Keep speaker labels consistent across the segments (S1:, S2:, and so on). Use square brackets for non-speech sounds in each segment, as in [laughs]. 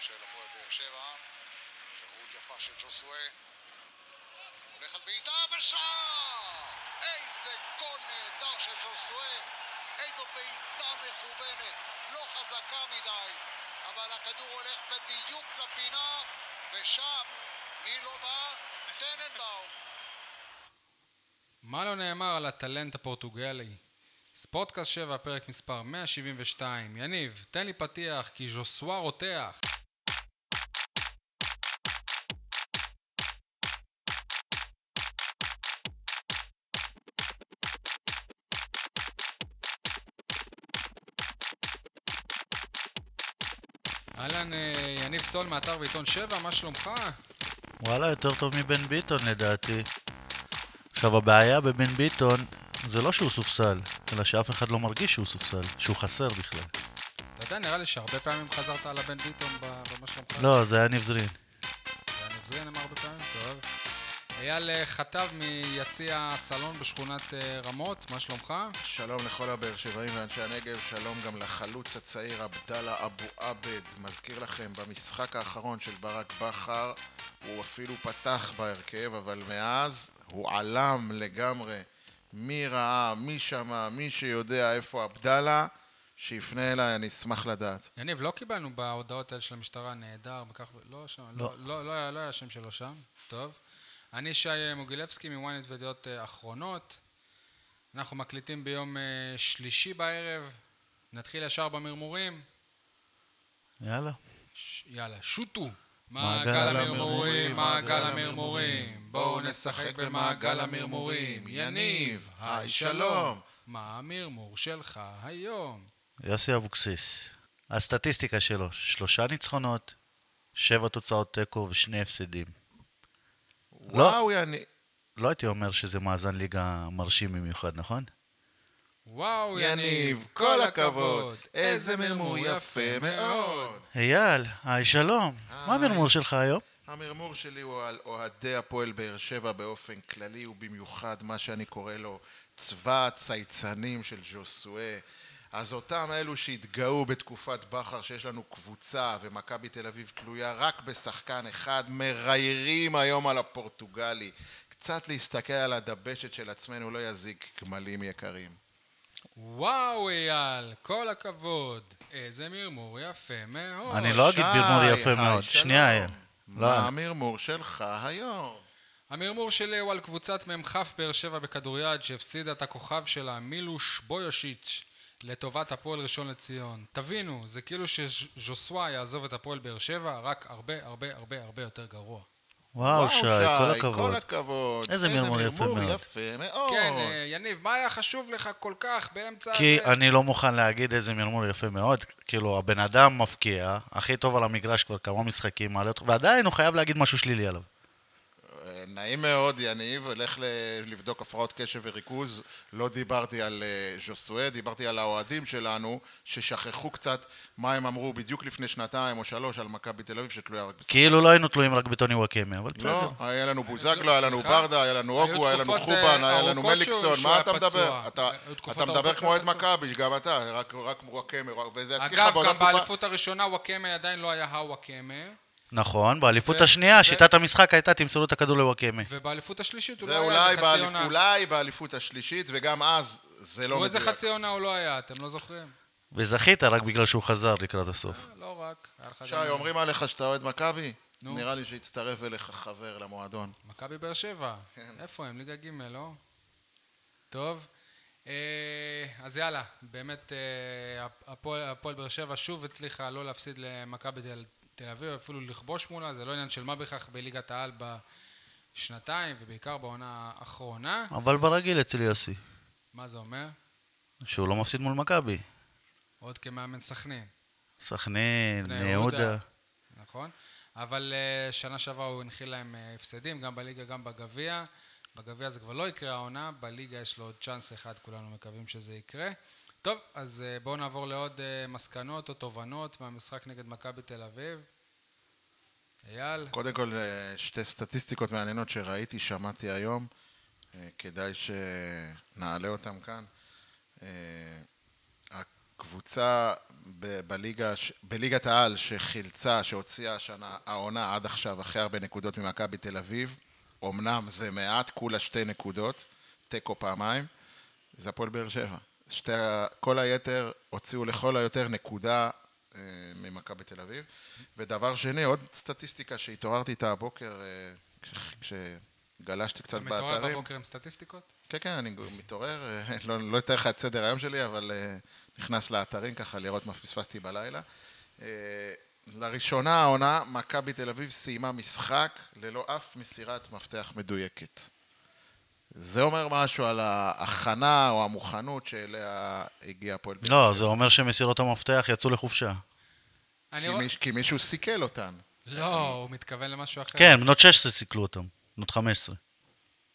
S1: של הפועל באר שבע. שחרות יפה של ג'וסווה. הולך על בעיטה ושער! איזה גול נהדר של ג'וסווה! איזו בעיטה מכוונת, לא חזקה מדי, אבל הכדור הולך בדיוק לפינה, ושם, מי לא בא? טננבאום.
S2: מה לא נאמר על הטלנט הפורטוגלי? ספורטקאסט 7, פרק מספר 172. יניב, תן לי פתיח, כי ז'וסווה רותח. אהלן, אה, יניב סול מאתר ועיתון 7, מה שלומך?
S3: וואלה, יותר טוב מבן ביטון לדעתי. עכשיו, הבעיה בבן ביטון זה לא שהוא סופסל, אלא שאף אחד לא מרגיש שהוא סופסל, שהוא חסר בכלל.
S2: אתה יודע, נראה לי שהרבה פעמים חזרת על הבן ביטון ב- במה שלומך.
S3: לא, זה היה נבזרין.
S2: ואני מחזיר להם הרבה פעמים, טוב. אייל אה, חטב מיציע הסלון בשכונת אה, רמות, מה שלומך?
S4: שלום לכל הבאר שבעים ואנשי הנגב, שלום גם לחלוץ הצעיר עבדאללה אבו עבד. מזכיר לכם, במשחק האחרון של ברק בכר, הוא אפילו פתח בהרכב, אבל מאז הוא עלם לגמרי. מי ראה, מי שמע, מי שיודע איפה עבדאללה, שיפנה אליי, אני אשמח לדעת.
S2: יניב, לא קיבלנו בהודעות האלה של המשטרה נהדר, בכך ו... לא שם, לא, לא, לא, היה- לא היה השם שלו שם, טוב. אני שי אה, מוגילבסקי מוויינט ודעות אה, אחרונות. אנחנו מקליטים ביום אה, שלישי בערב, נתחיל ישר במרמורים.
S3: יאללה.
S2: ש... יאללה, שוטו!
S3: מעגל
S2: מעגל המרמורים,
S3: המרמורים,
S2: מעגל המרמורים, בואו נשחק במעגל המרמורים. יניב, היי שלום! מה המרמור שלך היום?
S3: יוסי אבוקסיס. הסטטיסטיקה שלו, שלושה ניצחונות, שבע תוצאות תיקו ושני הפסדים. לא.
S4: וואו, יני...
S3: לא הייתי אומר שזה מאזן ליגה מרשים במיוחד, נכון?
S2: וואו,
S4: יניב, כל הכבוד, איזה מרמור יפה מאוד.
S3: אייל, היי שלום. מה המרמור שלך היום?
S4: המרמור שלי הוא על אוהדי הפועל באר שבע באופן כללי, ובמיוחד מה שאני קורא לו צבא הצייצנים של ז'וסואה. אז אותם אלו שהתגאו בתקופת בכר שיש לנו קבוצה ומכבי תל אביב תלויה רק בשחקן אחד, מראיירים היום על הפורטוגלי. קצת להסתכל על הדבשת של עצמנו לא יזיק גמלים יקרים.
S2: וואו, אייל, כל הכבוד, איזה מרמור יפה מאוד.
S3: אני לא אגיד מרמור
S4: שי,
S3: יפה
S4: היי,
S3: מאוד.
S4: שלום.
S3: שנייה, אייל. לא,
S4: מה המרמור שלך היום?
S2: המרמור שלי הוא על קבוצת מ"כ באר שבע בכדוריד שהפסידה את הכוכב שלה מילוש בויושיץ' לטובת הפועל ראשון לציון. תבינו, זה כאילו שז'וסווה יעזוב את הפועל באר שבע, רק הרבה הרבה הרבה הרבה יותר גרוע.
S3: וואו, שי, כל הכבוד.
S4: כל הכבוד. כן,
S3: איזה מרמור יפה מאוד.
S4: יפה מאוד.
S2: כן, אה, יניב, מה היה חשוב לך כל כך באמצע...
S3: כי
S2: הזה?
S3: אני לא מוכן להגיד איזה מרמור יפה מאוד. כאילו, הבן אדם מפקיע, הכי טוב על המגרש כבר כמה משחקים, מעלה אותו- ועדיין הוא חייב להגיד משהו שלילי עליו.
S4: אה, נעים מאוד, יניב, אלך ל- לבדוק הפרעות קשב וריכוז. לא דיברתי על אה, ז'וסואה, דיברתי על האוהדים שלנו, ששכחו קצת מה הם אמרו בדיוק לפני שנתיים או שלוש על מכבי תל אביב, שתלויה רק בסדר.
S3: כאילו לא היינו תלויים רק בטוני וואקמה, אבל בסדר.
S4: לא, היה לנו בוזגלו,
S2: לא,
S4: היה לנו
S2: סליחה.
S4: ברדה, היה לנו
S2: היו
S4: אוגו, היה לנו
S2: תקופות,
S4: חובן,
S2: אה,
S4: היה לנו
S2: ארוכות שהוא-
S4: מליקסון,
S2: שהוא
S4: מה
S2: היה
S4: אתה
S2: פצוע.
S4: מדבר? אתה-
S2: היו תקופות
S4: אתה מדבר
S2: ארוכות
S4: כמו אוהד
S2: שהוא היה
S4: מכבי, גם אתה, רק- רק וואקמה, וזה יזכיר לך
S2: אגב,
S4: באותה
S2: גם
S4: תקופה...
S2: באליפות הראשונה וואקמה עדיין לא היה הוואקמה,
S3: נכון, באליפות
S2: ו- ו-
S3: השנייה, שיטת המשחק הייתה, תמסרו את הכדור לוואקמה.
S2: ובאליפות השלישית הוא
S4: זה
S2: לא היה
S4: אולי
S2: איזה חצי
S4: באליפ-
S2: עונה.
S4: אולי באליפות השלישית, וגם אז זה לא
S2: הוא איזה
S4: מדויק.
S2: חצי עונה הוא לא היה, אתם לא זוכרים?
S3: וזכית רק בגלל שהוא חזר לקראת הסוף.
S2: לא רק, היה לך
S4: שי,
S2: גם-
S4: אומרים עליך שאתה אוהד מכבי?
S2: נו.
S4: נראה לי שהצטרף אליך חבר למועדון.
S2: מכבי באר שבע. איפה הם? ליגה ג', לא? טוב. אה, אז יאללה, באמת אה, הפועל הפועל באר שבע שוב הצליחה לא להפסיד למכבי תל- תל אביב, אפילו לכבוש מולה, זה לא עניין של מה בכך בליגת העל בשנתיים, ובעיקר בעונה האחרונה.
S3: אבל ברגיל אצל יוסי,
S2: מה זה אומר?
S3: שהוא לא מפסיד מול מכבי.
S2: עוד כמאמן סכנין.
S3: סכנין,
S2: בני
S3: בני יהודה.
S2: נכון. אבל אה, שנה שעברה הוא הנחיל להם אה, הפסדים, גם בליגה, גם בגביע. בגביע זה כבר לא יקרה העונה, בליגה יש לו עוד צ'אנס אחד, כולנו מקווים שזה יקרה. טוב, אז אה, בואו נעבור לעוד אה, מסקנות או תובנות מהמשחק נגד מכבי תל אביב. אייל,
S4: קודם כל, אה, שתי סטטיסטיקות מעניינות שראיתי, שמעתי היום. אה, כדאי שנעלה אותם כאן. אה, קבוצה ב- בליגה, ש- בליגת העל שחילצה, שהוציאה השנה, העונה עד עכשיו, אחרי הרבה נקודות ממכבי תל אביב. אמנם זה מעט, כולה שתי נקודות, תיקו פעמיים, זה הפועל באר שבע. שתי, ה- כל היתר הוציאו לכל היותר נקודה אה, ממכבי תל אביב. ודבר שני, עוד סטטיסטיקה שהתעוררתי איתה הבוקר, אה, כש- כשגלשתי קצת
S2: אתה מתעורר
S4: באתרים.
S2: בבוקר עם סטטיסטיקות?
S4: כן, כן, אני מתעורר, אה, לא, לא אתאר לך את סדר היום שלי, אבל אה, נכנס לאתרים ככה לראות מה פספסתי בלילה. אה, לראשונה העונה, מכבי תל אביב סיימה משחק ללא אף מסירת מפתח מדויקת. זה אומר משהו על ההכנה או המוכנות שאליה הגיע הפועל באר
S3: לא, זה אומר שמסירות המפתח יצאו לחופשה.
S2: אני
S4: שבע. כי
S2: רוא-
S4: מיש- כי מישהו סיכל אותן.
S2: לא, הוא מתכוון למשהו אחר.
S3: כן, בנות 16 סיכלו אותם, בנות 15.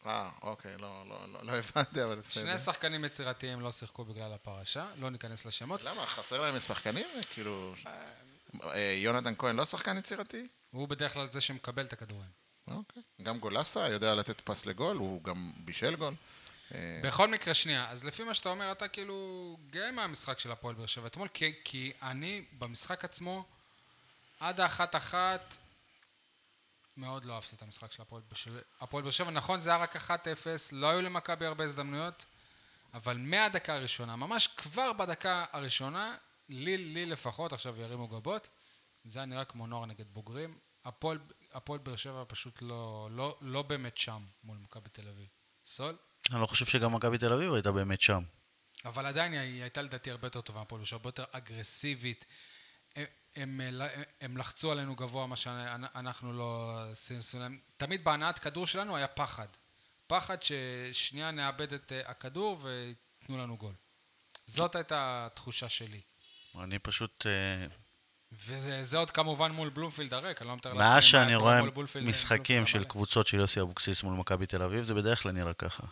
S4: אה, אוקיי, לא, לא, לא, לא הבנתי, אבל בסדר.
S2: שני שחקנים יצירתיים לא שיחקו בגלל הפרשה, לא ניכנס לשמות.
S4: למה? חסר להם שחקנים? כאילו...
S2: אה,
S4: אה, יונתן כהן לא שחקן יצירתי?
S2: הוא בדרך כלל זה שמקבל את הכדורים.
S4: אוקיי. גם גולסה יודע לתת פס לגול, הוא גם בישל גול. אה,
S2: בכל מקרה, שנייה, אז לפי מה שאתה אומר, אתה כאילו גאה מהמשחק של הפועל באר שבע אתמול, כי, כי אני במשחק עצמו, עד האחת-אחת, מאוד לא אהבתי את המשחק של הפועל באר שבע. הפועל באר שבע, נכון, זה היה רק 1-0, לא היו למכבי הרבה הזדמנויות, אבל מהדקה הראשונה, ממש כבר בדקה הראשונה, לי, לי לפחות, עכשיו ירימו גבות, זה היה נראה כמו נוער נגד בוגרים. הפועל, הפועל באר שבע פשוט לא, לא, לא באמת שם מול מכבי תל אביב. סול?
S3: אני לא חושב שגם מכבי תל אביב הייתה באמת שם.
S2: אבל עדיין היא היא הייתה לדעתי הרבה יותר טובה מהפועל, שהרבה יותר אגרסיבית. הם, הם, הם לחצו עלינו גבוה, מה שאנחנו לא עשינו להם. תמיד בהנעת כדור שלנו היה פחד. פחד ששנייה נאבד את אה, הכדור ויתנו לנו גול. זאת הייתה התחושה שלי.
S3: אני פשוט... אה,
S2: וזה זה עוד כמובן מול בלומפילד הריק, אני לא מתאר לעצמי מה
S3: מאז שאני
S2: היה
S3: רואה
S2: מול בלומפילד-
S3: משחקים
S2: בלומפילד
S3: של
S2: המלא.
S3: קבוצות של יוסי אבוקסיס מול מכבי תל אביב, זה בדרך כלל נראה ככה.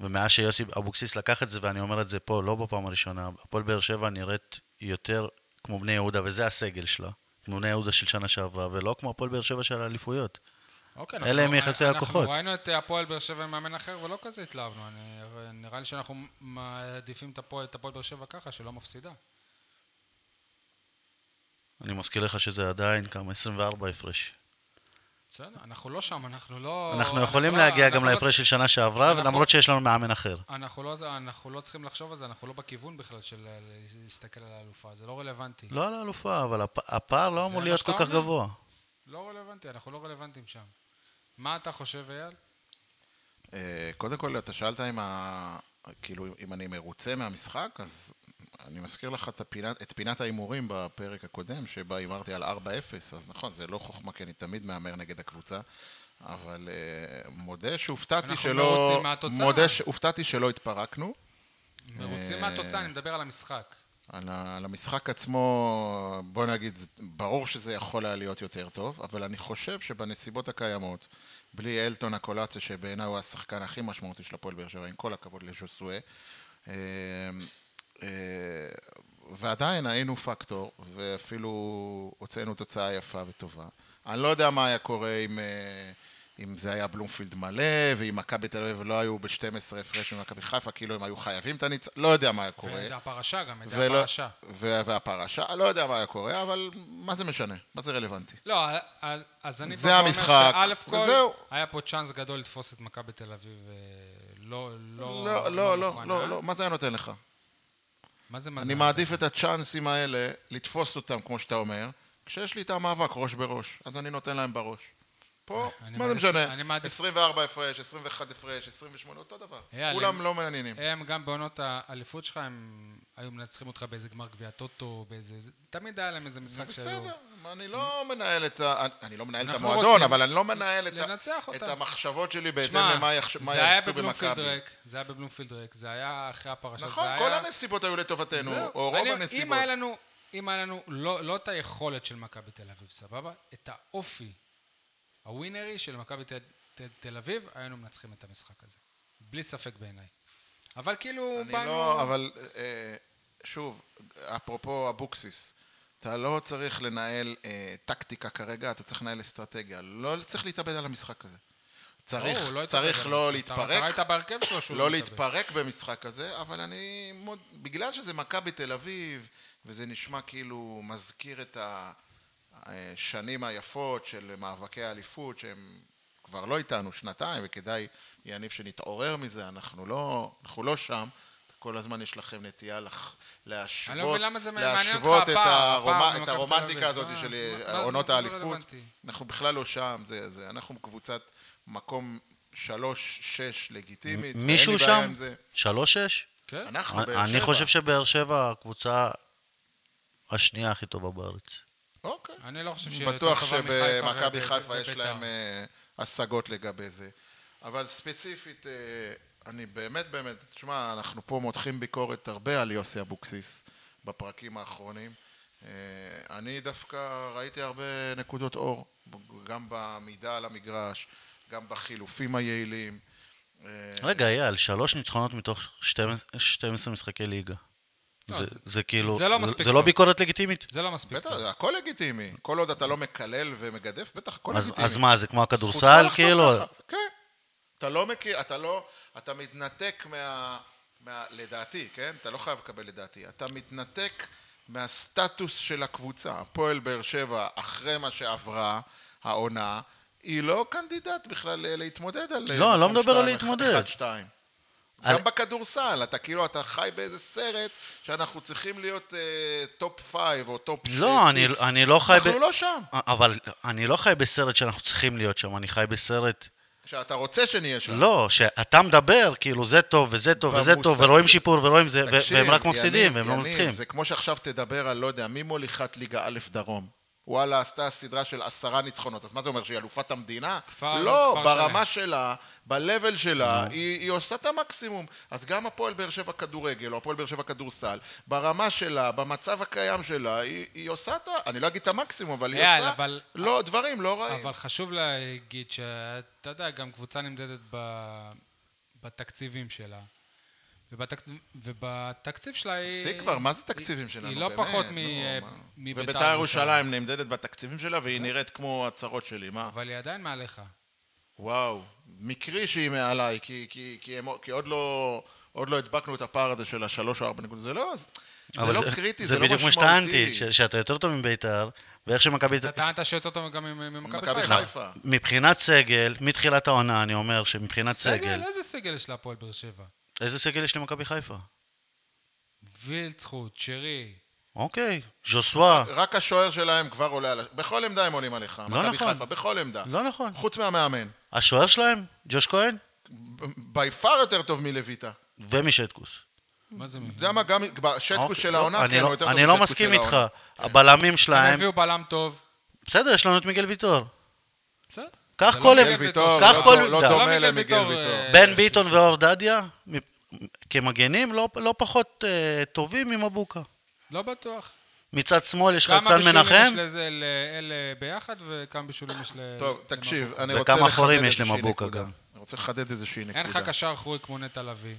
S3: ומאז שיוסי אבוקסיס לקח את זה, ואני אומר את זה פה, לא בפעם הראשונה, הפועל באר שבע נראית יותר כמו בני יהודה, וזה הסגל שלה. כמו בני יהודה של שנה שעברה, ולא כמו הפועל באר שבע של האליפויות.
S2: אוקיי,
S3: אלה
S2: אנחנו-
S3: הם יחסי הכוחות.
S2: אנחנו ראינו את אה, הפועל באר שבע עם מאמן אחר ולא כזה התלהבנו. אני- נראה לי שאנחנו מעדיפים את הפועל את הפועל באר שבע ככה, שלא מפסידה.
S3: אני מזכיר לך שזה עדיין כמה, 24 הפרש.
S2: בסדר, אנחנו לא שם, אנחנו לא...
S3: אנחנו יכולים
S2: לא-
S3: להגיע
S2: אנחנו
S3: גם
S2: לא
S3: להפרש
S2: צריכים-
S3: של שנה שעברה,
S2: אנחנו-
S3: ולמרות שיש לנו מאמן אחר.
S2: אנחנו לא, אנחנו לא צריכים לחשוב על זה, אנחנו לא בכיוון בכלל של אה, להסתכל על האלופה, זה לא רלוונטי.
S3: לא על האלופה, אבל הפ- הפער לא
S2: זה
S3: אמור
S2: מה
S3: להיות כל
S2: שאתה
S3: כך
S2: אומר?
S3: גבוה.
S2: לא רלוונטי, אנחנו לא רלוונטיים שם. מה אתה חושב, אייל?
S4: אה, קודם כל, אתה שאלת אם, ה... כאילו, אם אני מרוצה מהמשחק, אז אני מזכיר לך את פינת, את פינת ההימורים בפרק הקודם, שבה הימרתי על 4-0, אז נכון, זה לא חוכמה, כי אני תמיד מהמר נגד הקבוצה, אבל אה, מודה שהופתעתי
S2: אנחנו
S4: שלא...
S2: מרוצים מהתוצאה.
S4: מודה שהופתעתי שלא התפרקנו.
S2: מרוצים מהתוצאה, אני מדבר על המשחק.
S4: על, ה, על המשחק עצמו, בוא נגיד, זה- ברור שזה יכול היה להיות יותר טוב, אבל אני חושב שבנסיבות הקיימות, בלי אלטון הקולציה, שבעיניי הוא השחקן הכי משמעותי של הפועל באר שבע, עם כל הכבוד לז'וסואה, אה, אה, ועדיין היינו פקטור, ואפילו הוצאנו תוצאה יפה וטובה. אני לא יודע מה היה קורה אם, אה, אם זה היה בלומפילד מלא, ואם מכבי תל אביב לא היו ב-12 הפרש ממכבי חיפה, כאילו הם היו חייבים את הניצ... לא יודע מה היה קורה.
S2: וזה הפרשה גם, את
S4: ולא-
S2: הפרשה.
S4: ו- והפרשה, לא יודע מה היה קורה, אבל מה זה משנה? מה זה רלוונטי?
S2: לא, אז- אז אני
S4: זה
S2: בא ואומר
S4: המשחק,
S2: שא' כל,
S4: וזהו.
S2: היה פה צ'אנס גדול לתפוס את מכבי תל אביב. אה, לא, לא,
S4: לא, לא, לא,
S2: מוכנה.
S4: לא, לא, מה זה היה נותן לך?
S2: מה זה, מה זה?
S4: אני מעדיף את הצ'אנסים האלה, לתפוס אותם, כמו שאתה אומר, כשיש לי את המאבק ראש בראש, אז אני נותן להם בראש. פה,
S2: אני
S4: מה זה
S2: מעדיף-
S4: משנה?
S2: אני מעדיף- אה,
S4: 24 הפרש, 21 הפרש, 28, אותו דבר.
S2: אייל,
S4: כולם
S2: הם-
S4: לא מעניינים.
S2: הם גם בעונות האליפות שלך, הם היו מנצחים אותך באיזה גמר גביע טוטו, באיזה... זה- תמיד היה להם איזה משחק שהיו...
S4: בסדר, אני לא מנהל את ה... אני לא מנהל את
S2: אנחנו
S4: המועדון,
S2: רוצים
S4: אבל אני לא מנהל את ה-
S2: לנצח
S4: את
S2: אותם.
S4: המחשבות שלי בהתאם
S2: שמע,
S4: למה יחש- מה
S2: זה היה
S4: יעשו
S2: בבלומפילד
S4: במכבי.
S2: ריק, זה היה בבלומפילד ריק, זה היה אחרי הפרשה,
S4: נכון,
S2: זה היה...
S4: כל הנסיבות היו לטובתנו,
S2: זהו.
S4: או רוב
S2: אני-
S4: הנסיבות.
S2: אם היה לנו, אם היה לנו לא, לא את היכולת של מכבי תל אביב, סבבה? את האופי הווינרי של מכבי תל, תל, תל אביב, היינו מנצחים את המשחק הזה. בלי ספק בעיניי. אבל כאילו,
S4: אני לא, אבל אה, שוב, אפרופו אבוקסיס, אתה לא צריך לנהל אה, טקטיקה כרגע, אתה צריך לנהל אסטרטגיה. לא צריך להתאבד על המשחק הזה. צריך,
S2: לא, הוא לא התאבד
S4: צריך
S2: על
S4: לא
S2: המשחק. אתה-
S4: להתפרק.
S2: אתה ראית בהרכב שלו שהוא
S4: לא
S2: התאבד.
S4: להתפרק במשחק הזה, אבל אני... מוד... בגלל שזה מכבי תל אביב, וזה נשמע כאילו מזכיר את השנים היפות של מאבקי האליפות, שהם כבר לא איתנו שנתיים, וכדאי, יניב, שנתעורר מזה, אנחנו לא, אנחנו לא שם. כל הזמן יש לכם נטייה לח... להשוות,
S2: אני לא מבין למה זה מעניין אותך
S4: להשוות את,
S2: הפער, הפער
S4: הרומ...
S2: במכבי
S4: את
S2: תל אביב.
S4: הרומנטיקה הזאת
S2: מה-
S4: של אה,
S2: מה- מה-
S4: עונות
S2: מה זה
S4: האליפות.
S2: רלוונטי?
S4: אנחנו בכלל לא שם, זה, זה, אנחנו קבוצת מקום שלוש-שש לגיטימית.
S3: מישהו
S4: ואין לי בעיה
S3: שם?
S4: עם זה.
S3: 3-6?
S2: כן?
S4: אנחנו באר שבע.
S3: אני חושב שבאר שבע הקבוצה השנייה הכי טובה בארץ.
S4: אוקיי.
S2: אני לא חושב שהיא יותר
S4: בטוח
S2: טובה מחיפה
S4: שבמכבי
S2: וב-
S4: חיפה יש
S2: וביתר.
S4: להם אה, השגות לגבי זה. אבל ספציפית, אה, אני באמת באמת, תשמע, אנחנו פה מותחים ביקורת הרבה על יוסי אבוקסיס בפרקים האחרונים. אה, אני דווקא ראיתי הרבה נקודות אור, גם בעמידה על המגרש, גם בחילופים היעילים. אה,
S3: רגע, אייל, שלוש ניצחונות מתוך 12 12 משחקי ליגה.
S2: לא,
S3: זה-
S2: זה-
S3: זה כאילו,
S2: זה לא
S3: זה-
S2: מספיק
S3: זה לא
S2: טוב.
S3: ביקורת לגיטימית.
S2: זה לא מספיק.
S4: בטח,
S2: טוב.
S4: זה הכל לגיטימי. כל עוד אתה לא מקלל ומגדף, בטח, הכל
S3: אז-
S4: לגיטימי.
S3: אז מה, זה כמו
S4: לא זכותך
S3: הכדורסל?
S4: לחשוב
S3: כאילו,
S4: ככה, כן. אתה לא מכיר, אתה לא, אתה מתנתק מה... מה לדעתי, כן? אתה לא חייב לקבל לדעתי. אתה מתנתק מהסטטוס של הקבוצה. הפועל באר שבע, אחרי מה שעברה העונה, היא לא קנדידט בכלל אה, להתמודד על... אה,
S3: לא, אני לא
S4: מקום
S3: מדבר על
S4: שתיים,
S3: להתמודד.
S4: אחד, שתיים.
S3: על-
S4: גם בכדורסל, אתה כאילו, אתה חי באיזה סרט שאנחנו צריכים להיות טופ פייב או טופ סיקס.
S3: לא, אני- אני לא חי ב-
S4: אנחנו לא שם.
S3: אבל אני לא חי בסרט שאנחנו צריכים להיות שם, אני חי בסרט...
S4: שאתה רוצה שנהיה שם.
S3: לא, שאתה מדבר, כאילו זה טוב וזה טוב וזה טוב,
S4: כן. במושג-
S3: ורואים שיפור ורואים זה, ו-
S4: תקשיב,
S3: והם רק
S4: יניב,
S3: מפסידים, והם לא
S4: יניב,
S3: מנצחים.
S4: זה כמו שעכשיו תדבר על, לא יודע, מי מוליכת ליגה א' דרום? וואלה, עשתה סדרה של עשרה ניצחונות, אז מה זה אומר, שהיא אלופת המדינה?
S2: כפר-
S4: לא,
S2: כפר
S4: ברמה שלה, ב-level
S3: לא.
S4: שלה, היא, היא עושה את המקסימום. אז גם הפועל באר שבע כדורגל, או הפועל באר שבע כדורסל, ברמה שלה, במצב הקיים שלה, היא, היא עושה את ה... אני לא אגיד את המקסימום, אבל היא
S2: יאללה,
S4: עושה...
S2: אבל-
S4: לא, דברים לא רעים.
S2: אבל חשוב להגיד שאתה יודע, גם קבוצה נמדדת ב... בתקציבים שלה. ובתק... ובתקציב שלה היא...
S4: תפסיק כבר, מה זה תקציבים שלנו?
S2: היא לא
S4: באמת,
S2: פחות
S4: נו,
S2: מ- אה,
S4: מה?
S2: מביתר כן.
S4: וביתר ירושלים נמדדת בתקציבים שלה, והיא נראית כמו הצרות שלי, מה?
S2: אבל היא עדיין מעליך.
S4: וואו, מקרי שהיא מעליי, כי, כי, כי, הם, כי עוד, לא, עוד לא הדבקנו את הפער הזה של השלוש או ארבע נקודות. זה לא, זה, זה
S3: אבל
S4: לא קריטי, זה,
S3: זה
S4: לא
S3: בדיוק
S4: משמעותי.
S3: כמו שטענתי, ש- שאתה יותר טוב מביתר, ואיך שמכבי...
S2: אתה טענת שיותר טוב גם עם- ממכבי
S4: מכבי
S2: חיפה.
S4: חיפה.
S3: מבחינת סגל, מתחילת העונה, אני אומר שמבחינת סגל,
S2: סגל? איזה סגל יש להפועל באר שבע?
S4: אה?
S3: איזה סגל יש למכבי חיפה?
S2: וילצחוט, שרי.
S3: אוקיי, ז'וסווה,
S4: רק השוער שלהם כבר עולה על... ה- בכל עמדה הם עולים עליך,
S3: לא
S4: מכבי
S3: נכון.
S4: חיפה, בכל עמדה.
S3: לא נכון.
S4: חוץ מהמאמן.
S3: השוער שלהם, ג'וש כהן
S4: בי פאר יותר טוב מלויטה.
S3: ומשטקוס.
S2: מה זה מי?
S4: אתה יודע מה, גם בשטקוס
S3: אוקיי,
S4: של
S3: לא,
S4: העונה,
S3: אני
S4: כן,
S3: לא-
S4: הוא יותר טוב
S3: אני לא
S4: משטקוס
S3: מסכים
S4: של
S3: איתך.
S4: העונה.
S3: הבלמים
S2: הם
S3: שלהם,
S2: הביאו בלם טוב.
S3: בסדר, יש לנו את מיגל ויטור.
S2: בסדר.
S3: קח
S2: זה לא
S3: כל-
S2: מיגל
S4: מיגל
S2: ויטור.
S4: ויטור,
S3: קח
S4: לא-
S3: כל-
S4: לא
S3: זה לא
S4: דומה
S2: מיגל
S4: למיגל
S2: ויטור,
S4: ויטור.
S2: אה,
S3: בן ביטון ואור דדיה, מ- כמגנים, לא- לא פחות אה, טובים ממבוקה.
S2: לא בטוח.
S3: מצד שמאל יש לך
S2: כמה
S3: את סן
S2: בישולים יש
S3: מנחם,
S2: לזה לאלה ביחד וכמה בישולים יש ל...
S4: טוב, תקשיב, אני
S3: לא, וכמה
S4: רוצה לחדד
S3: אחורים יש
S4: איזושהי
S3: למבוקה
S4: נקודה.
S3: גם.
S4: אני רוצה לחדד איזושהי נקודה.
S2: אין לך קשר אחורי כמו נטע לביא.
S3: לא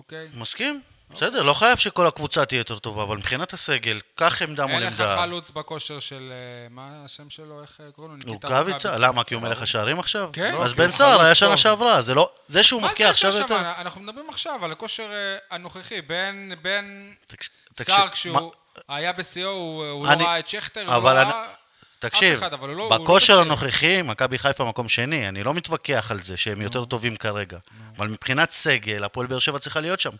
S2: אוקיי?
S3: מסכים? בסדר, לא חייב שכל הקבוצה תהיה יותר טובה, אבל מבחינת הסגל, קח עמדה מול
S2: אין לך
S3: עמדה.
S2: חלוץ בכושר של... אה, מה השם שלו? איך אה, קוראים לו?
S3: רוקאביצה? למה? כי הוא מלך השערים עכשיו?
S2: כן.
S3: אז
S2: לא,
S3: בן
S2: כי
S3: סער
S2: הוא
S3: היה
S2: חלוץ
S3: שנה
S2: טוב.
S3: שעברה, זה לא... זה שהוא
S2: מה זה
S3: מבקיע
S2: הייתה
S3: עכשיו
S2: שם?
S3: יותר...
S2: אנחנו מדברים עכשיו על הכושר אה, הנוכחי. בין- בין
S3: תקש- תקשיב,
S2: סער
S3: מה-
S2: כשהוא היה בשיאו, הוא הוא לא
S3: אני-
S2: ראה את שכטר, הוא לא
S3: אבל אני-
S2: ראה...
S3: תקשיב,
S2: אחד, אבל הוא לא- הוא לא
S3: בכושר
S2: בסדר.
S3: הנוכחי, מכבי חיפה מקום שני, אני לא מתווכח על זה שהם יותר טובים כרגע. אבל מבחינת סגל, הפועל באר שבע צריכה להיות שם.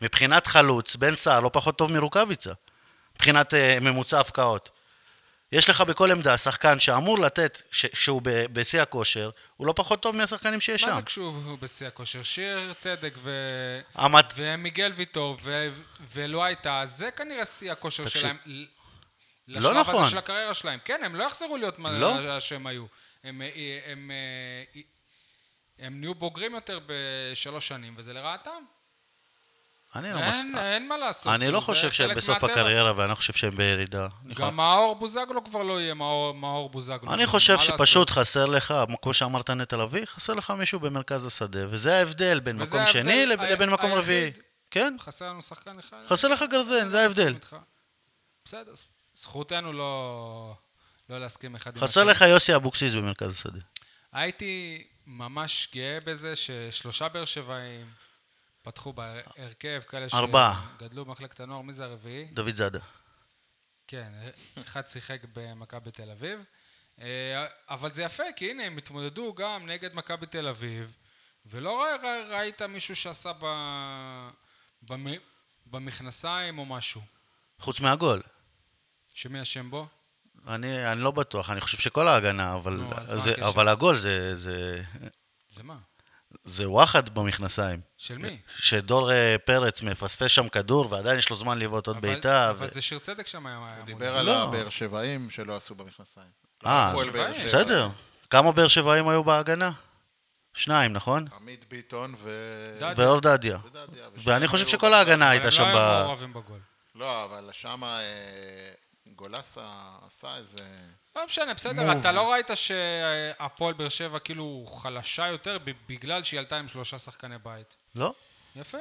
S3: מבחינת חלוץ, בן סער לא פחות טוב מרוקאביצה. מבחינת אה, ממוצע הפקעות. יש לך בכל עמדה שחקן שאמור לתת, ש- שהוא ב- בשיא הכושר, הוא לא פחות טוב מהשחקנים שיש
S2: מה
S3: שם.
S2: זה כשהוא בשיא הכושר? שיר צדק ו...
S3: המת-
S2: ומיגל ויטור ו... ולא הייתה, זה כנראה שיא הכושר
S3: תקשיב.
S2: שלהם. ל- לשלב
S3: נכון.
S2: הזה של הקריירה שלהם. כן, הם לא יחזרו להיות מה
S3: לא.
S2: שהם היו. הם, הם, הם, אה, הם נהיו בוגרים יותר בשלוש שנים, וזה לרעתם.
S3: אני לא מס-
S2: אין, אין מה לעשות.
S3: אה, אני לא
S2: זה
S3: חושב שהם
S2: חלק
S3: בסוף
S2: מהטבע.
S3: הקריירה, ואני לא חושב שהם בירידה. אני חושב-
S2: גם מאור בוזגלו כבר לא יהיה מאור, מאור בוזגלו.
S3: אני חושב
S2: מה לעשות?
S3: שפשוט חסר לך, כמו שאמרת נטע לביא, חסר לך מישהו במרכז השדה, וזה ההבדל בין
S2: וזה
S3: מקום
S2: ההבדל
S3: שני לב-
S2: ה-
S3: לבין מקום
S2: היחיד.
S3: רביעי. כן,
S2: חסר לנו שחקן אחד.
S3: חסר לך גרזן, זה ההבדל.
S2: איתך. בסדר, זכותנו לא, לא להסכים אחד עם
S3: חסר לך יוסי אבוקסיס במרכז השדה.
S2: הייתי ממש גאה בזה ששלושה באר שבעים פתחו בהרכב, כאלה
S3: ארבעה.
S2: שגדלו במחלקת הנוער, מי זה הרביעי?
S3: דוד זאדה.
S2: כן, אחד שיחק במכבי תל אביב. אה, אבל זה יפה, כי הנה, הם התמודדו גם נגד מכבי תל אביב, ולא ר- ר- ראית מישהו שעשה ב... במ... במכנסיים או משהו.
S3: חוץ מהגול.
S2: שמי אשם בו?
S3: אני, אני לא בטוח, אני חושב שכל ההגנה, אבל,
S2: נו, אז מה
S3: זה,
S2: הקשר?
S3: אבל הגול זה, זה,
S2: זה מה?
S3: זה וואחד במכנסיים.
S2: של מי?
S3: שדור אה, פרץ מפספס שם כדור ועדיין יש לו זמן לבעוט עוד
S2: אבל-
S3: בעיטה.
S2: אבל
S3: ו-
S2: זה שיר צדק שם היה... היה
S4: הוא
S2: מול.
S4: דיבר על
S3: לא.
S4: הבאר שבעים שלא עשו במכנסיים.
S3: אה,
S4: הפועל
S3: אז-
S4: באר
S2: שבע.
S3: בסדר. כמה באר שבעים היו בהגנה? שניים, נכון?
S4: עמית ביטון ו...
S2: דדיה.
S3: ואור דדיה.
S4: ודדיה, ושניהם
S3: ואני חושב
S4: היו-
S3: שכל ההגנה
S2: אבל
S3: הייתה
S2: הם
S3: שם
S2: לא היו
S3: ב...
S2: מעורבים בגול.
S4: לא, אבל שמה אה, גולסה עשה איזה...
S2: לא משנה, בסדר,
S4: מוב.
S2: אתה לא ראית שהפועל באר שבע כאילו חלשה יותר ב- בגלל שהיא עלתה עם שלושה שחקני בית.
S3: לא?
S2: יפה.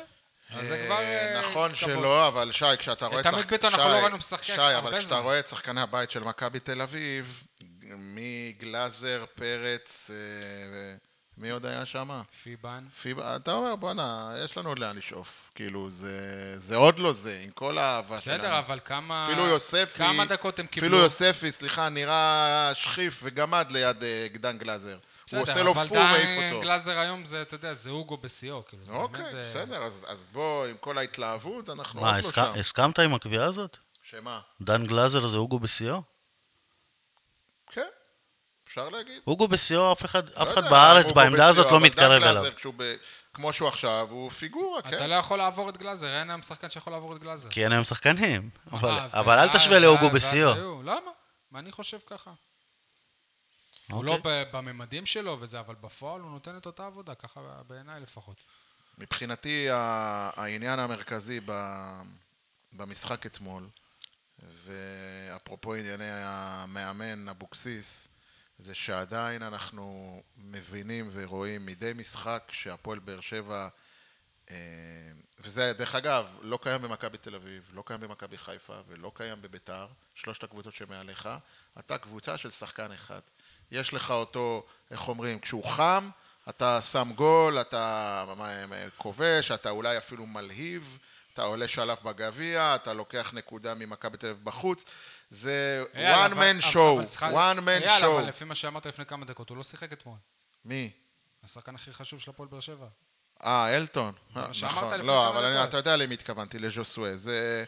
S2: אז זה
S4: אה,
S2: כבר... אה,
S4: נכון
S2: כבוד.
S4: שלא, אבל שי, כשאתה רואה...
S2: את עמית
S4: שחק-
S2: ביטון אנחנו
S4: שי,
S2: לא ראינו משחק
S4: שי,
S2: הרבה
S4: אבל כשאתה
S2: זמן.
S4: רואה את שחקני הבית של מכבי תל אביב, מגלאזר, פרץ, אה, ו- מי עוד היה שם? כן.
S2: פיבן.
S4: פיבה, אתה אומר, בואנה, יש לנו עוד לאן לשאוף. כאילו, זה, זה עוד לא זה, עם כל האהבה שלנו.
S2: בסדר, אבל כמה...
S4: אפילו יוספי,
S2: אה, כמה דקות הם קיבלו?
S4: אפילו יוספי, סליחה, נראה שכיף וגמד ליד אה, דן גלאזר. הוא עושה לו פור
S2: אבל
S4: והעיף
S2: דן
S4: אותו.
S2: גלאזר היום זה, אתה יודע, זה הוגו בשיאו, כאילו. זה
S4: אוקיי,
S2: באמת, זה-
S4: בסדר, אז, אז בוא, עם כל ההתלהבות, אנחנו
S3: מה,
S4: עוד לא
S3: הסכ-
S4: שם.
S3: הסכמת עם הקביעה הזאת?
S4: שמה?
S3: דן גלאזר זה הוגו בשיאו?
S4: כן, אפשר להגיד.
S3: הוגו בשיאו, אף אחד אף
S4: לא
S3: אחד
S4: יודע,
S3: בארץ,
S4: הוא
S3: בעמדה
S4: בשיאו,
S3: הזאת, לא
S4: אבל דן
S3: מתקרב
S4: גלאזר,
S3: אליו.
S4: כשהוא ב- כמו שהוא עכשיו, הוא פיגורה,
S2: אתה
S4: כן.
S2: לא יכול לעבור את גלאזר, אין היום שחקן שיכול לעבור את גלאזר.
S3: כי אין היום שחקנים. אבל-
S2: אה,
S3: אבל אל
S2: ואז-
S3: תשווה להוגו
S2: ואז- ואז
S3: בשיאו.
S2: היו. למה? מה אני חושב ככה? הוא
S3: אוקיי.
S2: לא ב- בממדים שלו וזה, אבל בפועל הוא נותן את אותה עבודה, ככה בעיניי לפחות.
S4: מבחינתי, ה- העניין המרכזי ב- במשחק אתמול, ואפרופו ענייני המאמן אבוקסיס, זה שעדיין אנחנו מבינים ורואים מדי משחק שהפועל באר שבע, אה, וזה דרך אגב, לא קיים במכבי תל אביב, לא קיים במכבי חיפה ולא קיים בביתר, שלושת הקבוצות שמעליך, אתה קבוצה של שחקן אחד. יש לך אותו, איך אומרים, כשהוא חם, אתה שם גול, אתה אה, כובש, אתה אולי אפילו מלהיב, אתה עולה שלב בגביע, אתה לוקח נקודה ממכבי תל אביב בחוץ, זה
S2: אייל,
S4: one
S2: אבל- אבל-
S4: man show,
S2: סליחה,
S4: one man
S2: אייל, אבל
S4: show.
S2: לפי מה שאמרת לפני כמה דקות, הוא לא שיחק אתמול.
S4: מי?
S2: השחקן הכי חשוב של הפועל באר שבע.
S4: אה, אלטון. אה,
S2: מה שאמרת
S4: נכון.
S2: לפני
S4: לא,
S2: כמה
S4: אבל אני-
S2: דקות.
S4: אתה יודע למי התכוונתי, לז'וסואה. זה...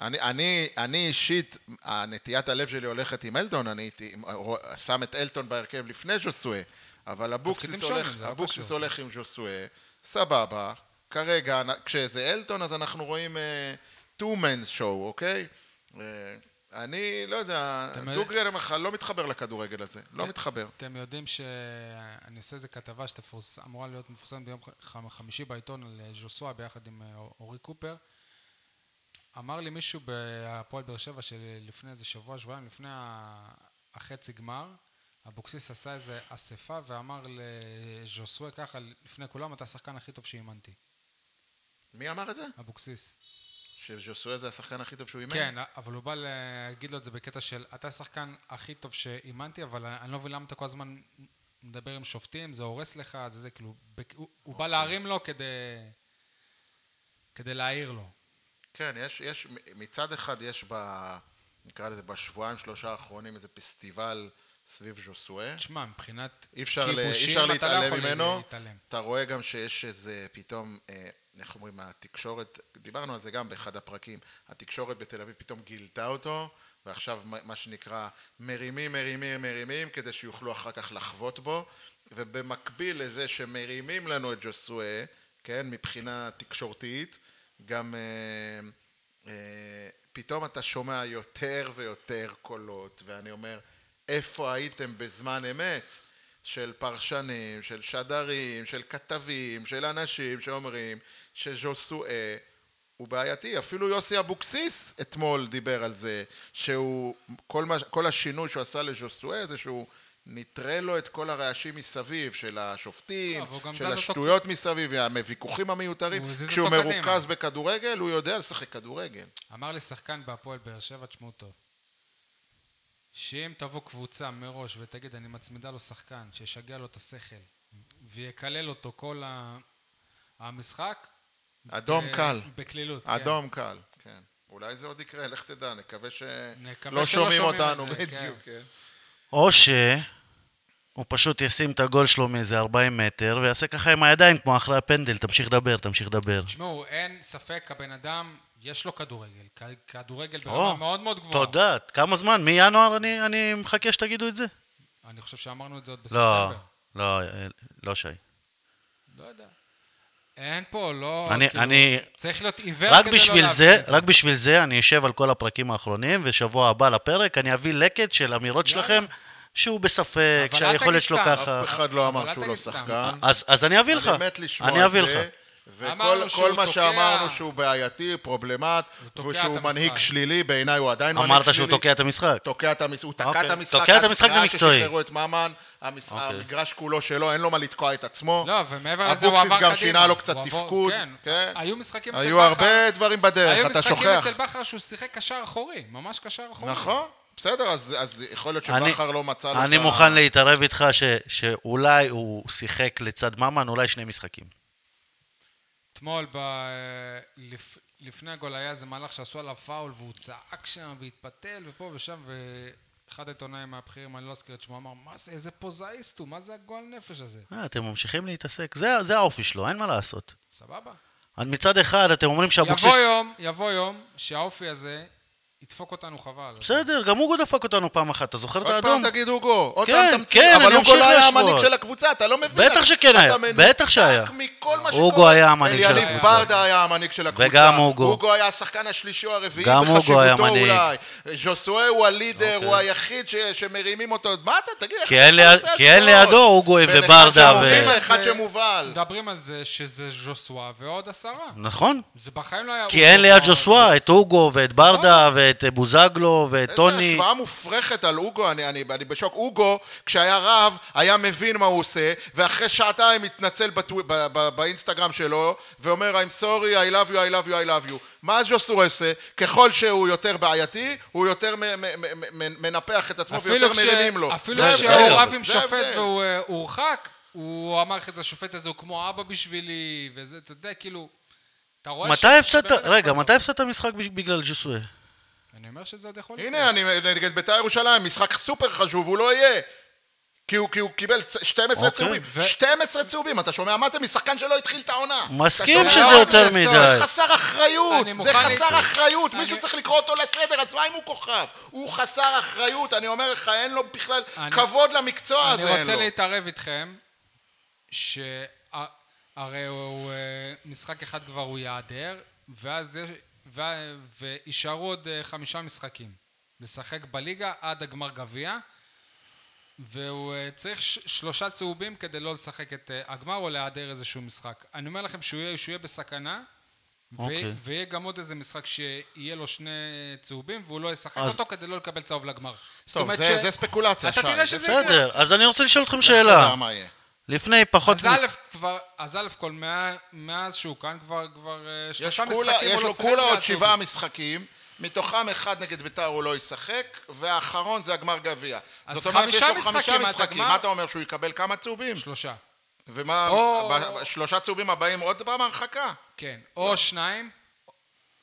S4: אני, אני, אני אישית, הנטיית הלב שלי הולכת עם אלטון, אני הייתי רוא- שם את אלטון בהרכב לפני ז'וסואה, אבל אבוקסיס
S2: תפקידים
S4: הולך,
S2: שונים, זה לא
S4: אבוקסיס
S2: קשור.
S4: הולך עם ז'וסואה, סבבה, כרגע, נ- כשזה אלטון אז אנחנו רואים uh, two-man show, אוקיי? Uh, אני לא יודע,
S2: אתם-
S4: דוגרי אני אומר לך, לא מתחבר לכדורגל הזה, לא מתחבר.
S2: אתם יודעים שאני עושה איזה כתבה שאמורה להיות מפורסמת ביום ח- חמישי בעיתון על אה, ז'וסואה ביחד עם אה, אורי קופר. אמר לי מישהו בהפועל באר שבע שלפני איזה שבוע, שבועיים, לפני ה- החצי גמר, אבוקסיס עשה איזה אספה ואמר לז'וסואה ככה, לפני כולם, אתה השחקן הכי טוב שאימנתי.
S4: מי אמר את זה?
S2: אבוקסיס.
S4: שז'וסואה זה השחקן הכי טוב שהוא אימן?
S2: כן, אבל הוא בא להגיד לו את זה בקטע של, אתה השחקן הכי טוב שאימנתי, אבל אני לא מבין למה אתה כל הזמן מדבר עם שופטים, זה הורס לך, זה זה, כאילו, בק- הוא- הוא
S4: אוקיי.
S2: בא להרים לו כדי... כדי להעיר לו.
S4: כן, יש, יש, מצד אחד יש ב... נקרא לזה בשבועיים שלושה האחרונים איזה פסטיבל סביב ז'וסואה.
S2: תשמע, מבחינת
S4: אי אפשר, ל... אי
S2: כיבושים,
S4: אפשר
S2: אתה לא
S4: להתעלם
S2: יכול
S4: ממנו.
S2: להתעלם.
S4: אתה רואה גם שיש איזה פתאום, אה, איך אומרים, התקשורת, דיברנו על זה גם באחד הפרקים, התקשורת בתל אביב פתאום גילתה אותו, ועכשיו מה- מה שנקרא מרימים, מרימים, מרימים, כדי שיוכלו אחר כך לחבוט בו, ובמקביל לזה שמרימים לנו את ג'וסואה, כן, מבחינה תקשורתית, גם... אה, אה, פתאום אתה שומע יותר ויותר קולות, ואני אומר, איפה הייתם בזמן אמת? של פרשנים, של שדרים, של כתבים, של אנשים שאומרים שז'וסואה הוא בעייתי. אפילו יוסי אבוקסיס אתמול דיבר על זה, שהוא, כל, מה, כל השינוי שהוא עשה לז'וסואה זה שהוא נטרל לו את כל הרעשים מסביב, של השופטים,
S2: לא, והוא גם
S4: של
S2: זז אותו-
S4: השטויות מסביב, הוויכוחים המיותרים.
S2: הוא הזיז
S4: כשהוא
S2: אותו קדימה.
S4: מרוכז בכדורגל, הוא יודע לשחק כדורגל.
S2: אמר לי שחקן בהפועל באר שבע, תשמעו טוב, שאם תבוא קבוצה מראש ותגיד, אני מצמידה לו שחקן, שישגע לו את השכל, ויקלל אותו כל ה- המשחק,
S4: אדום
S2: אה,
S4: קל.
S2: בקלילות, כן.
S4: אדום קל, כן. אולי זה עוד יקרה, לך תדע, נקווה
S2: נקווה
S4: שלא
S2: שלא
S4: שומעים
S2: שומעים את
S4: אותנו,
S2: זה, כן.
S4: בדיוק, כן.
S3: או שהוא פשוט ישים את הגול שלו מאיזה 40 מטר, ויעשה ככה עם הידיים כמו אחרי הפנדל, תמשיך לדבר, תמשיך לדבר.
S2: תשמעו, אין ספק, הבן אדם, יש לו כדורגל. כ- כדורגל ברמה
S3: או,
S2: לא, מאוד מאוד גבוהה.
S3: תודה. כמה זמן? מינואר אני, אני מחכה שתגידו את זה?
S2: אני חושב שאמרנו את זה עוד
S3: לא,
S2: בספטמבר.
S3: לא, אה, לא שי.
S4: כן.
S2: לא יודע. אין פה, לא...
S3: אני-
S2: כאילו,
S3: אני-
S2: צריך להיות עיוור
S3: רק
S2: כדי לא
S3: בשביל
S2: להבין
S3: זה,
S2: את
S3: רק בשביל זה אני אשב על כל הפרקים האחרונים, ושבוע הבא לפרק אני אביא לקט של אמירות
S2: יאללה.
S3: שלכם, שהוא בספק,
S2: אבל אל
S3: שהיכולת
S2: תגיד
S3: שלו
S2: סתם.
S3: ככה.
S4: אף אחד לא
S2: אבל
S4: אמר
S2: אל
S4: שהוא לא
S2: תגיד סתם.
S4: שחקן.
S3: אז, אז אני אביא לך.
S4: אני מת לשמוע
S3: אני
S4: את
S3: אביא
S4: זה,
S3: לך.
S4: וכל
S2: אמרנו שהוא
S4: כל מה
S2: תוקע.
S4: שאמרנו שהוא בעייתי, פרובלמט,
S2: תוקע
S4: ושהוא
S2: את המשחק.
S4: מנהיג שלילי, בעיניי הוא עדיין מנהיג שלילי.
S3: אמרת שהוא תוקע את המשחק.
S4: תוקע את המשחק, הוא תקע
S3: אוקיי.
S4: את המשחק,
S3: תוקע את
S4: עד
S3: המשחק אוקיי. זה
S4: שעה
S3: מקצועי.
S4: ששחררו את ממן, המש- המגרש כולו שלו, אין לו מה לתקוע את עצמו.
S2: לא, ומעבר לזה הוא עבר
S4: אבוקסיס
S2: קדימה.
S4: גם שינה לו קצת
S2: הוא עבור-
S4: תפקוד.
S2: כן.
S4: כן.
S2: היו משחקים אצל בכר.
S4: היו הרבה דברים
S2: היו
S4: בדרך, אתה
S2: משחקים
S4: שוכח.
S2: אצל בכר שהוא שיחק קשר אחורי, ממש קשר אחורי.
S4: נכון, בסדר, אז אז יכול להיות
S3: אני-
S4: שבכר לא מצא לו את
S3: אני
S4: ה-
S3: מוכן להתערב איתך ש, שאולי הוא שיחק לצד ממן, אולי שני משחקים.
S2: אתמול, ב... לפ... לפני הגול היה איזה מהלך שעשו עליו פאול והוא צעק שם והתפתל ופה ושם ואחד העיתונאים הבכירים, אני לא אזכיר את שמו, אמר מה זה, איזה פוזאיסט הוא, מה זה הגועל נפש הזה?
S3: אה, אתם ממשיכים להתעסק, זה, זה האופי שלו, אין מה לעשות.
S2: סבבה.
S3: אז מצד אחד אתם אומרים שאבוקסיס...
S2: יבוא יום, יבוא יום שהאופי הזה ידפוק אותנו חבל.
S3: בסדר, גם אוגו דפק אותנו פעם אחת, אתה זוכר את
S4: עוד
S3: האדום?
S4: פעם תגיד אוגו, עוד
S3: כן,
S4: פעם
S3: כן,
S4: תמציא, אבל
S3: אני
S4: אוגו
S3: אמשיך
S4: לא היה
S3: להשוות.
S4: המנהיג של הקבוצה, אתה לא מבין.
S3: בטח שכן
S4: אתה
S3: היה,
S4: מנותק
S3: בטח שהיה.
S4: מכל מה
S3: אוגו
S4: שקורה.
S3: היה המנהיג של
S4: אליניב
S3: הקבוצה.
S4: ברדה היה המנהיג של הקבוצה.
S3: וגם אוגו.
S4: אוגו היה השחקן השלישי או הרביעי
S3: גם אוגו היה
S4: בחשיבותו
S3: מנהיג.
S4: אולי. ז'וסואה הוא הלידר,
S3: אוקיי.
S4: הוא היחיד ש- שמרימים אותו. מה אתה, תגיד, איך
S3: כי אין
S4: אתה
S3: ליד-
S4: עושה
S3: כי אין
S4: השוואות?
S3: לידו אוגו
S4: בין
S3: וברדה
S4: אחד שמוביל
S3: ו-
S4: לאחד
S2: זה-
S4: שמובל.
S2: מדברים על זה שזה ז'וסווה ועוד עשרה.
S3: נכון.
S2: זה בחיים לא היה...
S3: כי אין ליד
S2: או-
S3: ג'וסווה את אוגו ואת ברדה ואת אה, בוזגלו ואת
S4: איזו
S3: טוני.
S4: השוואה מופרכת על אוגו, אני, אני, אני בשוק. אוגו, כשהיה רב, היה מבין מה הוא עושה, ואחרי שעתיים התנצל בטו... ב- ב- באינסטגרם שלו, ואומר, I'm sorry, I love you, I love you, I love you. מה ז'וסור עושה? ככל שהוא יותר בעייתי, הוא יותר מ- מ- מ- מ- מנפח את עצמו
S2: אפילו
S4: ויותר
S2: כש-
S4: מרימים לו.
S2: אפילו
S4: זה
S2: כשהוא
S4: ההבדל.
S2: רב עם
S4: זה
S2: שופט
S4: ההבדל.
S2: והוא אה, הורחק, הוא אמר לך, "זה השופט הזה הוא כמו אבא בשבילי, וזה, אתה יודע, כאילו... אתה רואה
S3: מתי
S2: ש-
S3: הפסדת,
S2: שבאמת
S3: רגע,
S2: אכפת לו.
S3: מתי הפסדת משחק בגלל ג'וסווה?
S2: אני אומר שזה עוד יכול
S4: הנה, אני נגד בית"ר ירושלים, משחק סופר חשוב, הוא לא יהיה. כי הוא, כי הוא קיבל 12
S3: אוקיי,
S4: צהובים,
S2: ו-
S4: 12 צהובים, אתה שומע מה זה? משחקן שלא התחיל את העונה.
S3: מסכים
S4: אתה שומע
S2: שזה
S4: מה זה?
S2: יותר
S4: זה
S3: מדי.
S4: חסר אחריות,
S2: אני
S4: זה
S2: מוכן
S4: חסר
S2: להתנצל.
S4: אחריות,
S2: אני-
S4: מישהו צריך לקרוא אותו לסדר, אז מה אם הוא כוכב? הוא חסר אחריות, אני אומר לך, אין לו בכלל
S2: אני-
S4: כבוד למקצוע הזה,
S2: אני
S4: אין
S2: רוצה
S4: לו.
S2: להתערב איתכם, שהרי הוא אה, משחק אחד כבר הוא ייעדר, ואז יש- ו- ויישארו עוד אה, חמישה משחקים. לשחק בליגה עד הגמר גביע, והוא אה, צריך ש- שלושה צהובים כדי לא לשחק את אה, הגמר או להיעדר איזשהו משחק. אני אומר לכם שהוא יהיה, שהוא יהיה בסכנה. ו-
S3: אוקיי.
S2: ויהיה גם עוד איזה משחק שיהיה לו שני צהובים והוא לא ישחק
S3: אז-
S2: אותו כדי לא לקבל צהוב לגמר. זאת
S4: טוב,
S2: אומרת
S4: זה- זה ספקולציה,
S2: אתה
S4: שי,
S2: תראה
S4: זה
S2: שזה יקרה.
S3: בסדר, אז אני רוצה לשאול אתכם
S4: אתה יודע
S3: שאלה.
S4: מה יהיה.
S3: לפני פחות...
S2: אז
S3: מ-
S2: א' כבר, אז א' כל, מה- מאז שהוא כאן כבר, כבר אה,
S4: יש
S2: שלושה
S4: כולה-
S2: משחקים,
S4: יש
S2: הוא
S4: לו
S2: לא שיחק
S4: כולה עוד
S2: בעצמו.
S4: שבעה משחקים, מתוכם אחד נגד ביתר הוא לא ישחק, והאחרון זה הגמר גביע.
S2: אז
S4: זאת אומרת, יש
S2: חמישה
S4: לו חמישה
S2: משחקים עד
S4: משחקים.
S2: הגמר.
S4: מה אתה אומר, שהוא יקבל כמה צהובים?
S2: שלושה,
S4: ומה,
S2: או-
S4: ב- ב- שלושה צהובים הבאים עוד פעם הרחקה?
S2: כן. או שניים.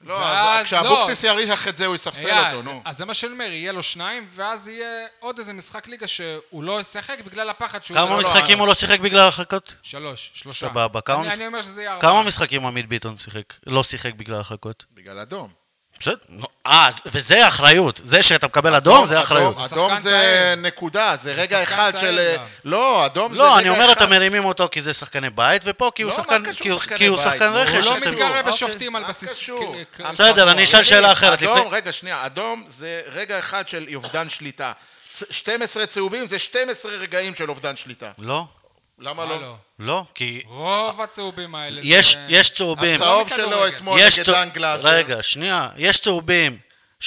S4: לא,
S2: ואז-
S4: אז כשאבוקסיס יריח את זה הוא יספסל
S2: אייל,
S4: אותו, נו.
S2: אז זה מה שאני אומר, יהיה לו שניים, ואז יהיה עוד איזה משחק ליגה שהוא לא ישחק בגלל הפחד שהוא...
S3: כמה
S2: לא-
S3: משחקים הוא לא שיחק בגלל הרחקות?
S2: שלוש, שלושה.
S3: סבבה, כמה
S2: אני-
S3: מש-
S2: אני אומר שזה
S4: לא.
S2: יהיה ארבעה.
S3: כמה משחקים עמית ביטון שיחק? לא שיחק בגלל הרחקות?
S4: בגלל אדום.
S3: בסדר. נו, אה, וזה אחריות. זה שאתה מקבל אדום, זה אחריות.
S2: שחקן
S4: אדום זה
S2: צעיר.
S4: נקודה, זה רגע
S2: שחקן
S4: אחד
S2: צעיר
S4: של... אה,
S2: גם.
S4: לא, אדום זה רגע אחד.
S3: לא, אני אומר, אתם מרימים אותו כי זה שחקני בית, ופה כי הוא
S4: לא, מה
S3: שחקן-
S4: קשור
S3: כי הוא-
S4: שחקני
S3: כי הוא
S4: בית?
S3: שחקן
S4: הוא
S3: רכש.
S2: לא
S3: אתם-
S2: מתקרב
S3: אוקיי.
S2: בשופטים על
S4: מה
S2: בסיס...
S4: קשור?
S2: כ- כ-
S3: בסדר, אני אשאל שאלה אחרת. לפני-
S4: אדום, רגע, שנייה, אדום זה רגע אחד של אובדן שליטה. צ- 12 צהובים זה 12 רגעים של אובדן שליטה.
S3: לא,
S4: למה
S2: מה
S4: לא?
S2: לא?
S3: לא, כי
S2: רוב הצהובים האלה...
S3: יש-
S2: זה-
S3: יש צהובים.
S4: הצהוב
S2: לא
S4: שלו
S2: מכדורגל.
S4: אתמול
S3: יש
S4: נגד
S3: צה-
S4: אנגלס.
S3: רגע, שנייה. יש צהובים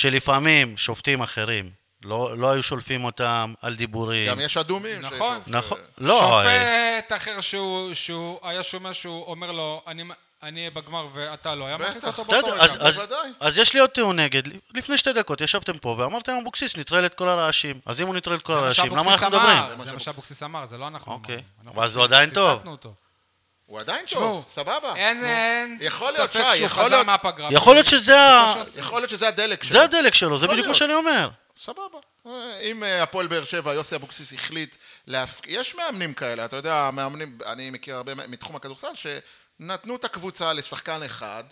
S3: שלפעמים שופטים אחרים לא לא היו שולפים אותם על דיבורים.
S4: גם יש אדומים.
S2: נכון.
S4: ש-
S3: נכון.
S4: ש-
S3: לא, אה,
S2: שופט אחר שהוא, שהוא היה שומע שהוא אומר לו, אני, אני אהיה בגמר ואתה לא, היה מרחיק
S4: בטח.
S2: אותו באותו
S3: בסדר, אז,
S2: רגע.
S3: אז,
S4: נכון, בוודאי.
S3: אז יש לי עוד טיעון נגד. לפני שתי דקות ישבתם פה ואמרתם אבוקסיס נטרל את כל הרעשים. אז אם הוא נטרל את כל
S2: זה מה
S3: הרעשים, למה
S2: שאבוקסיס
S3: אנחנו
S2: אמר,
S3: מדברים?
S2: זה מה שאבוקסיס אמר, זה לא אנחנו
S3: אוקיי.
S2: אמרנו. אנחנו
S3: אבל אז הוא עדיין
S2: ציטטנו
S3: טוב.
S2: אותו.
S4: הוא עדיין
S2: תשמעו,
S4: טוב, סבבה.
S2: אין אה, אין
S4: יכול להיות,
S2: ספק
S4: שי,
S2: שהוא
S4: יכול
S2: חזר
S4: להיות-
S2: מהפגרה.
S3: יכול להיות שזה ה...
S4: יכול להיות שזה הדלק שלו.
S3: זה הדלק שלו, זה בדיוק מה
S4: להיות.
S3: שאני אומר.
S4: סבבה. אה, אם אה, הפועל באר שבע, יוסי אבוקסיס החליט להפ... יש מאמנים כאלה, אתה יודע, מאמנים, אני מכיר הרבה מ- מתחום הכדורסל, שנתנו את הקבוצה לשחקן אחד,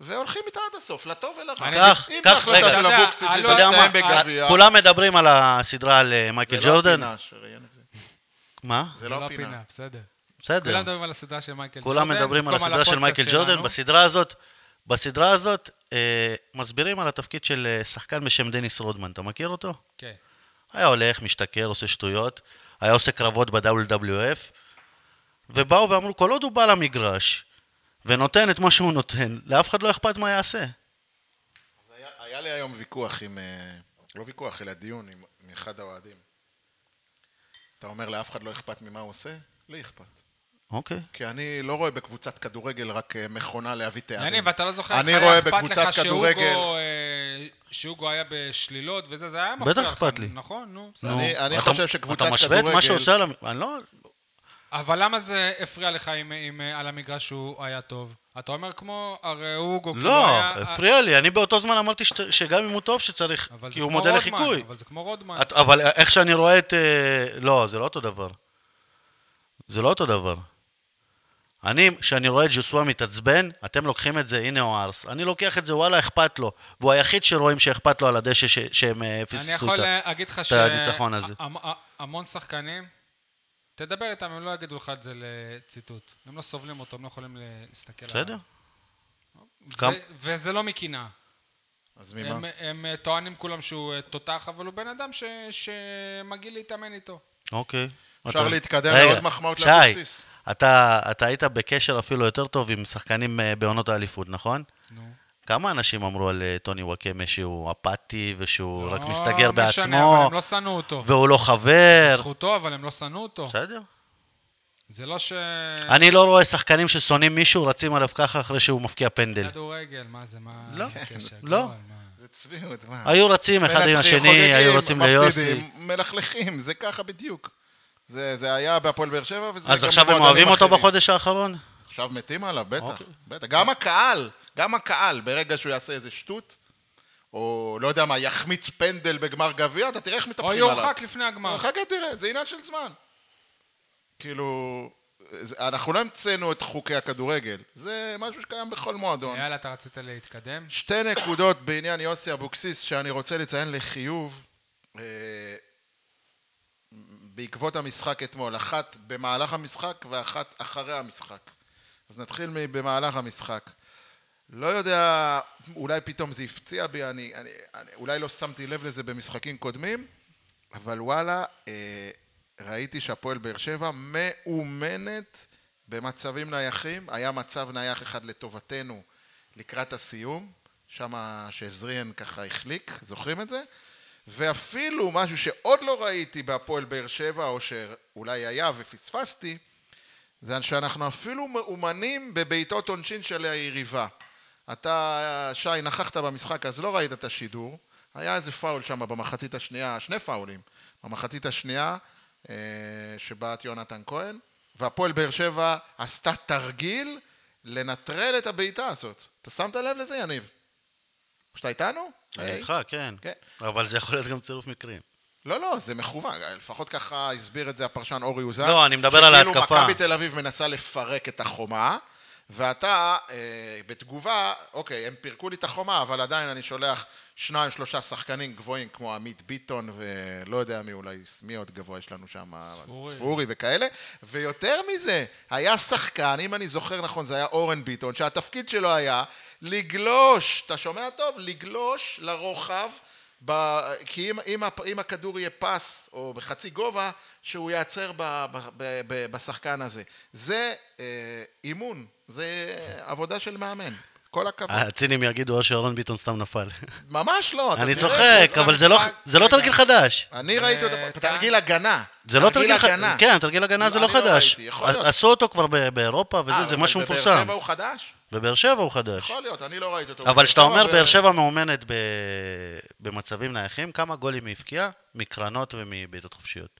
S4: והולכים איתה עד הסוף, לטוב ולרע.
S2: אני-
S3: כך,
S4: אם
S3: כך,
S4: זו החלטה
S3: רגע.
S4: של
S2: אתה יודע,
S4: אבוקסיס
S2: אני לא
S3: אתה יודע מה?
S4: להסתיים בגביע,
S3: אה, כולם מדברים על הסדרה על אה, מייקל
S4: זה לא
S3: ג'ורדן.
S4: הפינה, שריין את זה.
S3: מה?
S4: זה
S2: זה
S4: לא
S2: לא
S4: הפינה.
S2: פינה, בסדר. כולם
S3: בסדר.
S2: מדברים על הסדרה של מייקל ג'ורדן.
S3: כן. כולם מדברים על
S2: במקום
S3: הסדרה של
S2: הפודקאסט
S3: מייקל ג'ורדן.
S2: שלנו.
S3: בסדרה הזאת, בסדרה הזאת, אה, מסבירים על התפקיד של אה, שחקן בשם דניס רודמן. אתה מכיר אותו?
S2: כן.
S3: היה הולך, משתכר, עושה שטויות, היה עושה קרבות ב-WWF, ובאו ואמרו, כל עוד הוא בא למגרש ונותן את מה שהוא נותן, לאף אחד לא אכפת מה יעשה.
S4: אז היה- היה לי היום ויכוח עם, אה, לא ויכוח, אלא דיון עם עם אחד האוהדים. אתה אומר לאף אחד לא אכפת ממה הוא עושה? לי אכפת.
S3: אוקיי.
S4: כי אני לא רואה בקבוצת כדורגל רק אה, מכונה להביא תארים.
S2: יניב, ואתה לא זוכר,
S4: אני
S2: איך
S4: רואה
S2: היה אכפת
S4: בקבוצת
S2: לך
S4: כדורגל...
S2: שהוגו, אה, שהוגו היה בשלילות וזה, זה היה מפריע.
S3: בטח
S2: לך,
S3: אכפת לי.
S2: נכון, נו. בסדר.
S3: נו,
S4: אני
S3: אתה-
S4: חושב שקבוצת
S3: אתה משווה את
S4: כדורגל-
S3: מה שעושה על המ... אני לא...
S2: אבל למה זה הפריע לך אם- אם אה, על המגרש שהוא היה טוב? אתה אומר כמו, הרי הוגו כאילו
S3: לא,
S2: היה...
S3: הפריע לי. אני באותו זמן אמרתי שצ- שגם אם הוא טוב שצריך,
S2: אבל זה
S3: כי הוא
S2: כמו
S3: מודל
S2: רודמן,
S3: לחיקוי.
S2: אבל זה כמו רודמן.
S3: את- אבל איך שאני רואה את... אה, לא, זה לא אותו דבר. זה לא אותו דבר. אני, כשאני רואה את ג'וסווה מתעצבן, אתם לוקחים את זה, הנה הוא ארס. אני לוקח את זה, וואלה, אכפת לו. והוא היחיד שרואים שאכפת לו על הדשא ש- שהם אה,
S2: אני
S3: פספסו
S2: יכול
S3: אותה.
S2: להגיד לך ש...
S3: הניצחון הזה.
S2: המ- ה- המון שחקנים, תדבר איתם, הם לא יגידו לך את זה לציטוט. הם לא סובלים אותו, הם לא יכולים להסתכל עליו.
S3: בסדר?
S2: זה-
S3: כמה-
S2: וזה לא מקנאה.
S4: אז
S2: הם,
S4: ממה?
S2: הם אה, טוענים כולם שהוא אה, תותח, אבל הוא בן אדם ש, שמגיע להתאמן איתו.
S3: אוקיי.
S4: אפשר
S3: אתה-
S4: להתקדם
S3: רגע,
S4: לעוד מחמאות
S3: שי,
S4: לאבוקסיס.
S3: אתה, אתה היית בקשר אפילו יותר טוב עם שחקנים אה, בעונות האליפות, נכון?
S2: נו.
S3: כמה אנשים אמרו על אה, טוני וואקמה שהוא אפאתי ושהוא רק
S2: לא
S3: מסתגר בעצמו?
S2: משנה, אבל הם לא שנאו אותו.
S3: והוא לא חבר.
S2: זכותו, אבל הם לא שנאו אותו.
S3: בסדר.
S2: זה לא ש...
S3: אני לא רואה שחקנים ששונאים מישהו רצים עליו ככה אחרי שהוא מפקיע פנדל.
S2: כדורגל, מה זה, מה...
S3: לא.
S2: הקשר?
S3: לא.
S2: גול, מה?
S4: זה צביעות, מה?
S3: היו רצים אחד עם
S4: מנצחים,
S3: השני,
S4: חוגגים,
S3: היו רצים ליוסי.
S4: מפסידים, מלכלכים, זה ככה בדיוק. זה זה היה בהפועל באר שבע, וזה
S3: אז
S4: גם
S3: עכשיו הם
S4: במועדונים
S3: אוהבים אותו
S4: אחרים. אה?
S3: בחודש האחרון?
S4: עכשיו מתים עליו, בטח,
S3: אוקיי.
S4: בטח. גם הקהל, גם הקהל, ברגע שהוא יעשה איזה שטות, או לא יודע מה, יחמיץ פנדל בגמר גביע, אתה תראה איך
S2: או
S4: מתהפכים עליו.
S2: לא. יורחק לפני הגמר.
S4: חכה תראה, זה עניין של זמן. כאילו, זה- אנחנו לא המצאנו את חוקי הכדורגל. זה משהו שקיים בכל מועדון.
S2: יאללה, אתה רצית להתקדם?
S4: שתי נקודות בעניין יוסי אבוקסיס שאני רוצה לציין לחיוב אה, בעקבות המשחק אתמול, אחת במהלך המשחק ואחת אחרי המשחק. אז נתחיל במהלך המשחק. לא יודע, אולי פתאום זה הפציע בי, אני, אני, אני אולי לא שמתי לב לזה במשחקים קודמים, אבל וואלה, אה, ראיתי שהפועל באר שבע מאומנת במצבים נייחים. היה מצב נייח אחד לטובתנו לקראת הסיום, שם שזריאן ככה החליק, זוכרים את זה? ואפילו משהו שעוד לא ראיתי בהפועל באר שבע, או שאולי היה ופספסתי, זה שאנחנו אפילו מאומנים בבעיטות עונשין של היריבה. אתה, שי, נכחת במשחק אז לא ראית את השידור. היה איזה פאול שם במחצית השנייה, שני פאולים. במחצית השנייה אה, שבעט יונתן כהן, והפועל באר שבע עשתה תרגיל לנטרל את הבעיטה הזאת. אתה שמת לב לזה, יניב? שאתה איתנו?
S3: אני
S4: היי.
S3: איתך, כן.
S4: כן.
S3: אבל זה יכול להיות גם צירוף מקרים.
S4: לא, לא, זה מכוון, לפחות ככה הסביר את זה הפרשן אורי אוזן.
S3: לא, אני מדבר על ההתקפה.
S4: שכאילו מכבי תל אביב מנסה לפרק את החומה, ואתה, אה, בתגובה, אוקיי, הם פירקו לי את החומה, אבל עדיין אני שולח שניים, שלושה שחקנים גבוהים, כמו עמית ביטון, ולא יודע מי אולי, מי עוד גבוה יש לנו שם, ספורי וכאלה. ויותר מזה, היה שחקן, אם אני זוכר נכון, זה היה אורן ביטון, שהתפקיד שלו היה לגלוש, אתה שומע טוב? לגלוש לרוחב. ב... כי אם, אם, הפ- אם הכדור יהיה פס או בחצי גובה, שהוא ייעצר ב... ב... ב... ב... בשחקן הזה. זה אה, אימון, זה עבודה של מאמן. כל הכבוד.
S3: הצינים יגידו או שאורן ביטון סתם נפל.
S4: ממש לא.
S3: [laughs]
S4: אתה
S3: אני
S4: תראה,
S3: צוחק,
S4: זה-
S3: אבל זה לא-
S2: המשחק-
S3: זה לא
S2: רגע.
S3: תרגיל חדש.
S4: אני ראיתי אותו,
S2: אה,
S4: פה, תרגיל הגנה.
S3: זה לא תרגיל חדש. כן, תרגיל הגנה זה
S4: אני
S3: לא
S4: לא
S3: חדש.
S4: ראיתי, יכול להיות.
S3: עשו אותו כבר ב- באירופה
S4: אה,
S3: וזה, זה
S4: אבל
S3: משהו
S4: בבאר
S3: מפורסם.
S4: שבע הוא חדש?
S3: בבאר שבע הוא חדש.
S4: יכול להיות, אני לא ראיתי אותו.
S3: אבל כשאתה אומר
S4: ו-
S3: באר שבע מאומנת ב... במצבים נייחים, כמה גולים היא הבקיעה? מקרנות ומבעיטות חופשיות.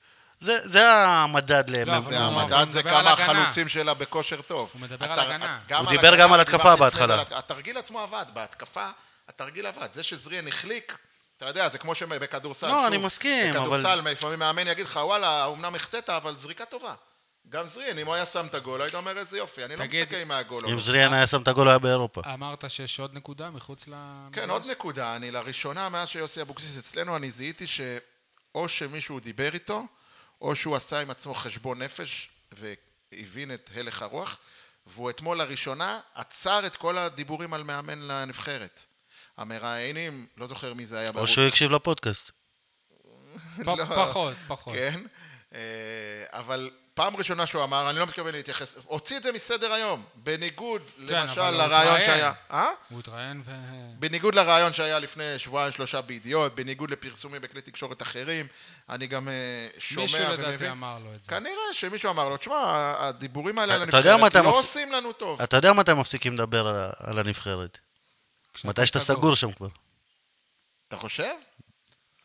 S3: זה, זה המדד למאומנת.
S4: לא, זה
S2: הוא
S4: המדד, זה
S2: מדבר על
S4: כמה
S2: הגנה.
S4: החלוצים שלה בכושר טוב.
S2: הוא מדבר על
S4: התר-
S2: הגנה.
S3: הוא דיבר גם על התקפה
S4: דיברתי לפני
S3: בהתחלה.
S4: זה על הת- התרגיל עצמו עבד, בהתקפה התרגיל עבד. זה שזריאן החליק, אתה יודע, זה כמו שבכדורסל.
S3: לא,
S4: שוב,
S3: אני מסכים, אבל-
S4: בכדורסל לפעמים מאמן יגיד לך, וואלה, אמנם החטאת, אבל זריקה טובה. גם זריאן, אם הוא היה שם את הגול, היית אומר איזה יופי, אני לא
S2: תגיד-
S4: מסתכל מהגול.
S3: אם זריאן היה שם את הגול הוא היה באירופה.
S2: אמרת שיש עוד נקודה מחוץ ל...
S4: כן, עוד נקודה. אני לראשונה, מאז שיוסי אבוקסיס אצלנו, אני זיהיתי שאו שמישהו דיבר איתו, או שהוא עשה עם עצמו חשבון נפש והבין את הלך הרוח, והוא אתמול לראשונה עצר את כל הדיבורים על מאמן לנבחרת. המראיינים, לא זוכר מי זה היה
S3: או שהוא הקשיב לפודקאסט.
S2: פ-
S4: לא.
S2: פחות, פחות.
S4: כן, אה, אבל פעם ראשונה שהוא אמר, אני לא מתכוון להתייחס, הוציא את זה מסדר היום, בניגוד למשל
S2: כן, אבל הוא
S4: לרעיון
S2: התראיין.
S4: שהיה... אה?
S2: הוא התראיין ו...
S4: בניגוד לרעיון שהיה לפני שבועיים שלושה בידיעות, בניגוד לפרסומים בכלי תקשורת אחרים, אני גם אה, שומע
S2: מישהו
S4: ומבין. כן.
S2: לדעתי אמר לו את זה.
S4: כנראה שמישהו אמר לו, תשמע, הדיבורים האלה על
S3: אתה יודע
S4: הנבחרת
S3: מתי
S4: לא
S3: מפס-
S4: עושים לנו טוב.
S3: אתה יודע מתי מפסיקים לדבר על, ה- על הנבחרת? מתי שאתה סגור שם כבר.
S4: אתה חושב?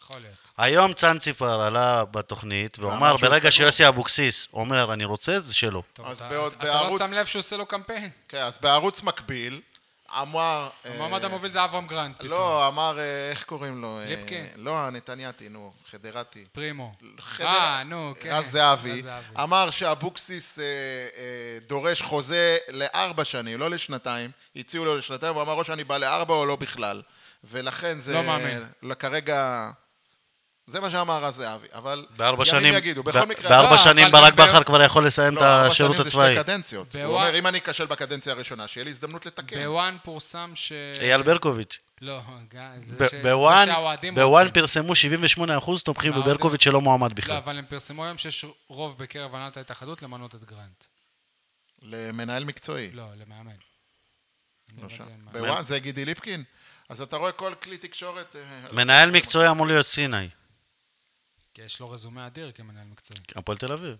S2: יכול להיות.
S3: היום צאנציפר עלה בתוכנית ואמר,
S4: אמר שהוא
S3: ברגע
S4: סגור."
S3: שיוסי אבוקסיס אומר, אני רוצה, זה שלו.
S2: טוב,
S4: אז
S2: אתה-
S4: בעוד-
S2: אתה
S4: בערוץ-
S2: לא שם לב שהוא עושה לו קמפיין?
S4: כן, אז בערוץ מקביל, אמר... אה,
S2: המועמד המוביל זה אברהם גרנט. פתאום.
S4: לא, אמר, אה, איך קוראים לו? אה,
S2: ליפקין.
S4: לא, הנתניאתי, נו, חדרתי.
S2: פרימו.
S4: חדר-
S2: אה, נו, כן.
S4: רז זהבי,
S2: רז
S4: אמר שאבוקסיס אה, אה, דורש חוזה לארבע שנים, לא לשנתיים. הציעו לו לשנתיים, הוא אמר או שאני בא לארבע או לא בכלל. ולכן זה...
S2: לא מאמין.
S4: לא, כרגע... זה מה שאמר רז זהבי, אבל...
S3: בארבע
S4: ימים
S3: שנים,
S4: יגידו,
S3: ב-
S4: בכל מקרה...
S2: לא,
S3: בארבע
S2: אבל
S3: שנים
S2: גם
S3: ברק
S2: ב-
S3: בכר כבר יכול לסיים את
S4: לא, ארבע
S3: השירות
S4: שנים זה
S3: הצבאי.
S4: שתי קדנציות. הוא
S2: בוואן-
S4: אומר, אם אני אכשל בקדנציה הראשונה, שיהיה לי הזדמנות לתקן.
S2: בוואן פורסם ש...
S3: אייל ברקוביץ'.
S2: לא, ג- זה ש-
S3: ב-
S2: זה
S3: בוואן-
S2: שהאוהדים
S3: בוואן
S2: רוצים. אה,
S3: פרסמו 78% תומכים
S2: האוהדים-
S3: בברקוביץ' שלא מועמד
S2: לא,
S3: בכלל.
S2: אבל הם פרסמו היום שיש רוב בקרב הנהלת ההתאחדות למנות את גרנט.
S4: למנהל מקצועי.
S2: לא, למאמן. אני לא
S4: לא שם.
S2: יודע מה.
S4: בוואן זה גידי ליפקין. אז אתה רואה כל כלי תקשורת... אה,
S3: מנהל מקצועי אמור להיות סיני,
S2: כי יש לו רזומה אדיר כמנהל מקצועי.
S3: הפועל תל אביב.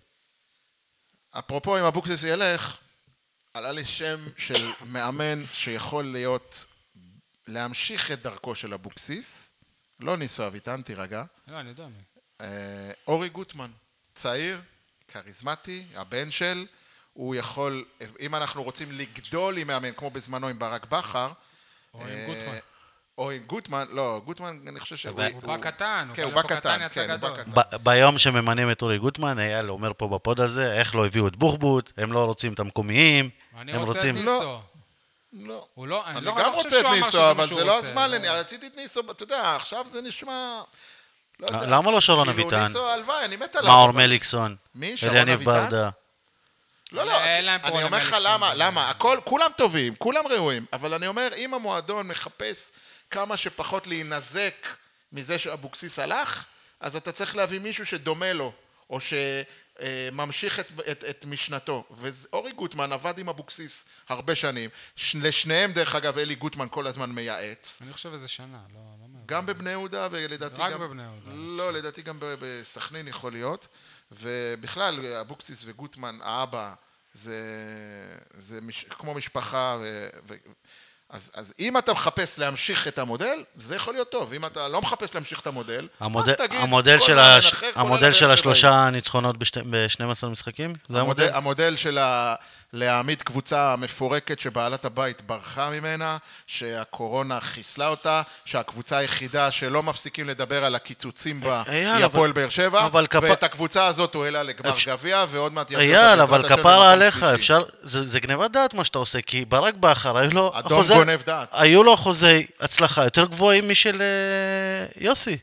S4: אפרופו, אם אבוקסיס ילך, עלה לי שם של מאמן שיכול להיות, להמשיך את דרכו של אבוקסיס, לא ניסו אביטן, תירגע,
S2: לא, אני יודע מי.
S4: אה, אורי גוטמן, צעיר, כריזמטי, הבן של, הוא יכול, אם אנחנו רוצים לגדול עם מאמן, כמו בזמנו עם ברק בכר,
S2: או עם
S4: אה,
S2: גוטמן.
S4: או עם גוטמן, לא, גוטמן, אני חושב שהוא...
S3: הוא
S2: הוא בא קטן, הוא
S4: כן,
S2: בא
S4: הוא בא
S2: לפה
S4: קטן,
S2: קטן, יצא
S4: כן, הוא בא
S2: גדול.
S4: קטן.
S3: ב- ביום שממנים את אורי גוטמן, אייל אומר פה בפוד הזה, איך לא הביאו את בוחבוט, הם לא רוצים את המקומיים,
S2: אני
S3: הם
S2: רוצה את
S3: רוצים...
S2: ניסו.
S4: לא.
S2: הוא לא, אני
S4: אני
S2: לא
S4: גם
S2: חושב
S4: רוצה את
S2: שהוא אמר שזה
S4: ניסו,
S2: מה
S4: אבל
S2: שהוא
S4: זה לא
S2: רוצה,
S4: הזמן,
S2: לא.
S4: לני- רציתי את ניסו, אתה יודע, עכשיו זה נשמע... לא יודע.
S3: למה לא שרון
S4: כאילו,
S3: אביטן?
S4: ניסו, הלוואי, אני מת עליו.
S3: מאור
S4: אבל-
S3: מליקסון,
S4: לא. מי? שרון
S3: אליניב
S4: אביטן?
S3: ברדה.
S4: לא, לא,
S2: אין להם פה
S4: אני
S2: עולם
S4: אומר לך
S2: אלכסון.
S4: למה, למה, הכל, כולם טובים, כולם ראויים, אבל אני אומר, אם המועדון מחפש כמה שפחות להינזק מזה שאבוקסיס הלך, אז אתה צריך להביא מישהו שדומה לו, או שממשיך את, את, את משנתו. ואורי גוטמן עבד עם אבוקסיס הרבה שנים, ש, לשניהם דרך אגב אלי גוטמן כל הזמן מייעץ.
S2: אני חושב איזה שנה, לא... לא מה-
S4: גם בבני יהודה, ולדעתי
S2: רק
S4: גם...
S2: בבני יהודה.
S4: לא, לדעתי גם ב- בסכנין יכול להיות. ובכלל, אבוקסיס וגוטמן, האבא, זה, זה מש, כמו משפחה. ו, ו, אז, אז אם אתה מחפש להמשיך את המודל, זה יכול להיות טוב. אם אתה לא מחפש להמשיך את המודל,
S3: המודל-
S4: אז תגיד,
S3: המודל
S4: כל
S3: של
S4: מאמן
S3: הש-
S4: אחר, כולל
S3: המודל של
S4: באר שבע.
S3: השלושה ניצחונות ב-12 משחקים? זה המודל?
S4: המודל, המודל של ה... להעמיד קבוצה מפורקת שבעלת הבית ברחה ממנה, שהקורונה חיסלה אותה, שהקבוצה היחידה שלא מפסיקים לדבר על הקיצוצים בה
S3: אייל,
S4: היא הפועל
S3: אה, אבל-
S4: באר שבע,
S3: אבל כפ-
S4: ואת הקבוצה הזאת הוא העלה לגמר
S3: אפשר-
S4: גביע, ועוד מעט יביא אותה
S3: אייל,
S4: בעזרת
S3: אבל
S4: השם
S3: כפרה
S4: למקום
S3: עליך,
S4: שלישי.
S3: אפשר... זה זה גניבת דעת מה שאתה עושה, כי ברק בכר, היו לו...
S4: אדום
S3: אחוזי-
S4: גונב דעת.
S3: היו לו אחוזי הצלחה יותר גבוהים משל אה, יוסי,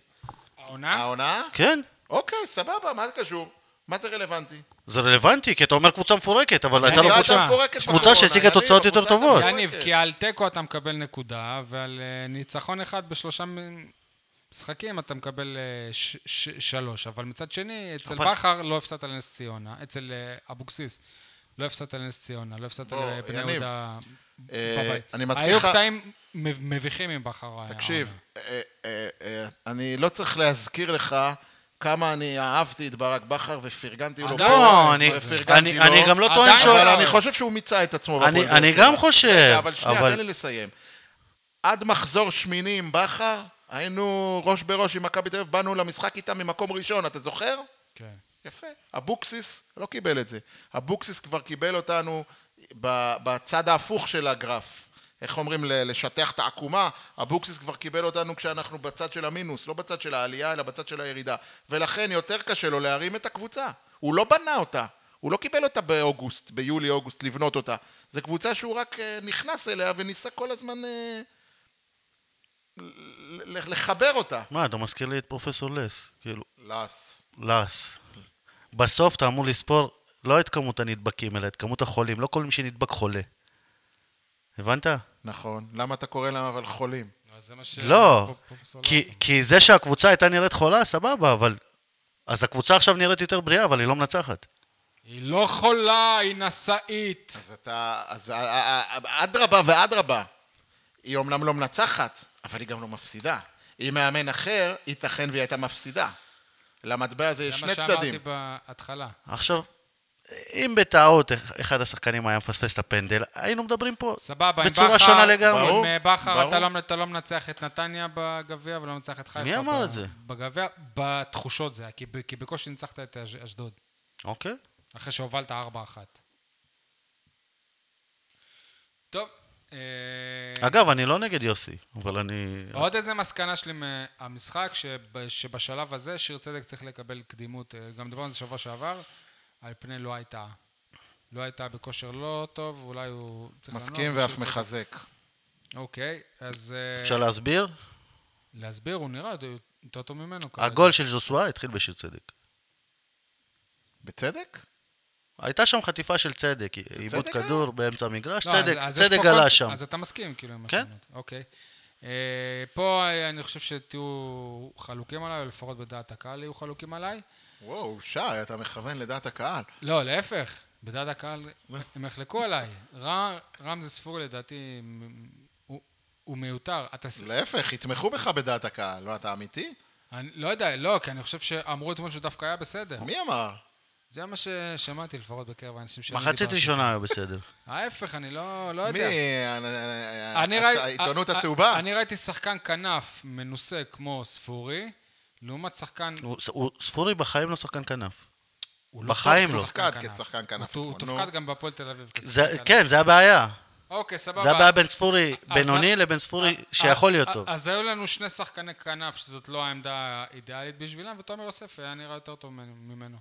S2: העונה?
S4: העונה?
S3: כן?
S4: אוקיי, סבבה, מה זה קשור? מה זה רלוונטי?
S3: זה רלוונטי, כי אתה אומר קבוצה מפורקת, אבל הייתה לו
S4: הקבוצה
S3: קבוצה...
S4: מפורקת
S3: קבוצה
S4: בקורונה,
S3: שהשיגה
S4: יניב,
S3: תוצאות יותר
S4: הקבוצה
S3: טובות.
S4: מפורקת.
S2: יניב, כי על תיקו אתה מקבל נקודה, ועל אה, ניצחון אחד בשלושה מ- משחקים אתה מקבל אה, ש- ש- שלוש. אבל מצד שני, אצל
S3: אבל-
S2: בכר לא הפסדת לנס ציונה, אצל אה, אבוקסיס לא הפסדת לנס ציונה, לא הפסדת
S4: בוא,
S2: לבני
S4: יניב,
S2: יהודה.
S4: אה,
S2: בבית.
S4: אני מזכיר
S2: היו
S4: לך-
S2: קטעים מב- מביכים עם בכר.
S4: תקשיב, אה, אה, אה, אני לא צריך להזכיר לך כמה אני אהבתי את ברק בכר ופרגנתי לו.
S3: לא,
S4: פה,
S3: אני-
S4: ופרגנתי
S3: אני-
S4: לו.
S3: אני גם לא טוען
S4: עדיין,
S3: שהוא-
S4: אבל אני חושב שהוא מיצה את עצמו.
S3: אני-
S4: בהפועל באר
S3: אני
S4: שבע.
S3: גם חושב,
S4: רגע, אבל שנייה,
S3: אבל-
S4: תן לי לסיים. עד מחזור שמיני עם בכר, היינו ראש בראש עם מכבי תל אביב, באנו למשחק איתם ממקום ראשון, אתה זוכר?
S2: כן.
S4: יפה. אבוקסיס לא קיבל את זה. אבוקסיס כבר קיבל אותנו ב- בצד ההפוך של הגרף. איך אומרים? ל- לשטח את העקומה. אבוקסיס כבר קיבל אותנו כשאנחנו בצד של המינוס, לא בצד של העלייה, אלא בצד של הירידה. ולכן יותר קשה לו להרים את הקבוצה. הוא לא בנה אותה. הוא לא קיבל אותה באוגוסט, ביולי-אוגוסט, לבנות אותה. זו קבוצה שהוא רק אה, נכנס אליה וניסה כל הזמן אה, ל- ל- לחבר אותה.
S3: מה, אתה מזכיר לי את פרופסור לס, כאילו,
S4: לס.
S3: לס. בסוף אתה אמור לספור לא את כמות הנדבקים, אלא את כמות החולים. לא כל מי שנדבק חולה. הבנת?
S4: נכון. למה אתה קורא להם אבל חולים?
S2: אז זה מה ש...
S3: לא,
S2: פ- כן, פרופסור
S3: כי-
S2: לסון.
S3: כי זה שהקבוצה הייתה נראית חולה, סבבה, אבל... אז הקבוצה עכשיו נראית יותר בריאה, אבל היא לא מנצחת.
S2: היא לא חולה, היא נשאית.
S4: אז אתה, אז אה, אה, אה, אדרבה ואדרבה. היא אומנם לא מנצחת, אבל היא גם לא מפסידה. היא מאמן אחר, ייתכן והיא הייתה מפסידה. למטבע הזה יש
S2: זה
S4: שני
S2: מה שאמרתי
S4: צדדים.
S2: בהתחלה.
S3: עכשיו, אם בטעות אחד השחקנים היה מפספס את הפנדל, היינו מדברים פה
S2: סבבה, עם
S3: בצורה
S2: בכר-
S3: שונה לגמרי.
S4: ברור,
S2: עם אה, בכר אתה
S4: ברור.
S2: לא- אתה לא מנצח את נתניה בגביע ולא מנצח את חיפה.
S3: מי אמר
S2: ב-
S3: את זה?
S2: בגביע, בתחושות זה היה, כי ב- כי בקושי ניצחת את אש- אשדוד,
S3: אוקיי.
S2: אחרי שהובלת 4-1. טוב, אה,
S3: אגב, אני לא נגד יוסי, אבל אני...
S2: עוד איזה מסקנה שלי מהמשחק, שב- שבשלב הזה שיר צדק צריך לקבל קדימות, אה, גם דיברנו על זה שבוע שעבר, על פני לא הייתה. לא הייתה בכושר לא טוב, אולי הוא צריך לנוח.
S4: מסכים
S2: שיר
S4: ואף
S2: צדק-
S4: מחזק.
S2: אוקיי, אז... אה,
S3: אפשר להסביר?
S2: להסביר, הוא נראה יותר טוב ממנו. כרגע. לא,
S3: הגול של ז'וסואה התחיל בשיר צדק.
S4: בצדק?
S3: הייתה שם חטיפה של צדק, עיבוד
S4: צדק היה?
S3: כדור באמצע המגרש,
S2: לא,
S3: צדק,
S2: אז- אז יש
S3: צדק
S2: פה
S3: גלה
S2: קונפ-
S3: שם.
S2: אז אתה מסכים, כאילו, עם מה
S3: כן.
S2: שאמרת. אוקיי. אה, פה אה, אני חושב שתהיו חלוקים עליי, או לפחות בדעת הקהל יהיו חלוקים עליי.
S4: וואו, שי, אתה מכוון לדעת הקהל.
S2: לא, להפך, בדעת הקהל הם יחלקו עליי. ר- רמזי ספורי לדעתי מ- הוא- הוא מיותר. אתה ס-
S4: להפך, יתמכו בך בדעת הקהל. לא, אתה אמיתי?
S2: אני לא יודע, לא, כי אני חושב שאמרו אתמול שהוא דווקא היה בסדר.
S4: מי אמר?
S2: זה מה ששמעתי לפחות בקרב האנשים שאני
S3: מחצית
S2: דיברתי.
S3: ראשונה היה בסדר.
S2: ההפך, אני לא לא יודע.
S4: מי? אה, אה,
S2: אני
S4: הת-
S2: ראי-
S4: העיתונות
S2: אה,
S4: הצהובה?
S2: אה, אני ראיתי שחקן כנף מנוסה כמו ספורי, לעומת שחקן...
S3: הוא- הוא- ספורי בחיים לא שחקן כנף.
S2: הוא לא
S3: בחיים
S2: טוב
S3: לא.
S2: כשחקן
S4: תופקד כשחקן כנף
S2: הוא
S4: אתמול,
S2: תופקד
S4: נו.
S2: גם בהפועל תל אביב.
S3: זה-
S2: כשחקן כנף.
S3: כן, זה הבעיה.
S2: אוקיי, סבבה.
S3: זה הבעיה בין ספורי
S2: אז-
S3: בינוני לבין ספורי שיכול להיות
S2: אה,
S3: טוב.
S2: אז היו לנו שני שחקני כנף שזאת לא העמדה האידיאלית בשבילם, ותומר יוסף היה נראה יותר טוב ממנו- ממנו.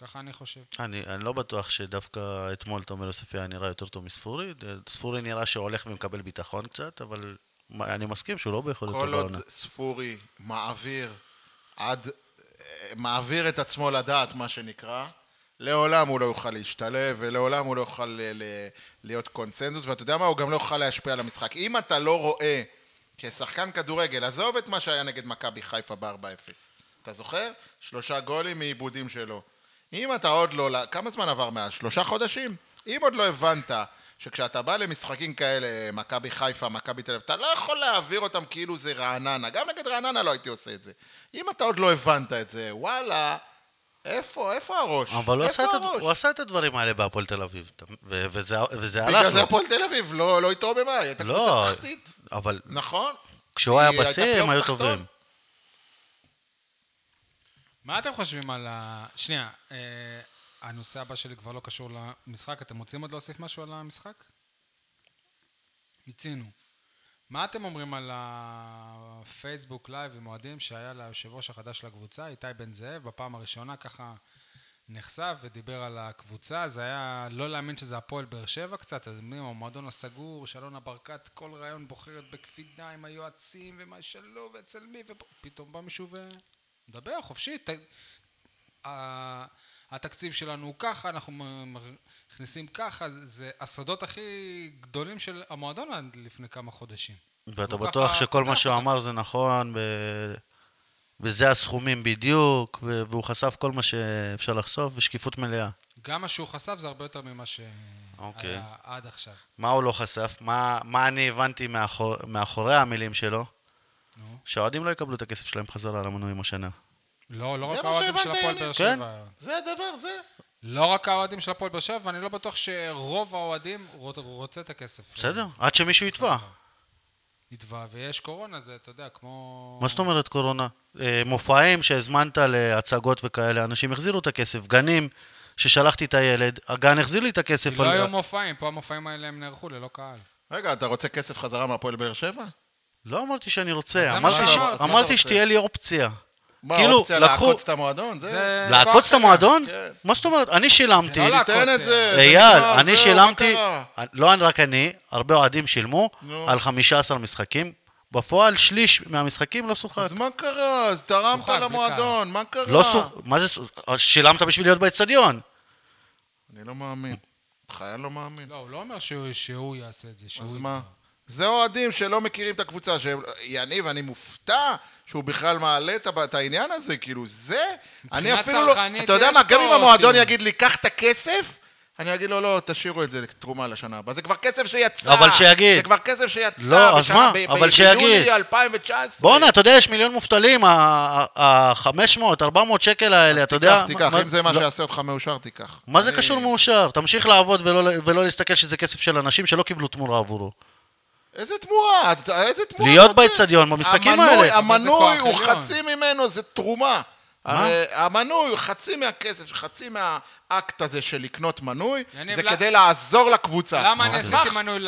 S2: ככה אני חושב.
S3: אני אני לא בטוח שדווקא אתמול תומר יוספי היה נראה יותר טוב מספורי. ספורי נראה שהולך ומקבל ביטחון קצת, אבל מה- אני מסכים שהוא לא ביכולתו
S4: כל עוד
S3: בעונה.
S4: ספורי מעביר עד... אה, מעביר את עצמו לדעת, מה שנקרא, לעולם הוא לא יוכל להשתלב, ולעולם הוא לא יוכל ל- ל- להיות קונצנזוס, ואתה יודע מה? הוא גם לא יוכל להשפיע על המשחק. אם אתה לא רואה כשחקן כדורגל, עזוב את מה שהיה נגד מכבי חיפה ב-4-0. אתה זוכר? שלושה גולים מעיבודים שלו. אם אתה עוד לא... כמה זמן עבר מאז? שלושה חודשים? אם עוד לא הבנת שכשאתה בא למשחקים כאלה, מכבי חיפה, מכבי תל אביב, אתה לא יכול להעביר אותם כאילו זה רעננה. גם נגד רעננה לא הייתי עושה את זה. אם אתה עוד לא הבנת את זה, וואלה, איפה, איפה הראש?
S3: אבל הוא עשה
S4: איפה
S3: את הד-
S4: הראש?
S3: הוא עשה את הדברים האלה בהפועל תל אביב, אתה- ו- וזה וזה הלך
S4: בגלל זה
S3: לו.
S4: הפועל תל אביב לא לא התרוממה, היא הייתה
S3: לא,
S4: קבוצה תחתית.
S3: אבל
S4: נכון?
S3: כשהוא היה
S4: היא הייתה
S3: בשיא הם
S4: פלייאוף
S3: היו
S4: תחתון.
S3: טובים.
S2: מה אתם חושבים על ה... שנייה, אה, הנושא הבא שלי כבר לא קשור למשחק. אתם רוצים עוד להוסיף משהו על המשחק? מיצינו. מה אתם אומרים על הפייסבוק לייב עם אוהדים שהיה ליושב ראש החדש של הקבוצה, איתי בן זאב, בפעם הראשונה ככה נחשף ודיבר על הקבוצה, זה היה לא להאמין שזה הפועל באר שבע קצת, אז מי המועדון הסגור, שאלונה ברקת כל ראיון בוחרת בקפידה עם היועצים ומה שלא ואצל מי, ופתאום בא מישהו ומדבר חופשי. ת... ה- התקציב שלנו הוא ככה, אנחנו מ- מ- מכניסים ככה, זה- זה הסודות הכי גדולים של המועדון עד לפני כמה חודשים.
S3: ואתה
S2: והוא
S3: בטוח
S2: ככה
S3: שכל מה
S2: פותח
S3: שהוא
S2: אותם.
S3: אמר זה נכון, ב- וזה הסכומים בדיוק, ו- והוא חשף כל מה שאפשר לחשוף, בשקיפות מלאה.
S2: גם מה שהוא חשף זה הרבה יותר ממה שהיה
S3: אוקיי.
S2: עד עכשיו.
S3: מה הוא לא חשף? מה, מה אני הבנתי מאחור, מאחורי המילים שלו?
S2: נו.
S3: שהאוהדים לא יקבלו את הכסף שלהם חזרה על המנויים השנה.
S2: לא, לא
S4: זה
S2: רק
S4: מה
S2: האוהדים של
S4: שהבנת,
S2: הפועל
S4: יניב?
S2: באר
S3: כן.
S2: שבע.
S4: זה הדבר, זה.
S2: לא רק האוהדים של הפועל באר שבע, ואני לא בטוח שרוב האוהדים רוצ- רוצה את הכסף.
S3: בסדר, עד שמישהו יתבע.
S2: יתבע, ויש קורונה, זה, אתה יודע, כמו...
S3: מה זאת אומרת קורונה? אה, מופעים שהזמנת להצגות וכאלה, אנשים החזירו את הכסף. גנים, ששלחתי את הילד, הגן החזיר לי את
S2: כי
S3: הכסף.
S2: לא
S3: על-
S2: היו מופעים, פה המופעים האלה הם נערכו ללא קהל.
S4: רגע, אתה רוצה כסף חזרה מהפועל באר שבע?
S3: לא אמרתי שאני
S2: אז זה
S3: רוצה,
S2: מה
S3: אמרתי ש-
S2: שאתה רוצה.
S3: אמרתי
S4: רוצה.
S3: שתהיה לי אופציה.
S4: מה,
S3: כאילו,
S4: האופציה
S3: לקחו-
S4: לעקוץ את המועדון? זה...
S2: זה כוח
S3: לעקוץ את
S2: שלה.
S3: המועדון?
S4: כן.
S3: מה זאת אומרת? אני שילמתי.
S2: לא לעקוץ.
S4: תן את זה. זה
S3: אייל,
S4: נגמר,
S3: אני
S4: זהו, מה
S3: שילמתי,
S4: קרה?
S3: לא רק אני, הרבה אוהדים שילמו
S4: נו.
S3: על 15 משחקים. בפועל שליש מהמשחקים לא שוחק.
S4: אז מה קרה? אז תרמת
S2: שוחק, בלי
S4: למועדון, מה קרה?
S3: לא שוחק, מה זה, שוח- אה, שילמת בשביל להיות באצטדיון.
S4: אני לא מאמין. בחיי אני לא מאמין.
S2: לא, הוא לא אומר שהוא, שהוא יעשה את זה, שהוא...
S4: אז
S2: יתבע.
S4: מה? זה אוהדים שלא מכירים את הקבוצה, שהם... יניב, אני מופתע שהוא בכלל מעלה את ה- את העניין הזה, כאילו, זה... אני
S2: מבחינה
S4: אפילו לא...
S2: צרכנית
S4: אתה יודע
S2: יש
S4: מה, גם
S2: פה,
S4: אם המועדון
S2: כאילו.
S4: יגיד לי, קח את הכסף, אני אגיד לו, לא, תשאירו את זה לתרומה לשנה הבאה. זה כבר כסף שיצא.
S3: אבל שיגיד.
S4: זה כבר כסף שיצא.
S3: לא, אז
S4: בשנה-
S3: מה?
S4: ב-
S3: אבל
S4: ב-
S3: שיגיד.
S4: ביולי 2019.
S3: בואנה, אתה יודע, יש מיליון מובטלים, ה-500, 400 שקל האלה, אתה יודע...
S4: תיקח, תיקח,
S3: מה-
S4: אם זה מה אה.
S3: לא-
S4: שיעשה אותך מאושר, תיקח.
S3: מה זה
S4: אני-
S3: קשור מאושר? תמשיך לעבוד ולא- ולא להסתכל שזה כסף של אנשים שלא קיבלו תמורה עבורו.
S4: איזה תמורה, את- איזה תמורה.
S3: להיות
S4: אתה רוצה?
S3: באצטדיון, במשחקים
S4: המנוי-
S3: האלה.
S4: המנוי
S2: אבל זה
S4: הוא
S2: כוח עליון.
S4: חצי ממנו, זה תרומה. הרי המנוי הוא חצי מהכסף, חצי מהאקט הזה של לקנות מנוי,
S2: יניב,
S4: זה
S2: למה-
S4: כדי לעזור לקבוצה.
S2: למה אני
S4: אז
S2: עשיתי
S4: מה-
S2: מנוי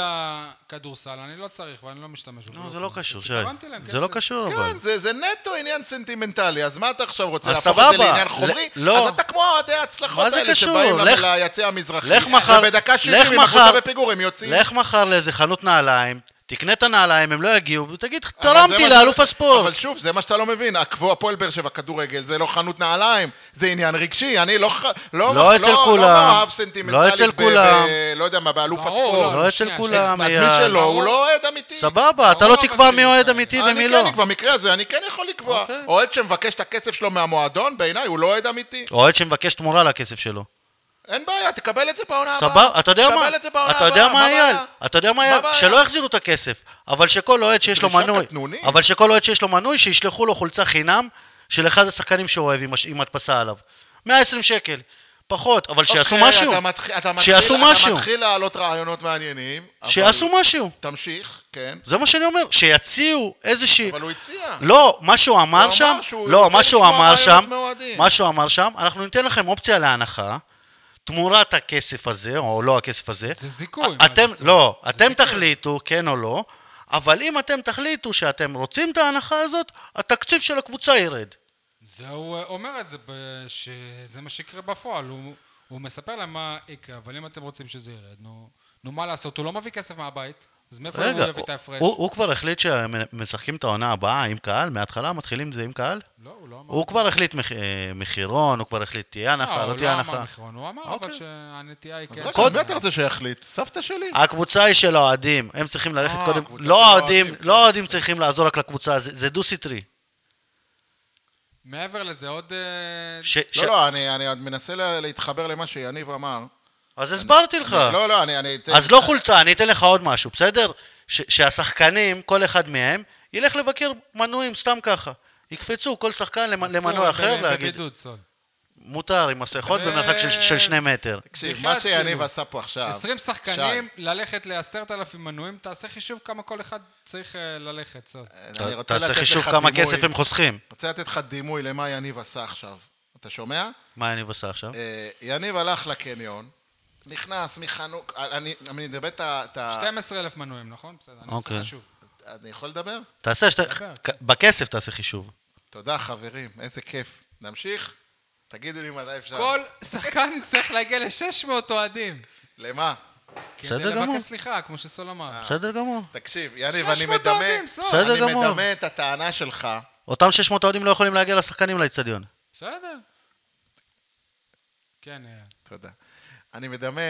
S2: לכדורסל? אני לא צריך ואני לא משתמש בו.
S3: לא, זה לא קשור,
S2: כי
S3: שי.
S2: תרמתי להם
S3: זה לא
S2: כסף.
S3: קשור, אבל.
S4: כן, זה, זה נטו עניין סנטימנטלי, אז מה אתה עכשיו רוצה
S3: אז
S4: להפוך את זה
S3: סבבה.
S4: לעניין
S3: ל-
S4: חומרי?
S3: לא.
S4: אז אתה כמו אוהדי ההצלחות
S3: מה זה
S4: האלה
S3: קשור?
S4: שבאים
S3: לך-
S4: ל- ליציע המזרחי,
S3: לך מחר-
S4: ובדקה
S3: לך
S4: 70 עם
S3: מחר-
S4: הקבוצה בפיגור הם יוצאים.
S3: לך מחר לאיזה חנות נעליים, תקנה את הנעליים, הם לא יגיעו, ותגיד,
S4: אבל זה
S3: תרמתי
S4: מה ש-
S3: לאלוף
S4: אבל
S3: הספורט.
S4: שוב, זה מה שאתה לא מבין. עקבו הפועל באר שבע, כדורגל, זה לא חנות נעליים, זה עניין רגשי. אני לא... ח-
S3: לא אצל כולם.
S4: לא מאוהב סנטימנטלית.
S3: לא אצל
S4: ב-
S3: כולם.
S4: ב- לא יודע מה, באלוף
S2: ברור,
S4: הספורט.
S3: לא
S2: שנייה,
S3: אצל כולם,
S4: עצמי
S3: אייל.
S4: שלו, הוא לא אוהד אמיתי.
S3: סבבה, אתה לא
S2: ברור,
S3: תקבע
S2: אבל
S3: מי אוהד
S2: זה-
S3: אמיתי
S4: אני
S3: ומי
S4: כן
S3: לא.
S4: אקבע, במקרה הזה אני כן יכול לקבוע.
S3: אוקיי.
S4: אוהד שמבקש את הכסף שלו מהמועדון, בעיניי הוא לא אוהד אמיתי.
S3: אוהד שמבקש תמורה לכסף שלו.
S4: אין בעיה, תקבל את זה בעונה הבאה.
S3: סבבה, אתה יודע מה?
S4: תקבל את זה בעונה
S3: אתה
S4: הבאה.
S3: יודע מה, אייל?
S4: הבעיה?
S3: אתה יודע מה,
S4: מה
S3: אייל?
S4: הבעיה?
S3: שלא יחזירו את הכסף, אבל שכל אוהד שיש לו
S4: דרישה
S3: מנוי,
S4: קטנונית.
S3: אבל שכל אוהד שיש לו מנוי, שישלחו לו חולצה חינם של אחד השחקנים שהוא אוהב עם הש- עם הדפסה עליו. 120 שקל, פחות, אבל שיעשו
S4: אוקיי,
S3: משהו.
S4: אתה מתחיל- אתה
S3: שיעשו
S4: מתחיל-
S3: משהו.
S4: אתה מתחיל להעלות רעיונות מעניינים. אבל-
S3: שיעשו משהו.
S4: תמשיך, כן.
S3: זה מה שאני אומר, שיציעו איזושהי...
S4: אבל הוא הציע.
S3: לא, מה שהוא אמר
S4: אמר
S3: שם,
S4: שהוא
S3: לא,
S4: רוצה
S3: מה שהוא
S4: לשמוע
S3: אמר שם,
S4: רעיונות מאוהדים.
S3: מה שהוא אמר שם, אנחנו ניתן לכם אופציה להנחה, תמורת הכסף הזה, או לא הכסף הזה.
S2: זה זיכוי,
S3: א-
S2: מה
S3: אתם,
S2: זה
S3: לא, אתם תחליטו, כן או לא, אבל אם אתם תחליטו שאתם רוצים את ההנחה הזאת, התקציב של הקבוצה ירד.
S2: זה הוא אה, אומר את זה, ב- שזה מה שיקרה בפועל. הוא- הוא מספר להם מה יקרה, אבל אם אתם רוצים שזה ירד, נו, נו מה לעשות? הוא לא מביא כסף מהבית, אז מאיפה הוא
S3: רגע,
S2: יביא את ההפרש?
S3: הוא הוא כבר החליט שמשחקים את העונה הבאה עם קהל? מההתחלה מתחילים את זה עם קהל?
S2: לא, הוא לא אמר.
S3: הוא כבר החליט מח- אה, מחירון, הוא כבר החליט תהיה הנחה,
S2: לא,
S3: לא
S2: הוא
S3: תהיה
S2: לא אמר
S3: הנחה.
S2: מחירון, הוא אמר אבל
S3: אוקיי.
S2: שהנטייה היא
S4: אז
S2: כן.
S4: רגע,
S3: קוד- אה,
S4: מי אתה רוצה שיחליט? סבתא שלי.
S3: הקבוצה היא של האוהדים, הם צריכים ללכת
S4: אה,
S3: קודם.
S4: הקבוצה של
S3: לא האוהדים,
S4: האוהדים. כן.
S3: לא האוהדים צריכים לעזור רק לקבוצה, זה זה דו-סטרי.
S2: מעבר לזה עוד... אה,
S3: ש- ש-
S4: לא, לא, אני אני עוד מנסה לה- להתחבר למה שיניב אמר.
S3: אז הסברתי לך.
S4: לא, לא, אני... אני-
S3: אז לא חולצה, אני אתן לך עוד משהו, בסדר? ש- שהשחקנים, כל אחד מהם, ילך לבקר מנויים סתם ככה. יקפצו כל שחקן למ-
S2: אסור,
S3: למנוי אחר
S2: ב-
S3: להגיד,
S2: בבידוד, סול.
S3: מותר עם מסכות במרחק של- של שני מטר.
S4: אה, תקשיב,
S2: בכלל,
S4: מה שיניב
S2: כאילו,
S4: עשה פה
S3: אה,
S4: עכשיו...
S2: 20 שחקנים,
S4: שי,
S2: ללכת לעשרת אלפים מנויים, תעשה חישוב כמה כל אחד צריך אה, ללכת, סול.
S4: אני
S3: ת-
S4: רוצה
S3: תעשה
S4: לתת
S3: חישוב
S4: לך
S3: כמה
S4: דימוי-
S3: כסף הם חוסכים.
S4: רוצה לתת לך דימוי למה יניב עשה עכשיו. אתה שומע?
S3: מה אני עושה עכשיו?
S4: אה, יניב הלך לקניון, נכנס מחנוק... אה, אני אני מדבר את ה... את ה-
S2: 12 אלף מנויים, נכון? בסדר, אני עושה
S3: אוקיי.
S2: חישוב.
S4: אני יכול לדבר?
S3: תעשה, שת-
S2: דבר.
S3: כ- בכסף תעשה חישוב.
S4: תודה, חברים, איזה כיף. נמשיך? תגידו לי מתי אפשר.
S2: כל שחקן יצטרך להגיע ל-600 אוהדים.
S4: למה?
S3: בסדר
S2: כדי
S3: גמור. אה,
S2: לבקש סליחה, כמו שסול אמר.
S3: בסדר גמור.
S4: תקשיב, יניב, אני
S2: 600
S4: מדמה...
S2: אוהדים, סול.
S3: בסדר.
S4: אני
S3: גמור.
S4: מדמה את הטענה שלך.
S3: אותם 600 אוהדים לא יכולים להגיע לשחקנים לאצטדיון.
S2: בסדר. כן, אה,
S4: תודה. אני מדמה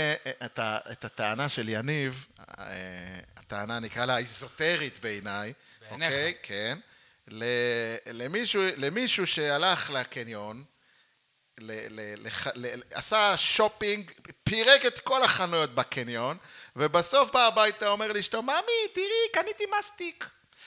S4: את, ה, את הטענה של יניב, אה, הטענה נקרא לה איזוטרית בעיניי,
S2: בעיניך.
S4: אוקיי? כן. ל, למישהו, למישהו שהלך לקניון, ל, ל, לח, ל, ל- עשה שופינג, פירק את כל החנויות בקניון, ובסוף בא הביתה, אומר לאשתו, ממי, תראי, קניתי מסטיק.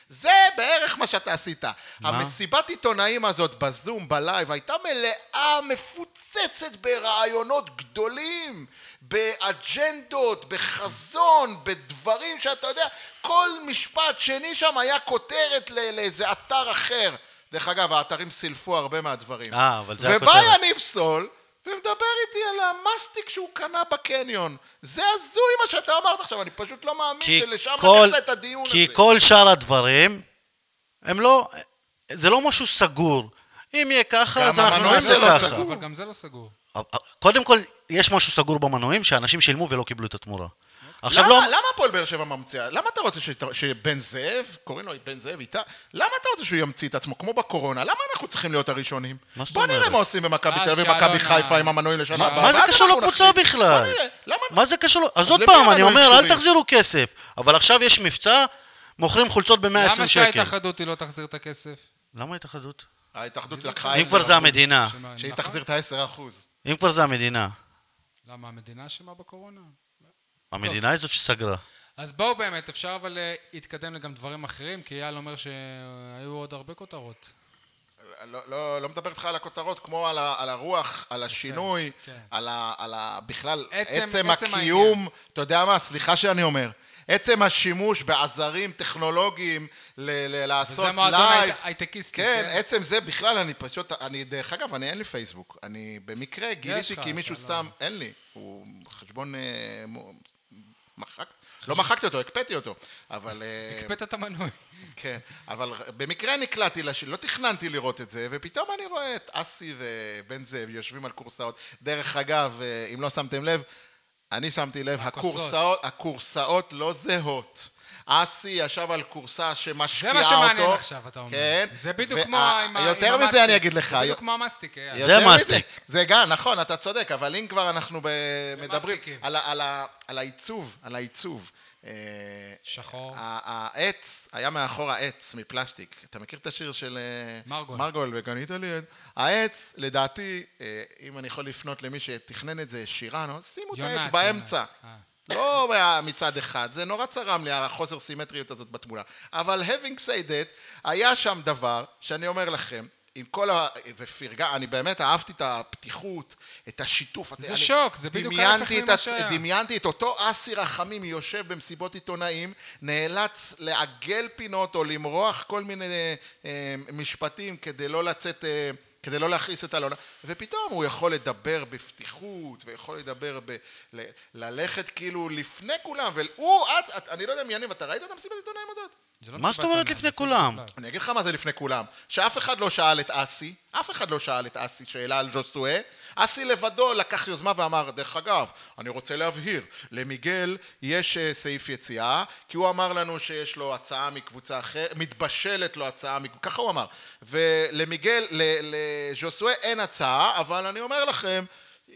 S4: זה בערך מה שאתה עשית. המסיבת עיתונאים הזאת בזום, בלייב, הייתה מלאה, מפוצצת ברעיונות גדולים, באג'נדות, בחזון, בדברים שאתה יודע, כל משפט שני שם היה כותרת לא- לאיזה אתר אחר. דרך אגב, האתרים סילפו הרבה מהדברים.
S3: אה, אבל זה
S4: ובא
S3: הכותרת.
S4: יניב סול, ומדבר איתי על המאסטיק שהוא קנה בקניון. זה הזוי מה שאתה אמרת עכשיו, אני פשוט לא מאמין
S3: כי
S4: שלשם
S3: כל,
S4: לקחת את הדיון
S3: כי
S4: הזה.
S3: כל שאר הדברים, הם לא, זה לא משהו סגור. אם יהיה ככה,
S4: גם
S3: אז אנחנו
S4: המנועים
S3: נעשה
S4: זה לא
S3: ככה.
S4: סגור.
S2: אבל גם זה לא סגור.
S3: קודם כל, יש משהו סגור במנועים, שאנשים שילמו ולא קיבלו את התמורה. עכשיו
S4: למה,
S3: לא...
S4: למה הפועל באר שבע ממציאה? למה אתה רוצה שת- שבן זאב, קוראים לו בן זאב איתה, למה אתה רוצה שהוא ימציא את עצמו, כמו בקורונה? למה אנחנו צריכים להיות הראשונים?
S3: מה זאת
S4: בוא נראה
S3: אומרת?
S4: מה עושים במכבי
S2: אה,
S4: תל אביב,
S2: שאלונה.
S4: מכבי חיפה עם המנועים לשנה
S3: מה-
S4: הבאה.
S3: מה זה
S4: ואז
S3: קשור
S4: אנחנו
S3: לקבוצה
S4: נחליט.
S3: בכלל?
S4: בוא נראה, למה... לא?
S3: מה זה קשור? לו- אז עוד
S4: למי
S3: פעם,
S4: לנו
S3: אני אומר, אל
S4: אישורים?
S3: תחזירו כסף. אבל עכשיו יש מבצע, מוכרים חולצות
S4: אה,
S3: ב-120
S2: למה
S3: שקל.
S2: שההתאחדות היא לא תחזיר את הכסף?
S3: למה התאחדות?
S4: אה, ההתאחדות לקחה
S3: אם כבר זה
S4: 10%,
S3: המדינה.
S2: שמה-
S4: שהיא
S2: נכון?
S4: תחזיר את ה-10 אחוז.
S3: אם כבר זה המדינה.
S2: למה המדינה אשמה בקורונה?
S3: המדינה היא זאת שסגרה.
S2: אז בואו באמת, אפשר אבל אה, להתקדם לגם דברים אחרים, כי אייל אומר שהיו עוד הרבה כותרות.
S4: לא, לא, לא מדבר איתך על הכותרות, כמו על, ה, על הרוח, על השינוי,
S2: כן.
S4: על, ה, על ה, בכלל
S2: עצם-
S4: עצם,
S2: עצם
S4: עצם הקיום,
S2: העניין.
S4: אתה יודע מה, סליחה שאני אומר, עצם השימוש בעזרים טכנולוגיים ל, ל, לעשות
S2: וזה
S4: לייב,
S2: מועדון הייט- הייטקיסטי,
S4: כן,
S2: כן.
S4: עצם זה בכלל, אני פשוט, אני, דרך אגב, אני אין לי פייסבוק, אני במקרה גיליתי
S2: לך,
S4: כי
S2: אתה
S4: מישהו
S2: לא-
S4: שם, אין לי, הוא חשבון, אה, מו- מחק, לא מחקתי אותו, הקפאתי אותו, אבל... אה,
S2: הקפאת את המנוי.
S4: כן, אבל במקרה נקלעתי, לש... לא תכננתי לראות את זה, ופתאום אני רואה את אסי ובן זאב יושבים על קורסאות. דרך אגב, אה, אם לא שמתם לב, אני שמתי לב,
S2: הכוסות.
S4: הקורסאות, הקורסאות לא זהות. אסי ישב על קורסה שמשקיעה
S2: זה
S4: אותו.
S2: מה שמעניין עכשיו, אתה אומר.
S4: כן.
S2: זה בדיוק
S4: וה-
S2: כמו עם ה- עם
S4: יותר
S2: המסטיק.
S4: מזה אני אגיד לך. אה,
S2: זה
S4: יו-
S2: בדיוק כמו המסטיק, אייל.
S4: יותר מזה.
S3: המאסטיק.
S4: זה גם, נכון, אתה צודק, אבל אם כבר אנחנו ב- מדברים
S2: מאסטיקים.
S4: על, ה- על, ה- על העיצוב, על העיצוב. אה,
S2: שחור.
S4: ה- העץ, היה מאחור העץ מפלסטיק. אתה מכיר את השיר של אה,
S2: מרגול.
S4: מרגול וגנית לי את... העץ, לדעתי, אה, אם אני יכול לפנות למי שתכנן את זה, שירן, שימו את
S2: יונת,
S4: העץ
S2: יונת.
S4: באמצע.
S2: אה.
S4: לא מצד אחד, זה נורא צרם לי, החוסר סימטריות הזאת בתמונה. אבל having said that, היה שם דבר שאני אומר לכם, עם כל ה... ופרגה, אני באמת אהבתי את הפתיחות, את השיתוף.
S2: זה
S4: אני-
S2: שוק, זה בדיוק
S4: דמיינתי
S2: ההפך
S4: את
S2: ממה
S4: הצ-
S2: שהיה.
S4: דמיינתי את אותו אסי רחמים יושב במסיבות עיתונאים, נאלץ לעגל פינות או למרוח כל מיני אה, אה, משפטים כדי לא לצאת... אה, כדי לא להכעיס את אלונה, ופתאום הוא יכול לדבר בפתיחות, ויכול לדבר ב... ל... ללכת כאילו לפני כולם, והוא אז, את- אני לא יודע מי אני, אתה ראית את המסיבת עיתונאים הזאת?
S2: זה לא
S3: מה זאת
S2: מסיבת
S3: אומרת
S2: עונה,
S3: לפני
S2: זה
S3: כולם?
S4: אני אגיד לך מה זה לפני כולם, שאף אחד לא שאל את אסי, אף אחד לא שאל את אסי שאלה על ז'וסואה, אסי לבדו לקח יוזמה ואמר, דרך אגב, אני רוצה להבהיר, למיגל יש אה, סעיף יציאה, כי הוא אמר לנו שיש לו הצעה מקבוצה אחרת, מתבשלת לו הצעה, מק- ככה הוא אמר, ולמיגל, ל- לז'וסואה אין הצעה, אבל אני אומר לכם,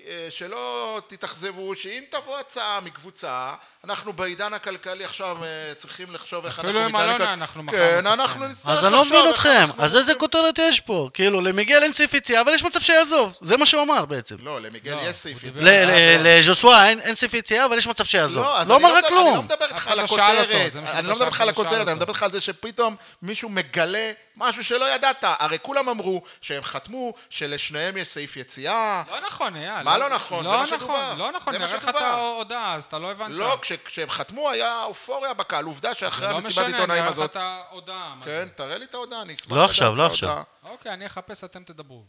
S4: אה, שלא תתאכזבו, שאם תבוא הצעה מקבוצה, אנחנו בעידן הכלכלי עכשיו אה, צריכים לחשוב איך
S2: אפילו
S4: אנחנו...
S2: עם
S4: בעידן
S2: אלונה
S4: הכל-
S2: אנחנו מחר
S4: כן,
S2: נשחק.
S4: אנחנו נצטרך
S3: אז אני לא
S4: לחשוב
S3: מבין
S4: איך
S3: אתכם.
S4: אנחנו-
S3: אז איזה כותרת יש פה? כאילו, למיגל אין סעיף יציאה, אבל יש מצב שיעזוב. זה מה שהוא אמר בעצם.
S4: לא, למיגל
S2: לא,
S4: יש
S2: הוא
S4: סעיף.
S2: דיבר
S4: יציאה.
S3: ל- ל- לז'וסואה אין- אין סעיף יציאה, אבל יש מצב שיעזוב.
S4: אז
S3: לא
S4: אני
S3: אמר לך
S4: מדבר- אני לא
S3: כלום.
S4: מדבר
S2: אף
S4: איתך
S2: אחד
S4: על
S2: לא שאל אותו,
S4: הכותרת,
S2: זה מה
S4: אני
S2: שאני
S4: לא מדבר
S2: חשבתי,
S4: איתך על
S2: הוא שאל
S4: הכותרת, אני
S2: אותו.
S4: מדבר איתך על זה שפתאום מישהו מגלה משהו שלא ידעת. הרי כולם אמרו שהם חתמו, שלשניהם יש סעיף יציאה.
S2: לא נכון, אייל.
S4: מה לא נכון? זה
S2: לא
S4: מה שדובר.
S2: נכון, לא נכון.
S4: זה מה
S2: נראה לך
S4: שדובר.
S2: את ההודעה, אז אתה לא הבנת.
S4: לא, כש- כשהם חתמו היה אופוריה בקהל. עובדה שאחרי
S2: זה לא
S4: המסיבת
S2: משנה,
S4: עיתונאים
S2: נראה לך
S4: הזאת...
S2: את ההודעה. מה
S4: כן,
S2: זה.
S4: תראה לי את ההודעה, אני אשמח
S3: לא
S4: לדעת
S3: עכשיו,
S4: את
S3: לא עכשיו.
S4: ההודעה.
S2: אוקיי, אני אחפש, אתם תדברו.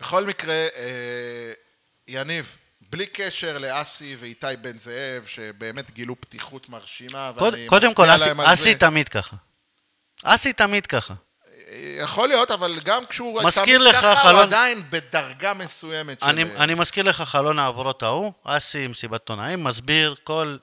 S4: בכל מקרה, אה, יניב, בלי קשר לאסי ואיתי בן זאב, שבאמת גילו פתיחות מרשימה,
S3: קוד-
S4: ואני
S3: קודם כל,
S4: מצדיע
S3: אסי-
S4: להם על זה.
S3: אסי תמיד ככה. אסי תמיד ככה.
S4: יכול להיות, אבל גם כשהוא...
S3: מזכיר
S4: תמיד
S3: לך,
S4: ככה, הוא
S3: חלון-
S4: עדיין בדרגה מסוימת של...
S3: אני, אני מזכיר לך חלון העברות ההוא, אסי עם סיבת עיתונאים, מסביר כל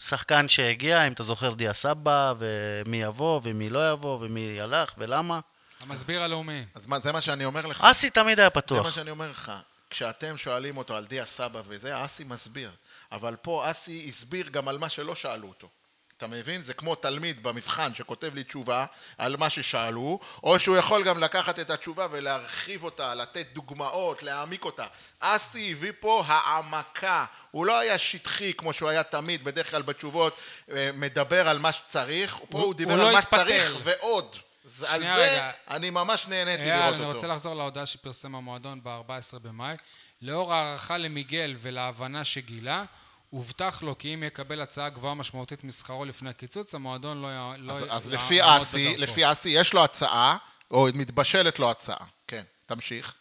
S3: שחקן שהגיע, אם אתה זוכר דיה סבא, ומי יבוא, ומי לא יבוא, ומי הלך, ולמה.
S4: [laughs]
S2: המסביר הלאומי.
S4: אז מה, זה מה שאני אומר לך.
S3: אסי תמיד היה
S4: זה מה
S3: פתוח.
S4: שאני אומר לך. כשאתם שואלים אותו על דיה סבא וזה, אסי מסביר. אבל פה אסי הסביר גם על מה שלא שאלו אותו. אתה מבין? זה כמו תלמיד במבחן שכותב לי תשובה על מה ששאלו, או שהוא יכול גם לקחת את התשובה ולהרחיב אותה, לתת דוגמאות, להעמיק אותה. אסי הביא פה העמקה. הוא לא היה שטחי כמו שהוא היה תמיד, בדרך כלל בתשובות אה, מדבר על מה שצריך, פה
S2: הוא-
S4: הוא, דיבר
S2: הוא
S4: על
S2: לא
S4: מה
S2: התפתל.
S4: שצריך ועוד. זה- על
S2: שנייה,
S4: זה
S2: רגע.
S4: אני ממש נהניתי
S2: אייל,
S4: לראות
S2: אני
S4: אותו.
S2: רוצה לחזור להודעה שפרסם המועדון ב-14 במאי. לאור הערכה למיגל ולהבנה שגילה, הובטח לו כי אם יקבל הצעה גבוהה משמעותית משכרו לפני הקיצוץ, המועדון לא יע- לא
S4: אז,
S2: יע-
S4: אז
S2: יעמוד
S4: לפי
S2: בדרכו.
S4: אסי, לפי אסי יש לו הצעה, או מתבשלת לו הצעה. כן, תמשיך.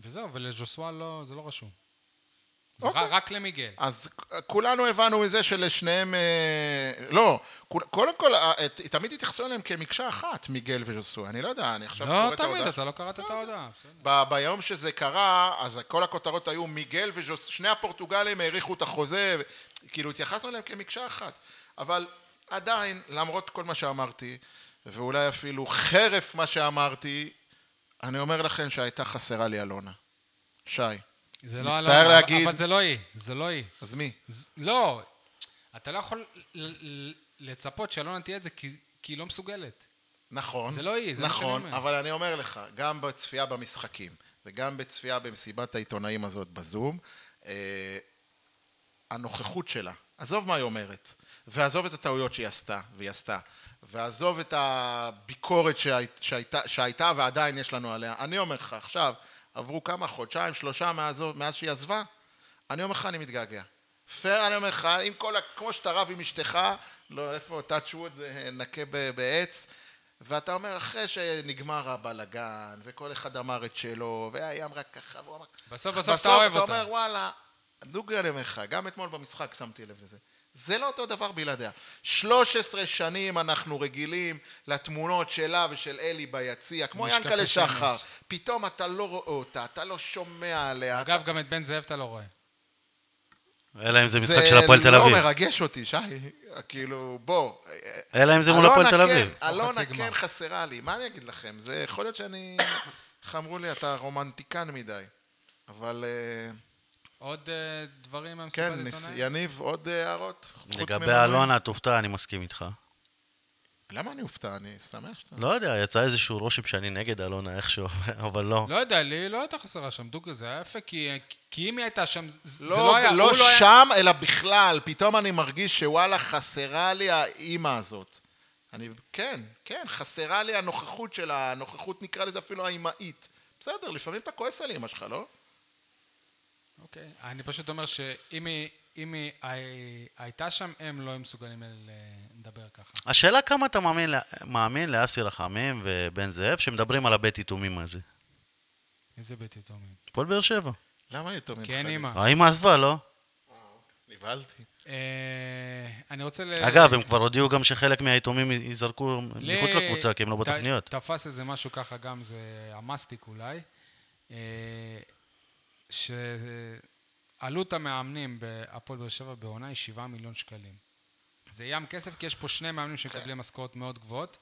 S2: וזהו, ולז'וסואה לא, זה לא רשום. זה
S4: אוקיי.
S2: ר- רק למיגל.
S4: אז כולנו הבנו מזה שלשניהם... אה, לא, כול- קודם כל, אה, ת- תמיד התייחסו אליהם כמקשה אחת, מיגל וז'וסוי. אני לא יודע, אני עכשיו
S2: לא
S4: את
S2: תמיד,
S4: ההודעה
S2: אתה לא קראת את ההודעה. בסדר.
S4: ב- ביום שזה קרה, אז כל הכותרות היו מיגל וז'וס... שני הפורטוגלים האריכו את החוזה, ו- כאילו התייחסנו אליהם כמקשה אחת. אבל עדיין, למרות כל מה שאמרתי, ואולי אפילו חרף מה שאמרתי, אני אומר לכם שהייתה חסרה לי אלונה. שי.
S2: זה לא
S4: מצטער
S2: אלונה,
S4: להגיד-
S2: אבל זה לא היא, זה לא היא.
S4: אז מי?
S2: ז- לא, אתה לא יכול ל- ל- לצפות שאלונה תהיה את זה כי כי היא לא מסוגלת.
S4: נכון.
S2: זה לא היא, זה מה שאני
S4: נכון,
S2: אומר.
S4: אבל אני אומר לך, גם בצפייה במשחקים, וגם בצפייה במסיבת העיתונאים הזאת בזום, אה, הנוכחות שלה, עזוב מה היא אומרת, ועזוב את הטעויות שהיא עשתה, והיא עשתה, ועזוב את הביקורת שהיית, שהייתה, שהייתה ועדיין יש לנו עליה. אני אומר לך, עכשיו, עברו כמה, חודשיים, שלושה מאז, מאז שהיא עזבה, אני אומר לך, אני מתגעגע. פייר, אני אומר לך, עם כל ה... כמו שאתה רב עם אשתך, לא, איפה, touch wood, אה, נקה ב- בעץ, ואתה אומר, אחרי שנגמר הבלגן, וכל אחד אמר את שלו, והיא אמרה ככה, והוא אמר...
S2: בסוף, בסוף אתה אוהב אותה.
S4: אתה אומר, וואלה, דוגרי אני אומר לך, גם אתמול במשחק שמתי לב לזה. זה לא אותו דבר בלעדיה. 13 שנים אנחנו רגילים לתמונות שלה ושל אלי ביציע, כמו
S2: משקפי
S4: ינקלה שחר.
S2: שמש.
S4: פתאום אתה לא רואה אותה, אתה לא שומע עליה.
S2: אגב, גם את בן זאב אתה לא רואה.
S3: אלא אם זה משחק של הפועל תל אביב.
S4: זה לא מרגש אותי, שי. כאילו, בוא.
S3: אלא אם זה מול הפועל תל
S4: אלונה כן,
S3: אביב.
S4: אלונה
S2: חצי גמר.
S4: כן חסרה לי, מה אני אגיד לכם? זה יכול להיות שאני... [coughs] איך אמרו לי, אתה רומנטיקן מדי. אבל אה,
S2: עוד אה, דברים מהמסיבת
S4: כן, ניס-
S2: עיתונאים?
S4: יניב, עוד אה, הערות? חוץ
S3: לגבי
S4: ממנו?
S3: אלונה, תופתע, אני מסכים איתך.
S4: למה אני אופתע? אני שמח שאתה...
S3: לא יודע, יצא איזשהו רושם שאני נגד אלונה איכשהו, [laughs] אבל לא.
S2: לא יודע, לי לא הייתה חסרה שם דוגרי, זה היה יפה, כי כי אם היא הייתה שם, זה זה לא
S4: לא,
S2: היה, הוא
S4: לא
S2: לא היה...
S4: שם, אלא בכלל. פתאום אני מרגיש שוואלה, חסרה לי האימא הזאת. אני, כן, כן, חסרה לי הנוכחות שלה, הנוכחות נקרא לזה אפילו האימהית. בסדר, לפעמים אתה כועס על אימא שלך, לא?
S2: אוקיי, אני פשוט אומר שאם היא- אם היא הי- הייתה שם, הם לא היו מסוגלים ל- לדבר ככה.
S3: השאלה כמה אתה מאמין, לה- מאמין לאסי רחמים ובן זאב שמדברים על הבית יתומים הזה.
S2: איזה בית יתומים.
S3: הפועל באר שבע.
S4: למה יתומים?
S2: כן,
S4: חיים?
S2: אימא.
S3: האמא עזבה, לא?
S4: נבהלתי.
S2: אה, אני רוצה ל...
S3: אגב, הם כבר הודיעו גם שחלק מהיתומים ייזרקו
S2: לי-
S3: מחוץ לקבוצה, כי הם לא
S2: ת-
S3: בתוכניות.
S2: תפס איזה משהו ככה גם, זה המאסטיק אולי, אה, שעלות המאמנים בהפועל באר שבע בעונה היא 7 מיליון שקלים. זה ים כסף, כי יש פה שני מאמנים
S3: כן.
S2: שמקבלים משכורות מאוד גבוהות.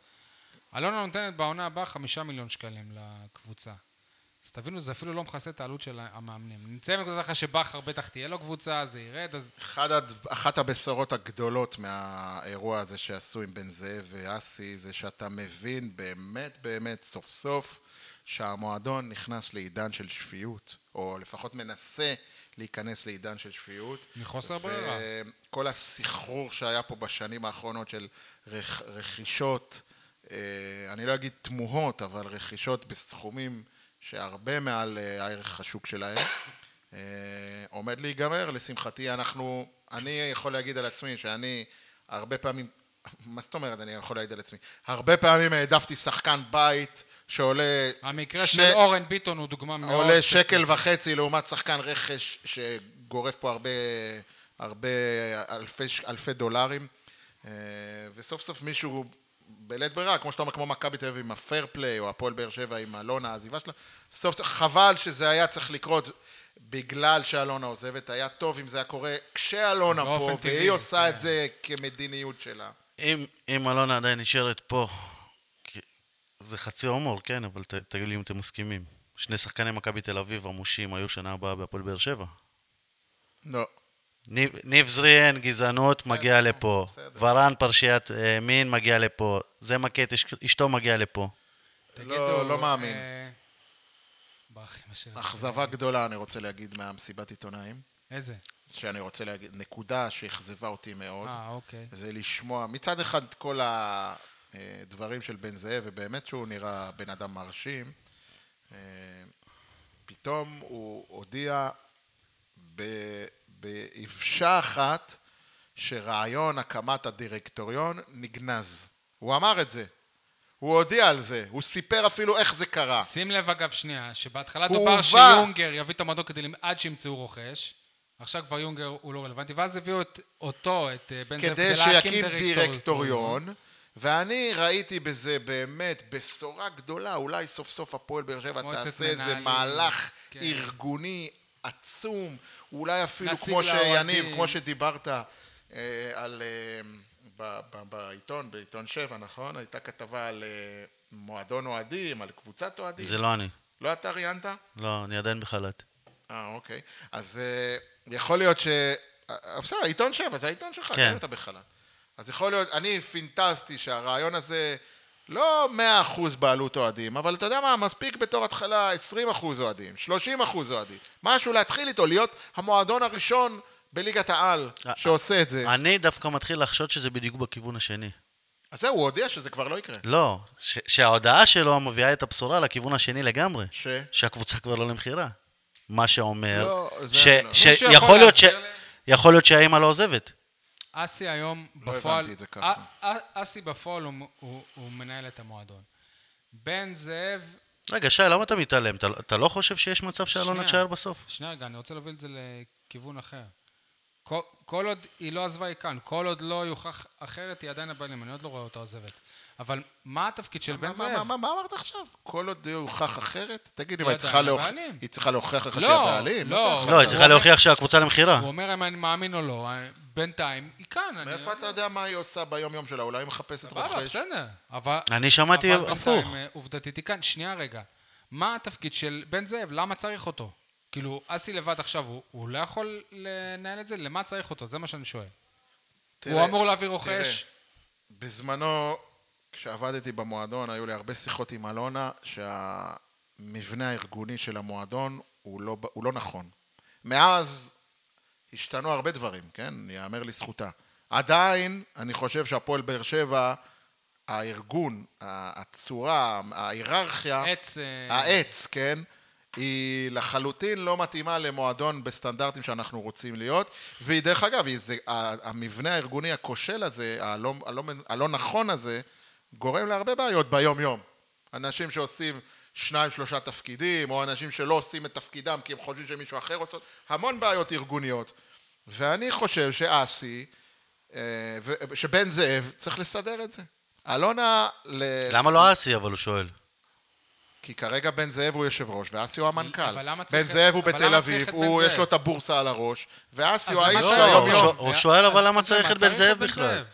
S2: אלונה נותנת בעונה הבאה 5 מיליון שקלים לקבוצה. אז תבינו, זה אפילו לא מכסה את העלות של המאמנים. נמצאים בנקודה ככה שבכר בטח תהיה לו קבוצה, זה ירד, אז
S4: אחד הד... אחת הבשורות הגדולות מהאירוע הזה שעשו עם בן זאב ואסי, זה שאתה מבין באמת באמת סוף סוף שהמועדון נכנס לעידן של שפיות, או לפחות מנסה להיכנס לעידן של שפיות.
S2: מחוסר ברירה.
S4: כל הסחרור שהיה פה בשנים האחרונות של רכ... רכישות, אה, אני לא אגיד תמוהות, אבל רכישות בסכומים שהרבה מעל אה, הערך השוק שלהם. אה, עומד להיגמר, לשמחתי אנחנו, אני יכול להגיד על עצמי שאני הרבה פעמים, מה זאת אומרת אני יכול להגיד על עצמי? הרבה פעמים העדפתי שחקן בית שעולה...
S2: המקרה
S4: שני-
S2: של אורן ביטון הוא דוגמה מאוד...
S4: עולה שקל
S2: ספציפית.
S4: וחצי לעומת שחקן רכש שגורף פה הרבה, הרבה אלפי, ש- אלפי דולרים אה, וסוף סוף מישהו בלית ברירה, כמו שאתה אומר, כמו מכבי תל אביב עם הפייר פליי או הפועל באר שבע עם אלונה, העזיבה שלה, סוף סוף, חבל שזה היה צריך לקרות בגלל שאלונה עוזבת, היה טוב אם זה היה קורה כשאלונה פה
S2: באופן טבעי,
S4: והיא עושה
S2: כן.
S4: את זה כמדיניות שלה.
S3: אם, אם אלונה עדיין נשארת פה, כי- זה חצי הומור, כן, אבל ת, תגידו לי אם אתם מסכימים. שני שחקני מכבי תל אביב עמושים היו שנה הבאה בהפועל באר שבע.
S4: לא.
S3: ניב- ניב זריאן, גזענות, מגיע לפה.
S4: בסדר.
S3: ורן, פרשיית אה, מין, מגיע לפה. זה מכה את אש- אשתו, מגיע לפה.
S2: תגידו,
S4: לא מאמין.
S2: אה, ברח לי מה ש...
S4: אכזבה גדולה אני רוצה להגיד מהמסיבת עיתונאים,
S2: איזה?
S4: שאני רוצה להגיד, נקודה שאכזבה אותי מאוד.
S2: אה, אוקיי.
S4: זה לשמוע מצד אחד את כל הדברים של בן זאב, ובאמת שהוא נראה בן אדם מרשים, אה, פתאום הוא הודיע ב- באבשה אחת שרעיון הקמת הדירקטוריון נגנז. הוא אמר את זה. הוא הודיע על זה, הוא סיפר אפילו איך זה קרה.
S2: שים לב אגב שנייה, שבהתחלה
S4: הוא
S2: דובר
S4: הובא.
S2: שיונגר יביא את המועדון כדי למ- עד שימצאו רוכש, עכשיו כבר יונגר הוא לא רלוונטי, ואז הביאו את אותו, את אה, בן זאב,
S4: כדי שיקים
S2: כן.
S4: דירקטוריון, ואני ראיתי בזה באמת בשורה גדולה, אולי סוף סוף הפועל באר שבע
S2: מועצת
S4: תעשה איזה
S2: מנהלים,
S4: מהלך
S2: כן.
S4: ארגוני עצום, אולי אפילו
S2: נציג
S4: כמו שיניב,
S2: לאוהדים.
S4: כמו שדיברת אה, על... אה, ב- ב- בעיתון, בעיתון שבע, נכון? הייתה כתבה על אה, מועדון אוהדים, על קבוצת אוהדים.
S3: זה לא אני.
S4: לא אתה ראיינת?
S3: לא, אני עדיין בחל"ת.
S4: אה, אוקיי. אז אה, יכול להיות ש... אה, בסדר, עיתון שבע, זה העיתון שלך,
S3: כן.
S4: כן. אתה בחל"ת. אז יכול להיות, אני פינטזתי שהרעיון הזה לא 100% בעלות אוהדים, אבל אתה יודע מה, מספיק בתור התחלה 20% אוהדים, 30% אוהדים. משהו להתחיל איתו, להיות המועדון הראשון בליגת העל
S3: אה,
S4: שעושה את זה.
S3: אני דווקא מתחיל לחשוד שזה בדיוק בכיוון השני.
S4: אז זהו, הוא הודיע שזה כבר לא יקרה.
S3: לא, ש- שההודעה שלו מביאה את הבשורה לכיוון השני לגמרי.
S4: ש...
S3: שהקבוצה כבר לא למכירה. מה שאומר,
S4: לא, זה
S3: ש-
S4: אני לא.
S2: מישהו יכול
S3: שיכול להיות ש-
S2: להסביר לי?
S3: יכול להיות שהאימא לא עוזבת.
S2: אסי היום
S4: לא
S2: בפועל,
S4: הבנתי את זה ככה.
S2: א- א- אסי בפועל הוא- הוא הוא מנהל את המועדון. בן זאב,
S3: רגע, שי, למה אתה מתעלם? אתה- אתה לא חושב שיש מצב שאלונה
S2: שנייה.
S3: תשאר בסוף?
S2: שנייה רגע, אני רוצה להוביל את זה לכיוון אחר. כל, כל עוד היא לא עזבה היא כאן, כל עוד לא יוכח אחרת, היא עדיין הבעלים, אני עוד לא רואה אותה עוזבת. אבל מה התפקיד של בן
S4: מה, מה,
S2: זאב?
S4: מה, מה אמרת עכשיו? כל עוד הוכח אחרת? תגיד, אם
S2: לא
S4: היא
S2: יודע,
S4: צריכה
S2: היא
S4: להוכ-
S2: הבעלים.
S4: היא צריכה להוכיח לך
S2: לא,
S4: שהיא הבעלים? מה זה
S2: לא.
S4: הוכחה?
S3: לא, היא צריכה
S2: אומר-
S3: להוכיח שהקבוצה למכירה.
S2: הוא אומר אם אני מאמין או לא, בינתיים היא כאן. אני-
S4: מאיפה אתה יודע מה היא עושה ביום-יום שלה? אולי היא מחפשת
S2: סבבה,
S4: רוכש?
S2: בסדר. אבל...
S3: אני שמעתי
S2: אבל
S3: הפוך.
S2: בינתיים, אה, עובדתית היא כאן. שנייה רגע. מה התפקיד של בן זאב? למה צריך אותו? כאילו, אסי לבד עכשיו, הוא, הוא לא יכול לנהל את זה? למה צריך אותו? זה מה שאני שואל. הוא
S4: תראה,
S2: אמור להביא רוכש.
S4: בזמנו, כשעבדתי במועדון, היו לי הרבה שיחות עם אלונה, שהמבנה הארגוני של המועדון הוא לא, ב- הוא לא נכון. מאז השתנו הרבה דברים, כן? יאמר לזכותה. עדיין, אני חושב שהפועל באר שבע, הארגון, ה- הצורה, ההיררכיה...
S2: עץ... אה,
S4: העץ, כן, היא לחלוטין לא מתאימה למועדון בסטנדרטים שאנחנו רוצים להיות, והיא דרך אגב, היא, זה, ה- המבנה הארגוני הכושל הזה, הלא, הלא, הלא נכון הזה, גורם להרבה בעיות ביום-יום. אנשים שעושים שניים, שלושה תפקידים, או אנשים שלא עושים את תפקידם כי הם חושבים שמישהו אחר עושה, המון בעיות ארגוניות. ואני חושב שאסי, אה, ו- שבן זאב, צריך לסדר את זה. אלונה... ל-
S3: למה לא אסי, אבל הוא שואל.
S4: כי כרגע בן זאב הוא יושב ראש, ואסי הוא המנכ"ל.
S2: אבל למה
S4: בן
S2: צריך את-
S4: זאב הוא
S2: אבל
S4: בתל
S2: למה צריך
S4: אביב,
S2: את בן
S4: הוא
S2: זאב?
S4: יש לו את הבורסה על הראש, ואסי
S2: אז
S4: הוא
S2: למה
S4: האיש
S2: צריך
S4: שלו
S2: את
S3: לא,
S2: בן
S3: הוא
S4: יום-יום.
S3: שואל- הוא שואל, אבל
S2: אז
S3: למה
S2: זה,
S3: צריך
S2: מה,
S3: את בן זאב
S2: את בן
S3: בכלל?
S2: זאב?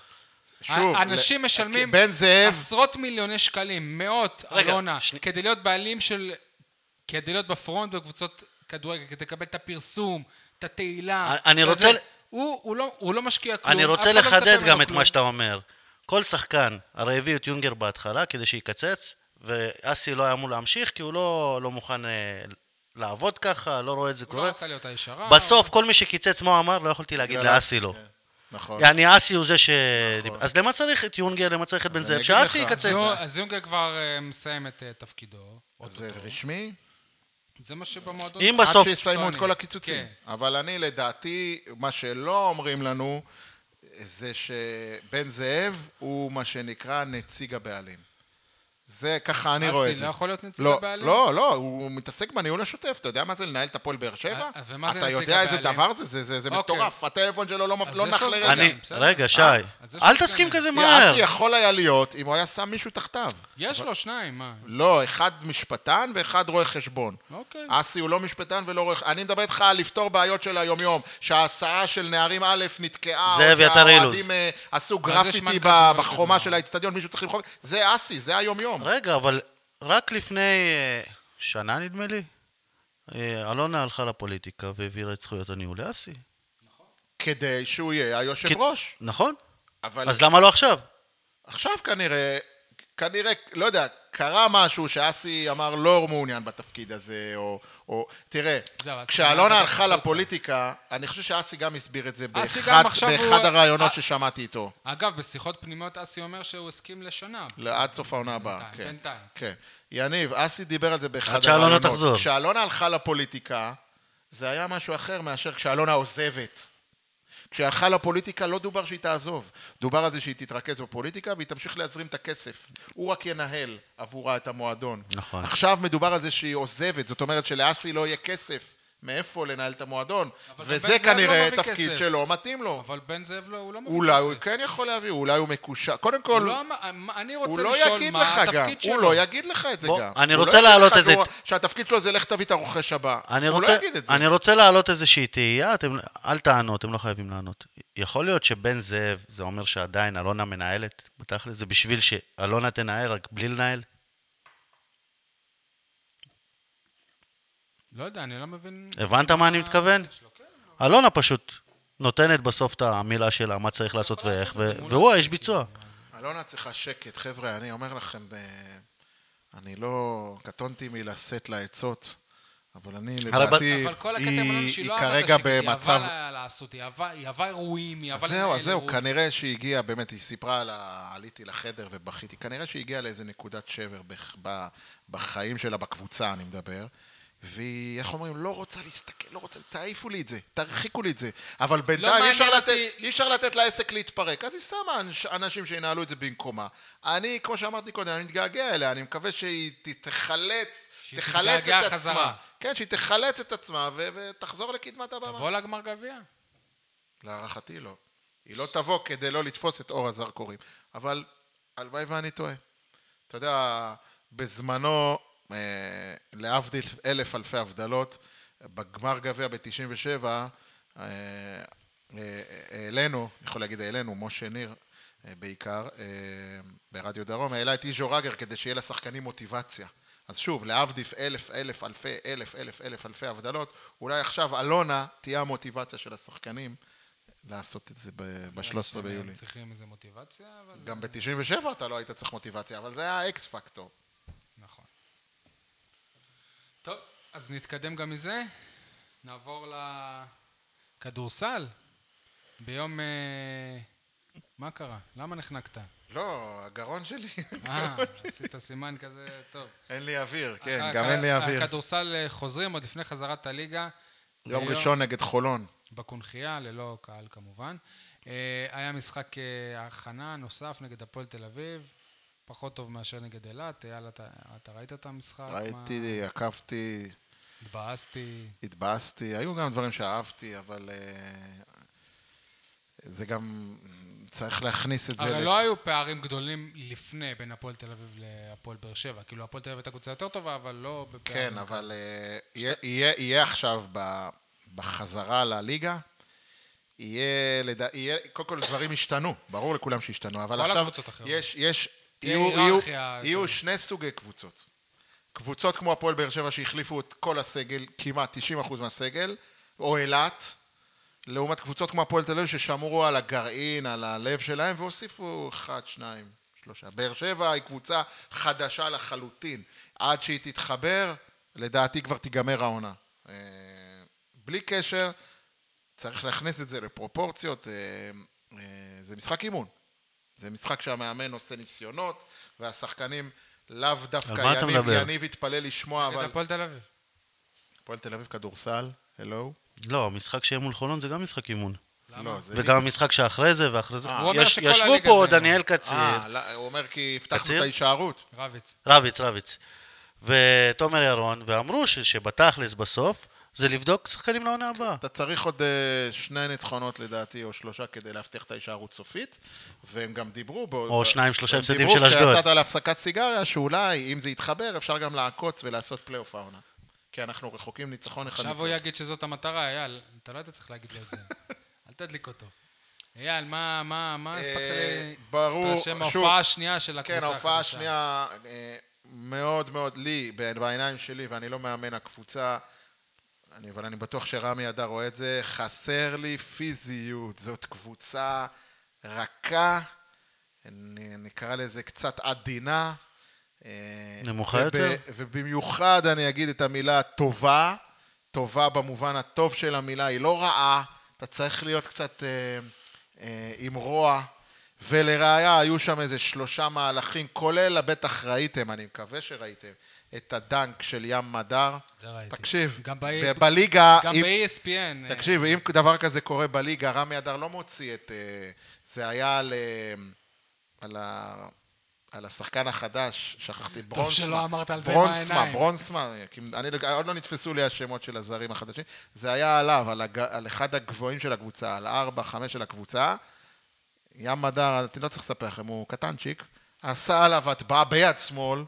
S4: שוב,
S2: אנשים
S4: ל-
S2: משלמים
S4: בן זאב,
S2: עשרות מיליוני שקלים, מאות,
S3: רגע,
S2: אלונה,
S3: שני-
S2: כדי להיות בעלים של... כדי להיות בפרונט בקבוצות כדורגל, כדי לקבל את הפרסום, את התהילה.
S3: אני- אני
S2: וזה-
S3: רוצה ל-
S2: הוא, הוא, לא, הוא לא משקיע כלום.
S3: אני
S2: אף
S3: רוצה
S2: אחד לא מצפה
S3: לחדד
S2: ממנו
S3: גם את
S2: כלום.
S3: מה שאתה אומר. כל שחקן, הרי הביאו את יונגר בהתחלה כדי שיקצץ, ואסי לא היה אמור להמשיך, כי הוא לא לא מוכן אה, לעבוד ככה, לא רואה את זה
S2: הוא לא
S3: קורה.
S2: רצה להיות הישרה.
S3: בסוף, כל מי שקיצץ מה הוא אמר, לא יכולתי להגיד
S4: בגלל-
S3: לאסי לא.
S2: כן.
S4: נכון.
S3: יעני, אסי הוא זה ש...
S2: נכון.
S3: אז למה צריך את יונגר, למה צריך את בן זאב?
S4: אגיד
S3: שאסי
S4: לך.
S3: יקצץ.
S2: אז, הוא, אז יונגר כבר אה, מסיים את אה, תפקידו.
S4: זה רשמי?
S2: זה מה שבמועדון...
S3: אם
S4: עד
S3: בסוף...
S4: שיסיימו את
S2: טוענים.
S4: כל הקיצוצים. כן. אבל אני, לדעתי, מה שלא אומרים לנו, זה שבן זאב הוא מה שנקרא נציג הבעלים. זה, ככה אני
S2: אסי
S4: רואה את זה.
S2: לא יכול להיות נציג
S4: לא,
S2: הבעלים?
S4: לא, לא, הוא מתעסק בניהול השוטף. אתה יודע מה זה לנהל את הפועל באר שבע?
S2: אה, ומה זה
S4: אתה
S2: נציג
S4: יודע איזה
S2: הבעלים?
S4: דבר זה? זה- זה זה
S2: אוקיי.
S4: מטורף. הטלפון שלו לא מפ-
S2: אז
S4: לא
S2: יש
S4: נח
S2: לו
S4: לרגע.
S2: זמן.
S3: אני...
S2: בסדר.
S3: רגע, שי,
S2: אה, אז יש
S3: אל
S2: לו
S3: תסכים
S2: שחקנים.
S3: כזה מהר.
S4: אסי יכול היה להיות אם הוא היה שם מישהו תחתיו.
S2: יש לו שניים, מה?
S4: לא, אחד משפטן ואחד רואה חשבון.
S2: אוקיי.
S4: אסי הוא לא משפטן ולא רואה... אני מדבר איתך על לפתור בעיות של היום-יום, שההסעה של נערים א' נתקעה, או
S3: זאב יתר אילוז.
S4: שהאוהדים, אה, עשו
S2: זה
S4: גרפיטי
S2: שמנכ"ל
S4: ב-
S2: שלא
S4: בחומה
S2: יודע.
S4: של האצטדיון, מישהו צריך למחוק. זה אסי, זה היום-יום.
S3: רגע, אבל רק לפני אה, שנה, נדמה לי, אה, אלונה הלכה לפוליטיקה והעבירה את זכויות הניהול לאסי.
S4: כדי שהוא יהיה היושב ראש.
S3: נכון.
S4: אבל
S3: אז למה לא עכשיו?
S4: עכשיו כנראה, כנראה, לא יודע, קרה משהו שאסי אמר לא מעוניין בתפקיד הזה, או... או תראה,
S2: זהו, אז
S4: כשאלונה
S2: כנראה
S4: הלכה
S2: החוצה.
S4: לפוליטיקה, אני חושב שאסי גם הסביר את זה
S2: אסי
S4: באחד,
S2: גם עכשיו
S4: באחד
S2: הוא-
S4: הראיונות
S2: אה.
S4: ששמעתי איתו,
S2: אגב, בשיחות פנימיות אסי אומר שהוא הסכים לשנה.
S4: עד סוף העונה הבאה.
S2: בינתיים,
S4: כן,
S2: בינתיים.
S4: כן. יניב, אסי דיבר על זה באחד
S3: עד שאלונה
S4: הראיונות.
S3: תחזור.
S4: כשאלונה הלכה לפוליטיקה, זה היה משהו אחר מאשר כשאלונה עוזבת. כשהיא הלכה לפוליטיקה לא דובר שהיא תעזוב, דובר על זה שהיא תתרכז בפוליטיקה והיא תמשיך להזרים את הכסף. הוא רק ינהל עבורה את המועדון.
S3: נכון.
S4: עכשיו מדובר על זה שהיא עוזבת, זאת אומרת שלאסי לא יהיה כסף מאיפה לנהל את המועדון,
S2: אבל גם בן
S4: וזה
S2: זאב לא
S4: כנראה
S2: מביא
S4: תפקיד
S2: כסף.
S4: שלא מתאים לו.
S2: אבל בן זאב לא, הוא לא מביא
S4: אולי הוא
S2: כסף.
S4: כן יכול להביא, אולי הוא מקושר. קודם כל,
S2: הוא לא אמר- מה- אני
S4: הוא
S2: רוצה
S4: לא
S2: לשאול
S4: יגיד
S2: מה
S4: לך גם,
S2: התפקיד שלו.
S4: הוא לא יגיד לך את זה
S3: בוא,
S4: גם.
S3: אני
S4: הוא לא
S3: רוצה
S4: יגיד
S3: להעלות
S4: לך
S3: איזה-
S4: שהוא- שהתפקיד שלו זה לך תביא את הרוכש הבא.
S3: אני
S4: הוא
S3: רוצה,
S4: לא יגיד את זה.
S3: אני רוצה להעלות איזושהי תהייה, אתם, אל תענו, אתם לא חייבים לענות. יכול להיות שבן זאב, זה אומר שעדיין אלונה מנהלת, בתכל'ס, זה בשביל שאלונה תנהל, רק בלי לנהל?
S2: לא יודע, אני לא מבין...
S4: אה,
S3: הבנת מה אני מתכוון?
S2: שלו, כן.
S3: אלונה פשוט נותנת בסוף את המילה שלה, מה צריך לעשות ואיך, ו- והוא האיש ביצוע.
S4: אלונה צריכה לא שקט, חבר'ה, אני אומר לכם, ב... אני לא... קטונתי מלשאת לה עצות, אבל אני
S3: אבל-
S4: לדעתי,
S2: אבל כל הקטע מלון
S4: היא,
S2: שהיא
S4: היא
S2: לא אהבה את
S4: כרגע
S2: השקט,
S4: במצב...
S2: היא אהבה לעשות, היא אהבה- היא אהבה אירועים, היא אהבה
S4: אז
S2: לנהל
S4: זהו,
S2: אירועים.
S4: אז זהו, כנראה שהיא הגיעה, באמת, היא סיפרה על ה... עליתי לחדר ובכיתי, כנראה שהיא הגיעה לאיזה נקודת שבר בח... ב... בחיים שלה, בקבוצה, אני מדבר. והיא, איך אומרים, לא רוצה להסתכל, לא רוצה, תעיפו לי את זה, תרחיקו לי את זה. אבל בינתיים אי אפשר
S2: לא מעניין
S4: לתת,
S2: אותי-
S4: אי אפשר לתת לעסק להתפרק. אז היא שמה אנש- אנשים שינהלו את זה במקומה. אני, כמו שאמרתי קודם, אני מתגעגע אליה, אני מקווה שהיא ת- תחלץ,
S2: שהיא
S4: תחלץ
S2: תתגעגע
S4: את עצמה.
S2: חזרה.
S4: כן, שהיא תחלץ את עצמה ו- ותחזור לקדמת הבמה.
S2: תבוא לגמר גביע.
S4: להערכתי לא. היא לא תבוא כדי לא לתפוס את אור הזרקורים. אבל הלוואי ואני טועה. אתה יודע, בזמנו, אה, להבדיל אלף אלפי הבדלות, בגמר גביע ב-97, אה, אה, העלינו, אני יכול להגיד העלינו, משה ניר אה, בעיקר, אה, ברדיו דרום, העלה את איז'ו רגר כדי שיהיה לשחקנים מוטיבציה. אז שוב, להבדיל אלף, אלף, אלפי, אלף, אלף, אלף, אלפי הבדלות, אולי עכשיו אלונה תהיה המוטיבציה של השחקנים לעשות את זה ב-13 ביולי.
S2: הם צריכים איזה מוטיבציה, אבל...
S4: גם ב-97 אתה לא היית צריך מוטיבציה, אבל זה היה האקס פקטור.
S2: נכון. טוב, אז נתקדם גם מזה. נעבור לכדורסל. ביום... אה, מה קרה? למה נחנקת?
S4: לא, הגרון
S2: [laughs]
S4: שלי. [laughs]
S2: אה, עשית סימן כזה, טוב.
S4: אין לי אוויר, כן,
S2: הכ-
S4: גם אין לי אוויר.
S2: הכדורסל אה, חוזרים עוד לפני חזרת הליגה.
S4: יום
S2: ביום-
S4: ראשון נגד חולון.
S2: בקונכייה, ללא קהל כמובן. אה, היה משחק אה, הכנה נוסף נגד הפועל תל אביב, פחות טוב מאשר נגד אילת. אייל, אתה, אתה ראית את המשחק? מה-
S4: ראיתי, עקבתי,
S2: התבאסתי.
S4: התבאסתי, היו גם דברים שאהבתי, אבל אה, זה גם... צריך להכניס את זה.
S2: הרי
S4: ל-
S2: לא היו פערים גדולים לפני בין הפועל תל אביב להפועל באר שבע. כאילו, הפועל תל אביב הייתה קבוצה יותר טובה, אבל לא בפערים.
S4: כן, אבל אה, יהיה- יהיה יהיה עכשיו ב- בחזרה לליגה, יהיה, לדע- יהיה- קודם כל דברים השתנו, ברור לכולם שהשתנו, אבל
S2: כל
S4: עכשיו
S2: הקבוצות אחרות.
S4: יש, יש,
S2: תהיה
S4: יהיו-
S2: היררכיה,
S4: יהיו- יהיו
S2: כאילו.
S4: שני סוגי קבוצות. קבוצות כמו הפועל באר שבע שהחליפו את כל הסגל, כמעט 90% מהסגל, או אילת, לעומת קבוצות כמו הפועל תל אביב ששמרו על הגרעין, על הלב שלהם, והוסיפו אחד, שניים, שלושה. באר שבע היא קבוצה חדשה לחלוטין. עד שהיא תתחבר, לדעתי כבר תיגמר העונה. אה, בלי קשר, צריך להכניס את זה לפרופורציות. אה, אה, זה משחק אימון. זה משחק שהמאמן עושה ניסיונות, והשחקנים לאו
S3: על מה
S4: דווקא
S3: אתה
S4: יניב,
S3: מדבר?
S4: יניב יתפלא לשמוע,
S2: נגד
S4: אבל...
S2: הפועל תל אביב.
S4: הפועל תל אביב כדורסל, הלו?
S3: לא, המשחק שיהיה מול חולון זה גם משחק אימון.
S4: לא, זה...
S3: וגם המשחק שאחרי זה ואחרי זה.
S2: הוא אומר
S3: יש-
S2: שכל
S3: ישבו
S2: הליגה
S3: פה
S2: זה-
S3: דניאל קציר,
S4: אה, לא, הוא אומר כי הבטחנו
S3: קציר?
S4: את ההישארות.
S2: רביץ.
S3: רביץ, רביץ, ותומר ירון, ואמרו ש- שבתכלס בסוף זה לבדוק שחקנים לעונה הבאה.
S4: אתה צריך עוד אה, שני ניצחונות לדעתי, או שלושה, כדי להבטיח את ההישארות סופית, והם גם דיברו בו.
S3: או שניים, שלושה הפסדים של
S4: דיברו
S3: אשדוד.
S4: כשיצאת להפסקת סיגריה, שאולי, אם זה יתחבר, אפשר גם לעקוץ ולעשות פלייאוף העונה. כי אנחנו רחוקים ניצחון אחד.
S2: עכשיו הוא
S4: מפלייאוף.
S2: יגיד שזאת המטרה, אייל. אתה לא היית צריך להגיד לו את
S4: [laughs]
S2: זה. אל תדליק אותו. אייל, מה, מה, מה הספקת
S4: אה,
S2: ל...
S4: ברור,
S2: אתה שם
S4: שוב.
S2: ההופעה השנייה של הקבוצה
S4: כן, ההופעה
S2: החדשה.
S4: השנייה אה, מאוד מאוד לי, ב- בעיניים שלי, ואני לא מאמן הקבוצה, אני, אבל אני בטוח שרמי אדר רואה את זה, חסר לי פיזיות, זאת קבוצה רכה, אני- נקרא לזה קצת עדינה. אה,
S3: נמוכה
S4: וב-
S3: יותר?
S4: ובמיוחד אני אגיד את המילה טובה, טובה במובן הטוב של המילה, היא לא רעה, אתה צריך להיות קצת אה, אה, עם רוע. ולראיה, היו שם איזה שלושה מהלכים, כולל, בטח ראיתם, אני מקווה שראיתם, את הדנק של ים מדר.
S2: זה ראיתי.
S4: תקשיב,
S2: גם ב-
S4: ב- בליגה,
S2: גם
S4: אם-
S2: ב-ESPN. אה,
S4: תקשיב, אם דבר כזה קורה בליגה, רמי אדר לא מוציא את... אה, זה היה על... אה, על ה... על השחקן החדש, שכחתי, ברונסמה.
S2: שלא אמרת על זה עם
S4: ברונסמה,
S2: העיניים.
S4: ברונסמה, כי אני עוד לא נתפסו לי השמות של הזרים החדשים. זה היה עליו, על, הג, על אחד הגבוהים של הקבוצה, על ארבע, חמש של הקבוצה. ים מדר, אני לא צריך לספר לכם, הוא קטנצ'יק. עשה עליו הטבעה ביד שמאל.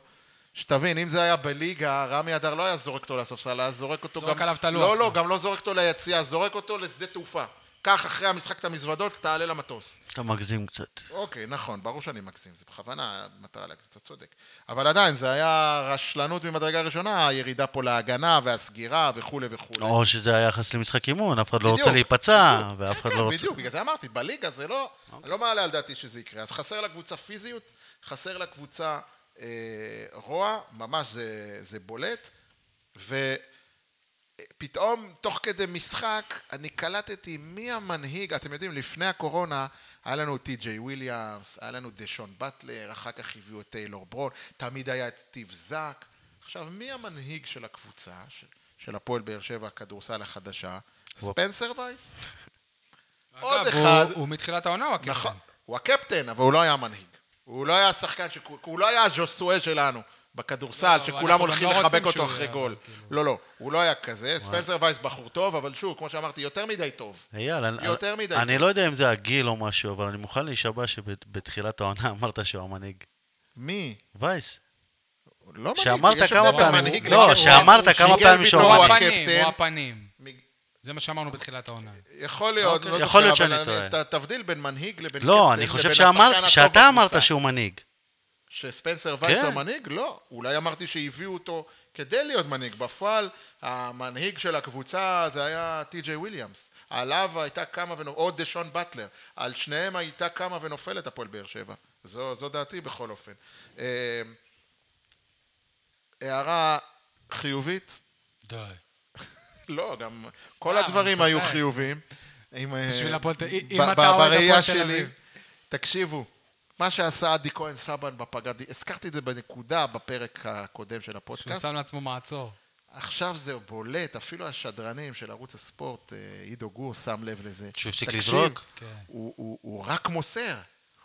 S4: שתבין, אם זה היה בליגה, רמי אדר לא היה זורק אותו לספסל, היה זורק אותו
S2: זורק
S4: גם...
S2: עליו את הלוח.
S4: לא, לא, גם לא זורק אותו ליציאה, זורק אותו לשדה תעופה. קח אחרי המשחק את המזוודות, תעלה למטוס.
S3: אתה מגזים קצת.
S4: אוקיי, נכון, ברור שאני מגזים, זה בכוונה מטרה להגזים, אתה צודק. אבל עדיין, זה היה רשלנות ממדרגה ראשונה, הירידה פה להגנה והסגירה וכולי וכולי.
S3: או שזה היחס למשחק אימון, אף אחד לא רוצה
S4: בדיוק,
S3: להיפצע,
S4: בדיוק.
S3: ואף אחד
S4: כן,
S3: לא
S4: כן,
S3: רוצה...
S4: בדיוק,
S3: [laughs]
S4: בגלל זה אמרתי, בליגה זה לא... אני לא מעלה על דעתי שזה יקרה. אז חסר לקבוצה פיזיות, חסר לקבוצה אה, רוע, ממש זה, זה בולט. ופתאום, תוך כדי משחק, אני קלטתי מי המנהיג. אתם יודעים, לפני הקורונה היה לנו טי.ג'יי וויליאמס, היה לנו דשון באטלר, אחר כך הביאו את טיילור ברון, תמיד היה את סטיב זאק. עכשיו, מי המנהיג של הקבוצה, של, של הפועל באר שבע, הכדורסל החדשה? ספנסר וייס. עוד
S2: אגב, הוא-
S4: אחד.
S2: הוא מתחילת העונה, הוא הקפטן.
S4: נכון. הוא הקפטן, אבל הוא לא היה מנהיג. הוא לא היה השחקן, שכו- הוא לא היה הז'וסואה שלנו
S2: לא,
S4: בכדורסל,
S2: אבל אנחנו גם
S4: שכולם הולכים
S2: לא רוצים
S4: לחבק אותו
S2: שהוא
S4: אחרי
S2: יהיה,
S4: גול.
S2: אבל כאילו.
S4: לא, לא, הוא לא היה כזה. ספנסר וייס בחור טוב, אבל שוב, כמו שאמרתי, יותר מדי טוב.
S3: אייל, אני-
S4: יותר מדי.
S3: אני לא יודע אם זה הגיל או משהו, אבל אני מוכן להישבע שבתחילת העונה אמרת שהוא המנהיג.
S4: מי?
S3: וייס.
S4: לא מנהיג.
S3: שאמרת
S4: יש
S3: כמה
S4: הבדל בין
S3: פעמים,
S4: מנהיג
S3: לא,
S4: למנהיג.
S3: שאמרת כמה
S4: הוא שיגע
S3: פעמים
S4: פתאום,
S3: שהוא
S2: הוא
S4: הוא
S3: אמר.
S2: הפנים,
S4: הקפטן.
S2: הוא הפנים.
S4: מ-
S2: זה מה שאמרנו בתחילת העונה.
S4: יכול להיות,
S3: אוקיי.
S4: לא
S3: יכול
S4: זוכר,
S3: להיות
S4: אבל
S3: שאני
S4: אני-
S3: טועה.
S4: ת- תבדיל בין מנהיג לבין
S3: לא,
S4: קפטן
S3: אני חושב
S4: לבין כן, השחקן
S3: שאמרת,
S4: הטוב
S3: שאתה
S4: בקבוצה.
S3: אמרת שהוא מנהיג.
S4: שספנסר וייס
S3: כן.
S4: הוא מנהיג? לא. אולי אמרתי שהביאו אותו כדי להיות מנהיג. בפועל, המנהיג של הקבוצה זה היה טי.ג'יי וויליאמס. עליו הייתה קמה ונופלת, או דשון באטלר. על שניהם הייתה קמה ונופלת הפועל באר שבע. זו, זו דעתי בכל אופן. אה, הערה חיובית?
S2: די.
S4: לא, גם כל
S2: סתם,
S4: הדברים
S2: אני
S4: היו
S2: צוחק.
S4: חיוביים. אם, אה,
S2: בשביל הפועל תל- אם
S4: ב-
S2: אתה
S4: ב-
S2: אוהד הפועל
S4: בראייה
S2: תל
S4: שלי-
S2: אביב.
S4: תקשיבו, מה שעשה עדי כהן סבן בפגרה, הזכרתי את זה בנקודה בפרק הקודם של
S2: שהוא
S4: הפודקאסט,
S2: שם לעצמו מעצור.
S4: עכשיו זה בולט, אפילו השדרנים של ערוץ הספורט, אה, עידו גור שם לב לזה.
S3: שהוא הפסיק
S4: תקשיב,
S3: לזרוק?
S2: כן.
S4: הוא- הוא הוא רק מוסר,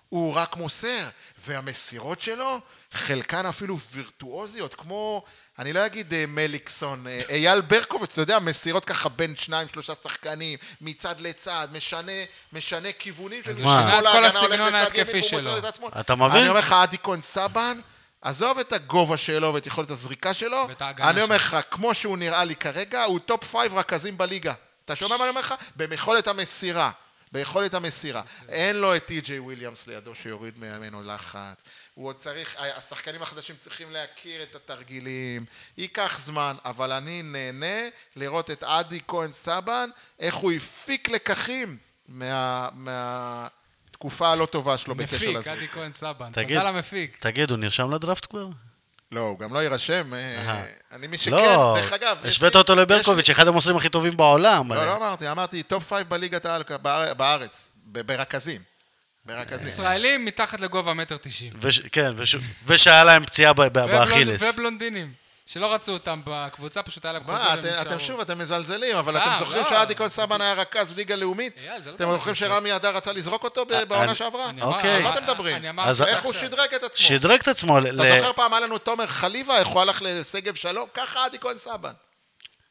S4: הוא רק מוסר, והמסירות שלו, חלקן אפילו וירטואוזיות, כמו, אני לא אגיד אה, מליקסון, אה, אייל ברקוביץ, אתה יודע, מסירות ככה בין שניים, שלושה שחקנים, מצד לצד, משנה, משנה כיוונים.
S2: אז
S4: של
S2: הוא
S4: מישהו,
S2: שינה את כל
S4: כל ההגנה הולכת
S2: הסגנון
S4: לצד ימין
S2: ההתקפי
S4: והוא מוסר
S2: שלו.
S4: לצד שמאל.
S3: אתה מבין?
S4: אני אומר לך, עדי כהן סבן, עזוב את הגובה שלו ואת יכולת הזריקה שלו,
S2: ואת ההגנה
S4: אני אומר לך, כמו שהוא נראה לי כרגע, הוא טופ פייב רכזים בליגה. אתה שומע מה אני אומר לך? ביכולת המסירה. ביכולת המסירה. אין לו את טי.ג'יי וויליאמס לידו שיוריד ממנו לחץ. הוא עוד צריך, ה- השחקנים החדשים צריכים להכיר את התרגילים. ייקח זמן, אבל אני נהנה לראות את עדי כהן סבן, איך הוא הפיק לקחים מה... מהתקופה הלא טובה שלו בקשר
S2: מפיק,
S4: לזה.
S2: אדי כהן סבן.
S3: תגיד.
S2: תודה למפיק.
S3: תגיד, הוא נרשם לדראפט כבר?
S4: לא, הוא גם לא יירשם. אה,
S3: אהה.
S4: אני מי שכן,
S3: לא,
S4: דרך אגב. יש
S3: השווית
S4: לי-
S3: אותו
S4: יש לי-
S3: לברקוביץ', אחד המוסרים הכי טובים בעולם.
S4: לא,
S3: אבל-
S4: לא אמרתי, אמרתי טופ פייב בליגת העל כ- באר- בארץ, ב- ברכזים. ברכזים.
S2: ישראלים מתחת לגובה מטר תשעים.
S3: וש- כן, וש- ושהיה להם פציעה ב- ב-
S4: לא-
S2: ובלונד-
S3: באכילס.
S2: ובלונדינים. לא- שלא רצו אותם בקבוצה, פשוט היה להם חוזה
S4: מה,
S2: והם
S4: אתם- אתם
S2: נשארו.
S4: שוב, אתם מזלזלים, אבל
S2: סתם,
S4: אתם זוכרים
S2: לא.
S4: שעדי כהן סבן היה רכז ליגה לאומית?
S2: אייל, זה לא
S4: אתם
S2: באמת
S4: זוכרים שרמי אדר רצה לזרוק אותו ב- בעונה
S3: אה, אני-
S4: שעברה?
S2: אני אמר-
S3: אוקיי.
S4: על מה
S2: אני-
S4: אתם מדברים?
S2: אני אמרתי
S3: אז-
S4: איך הוא
S2: עכשיו.
S4: שדרג את עצמו?
S3: שדרג את עצמו ל-
S4: אתה זוכר פעם היה לנו תומר חליבה, איך הוא הלך לשגב שלום? ככה עדי כהן סבן.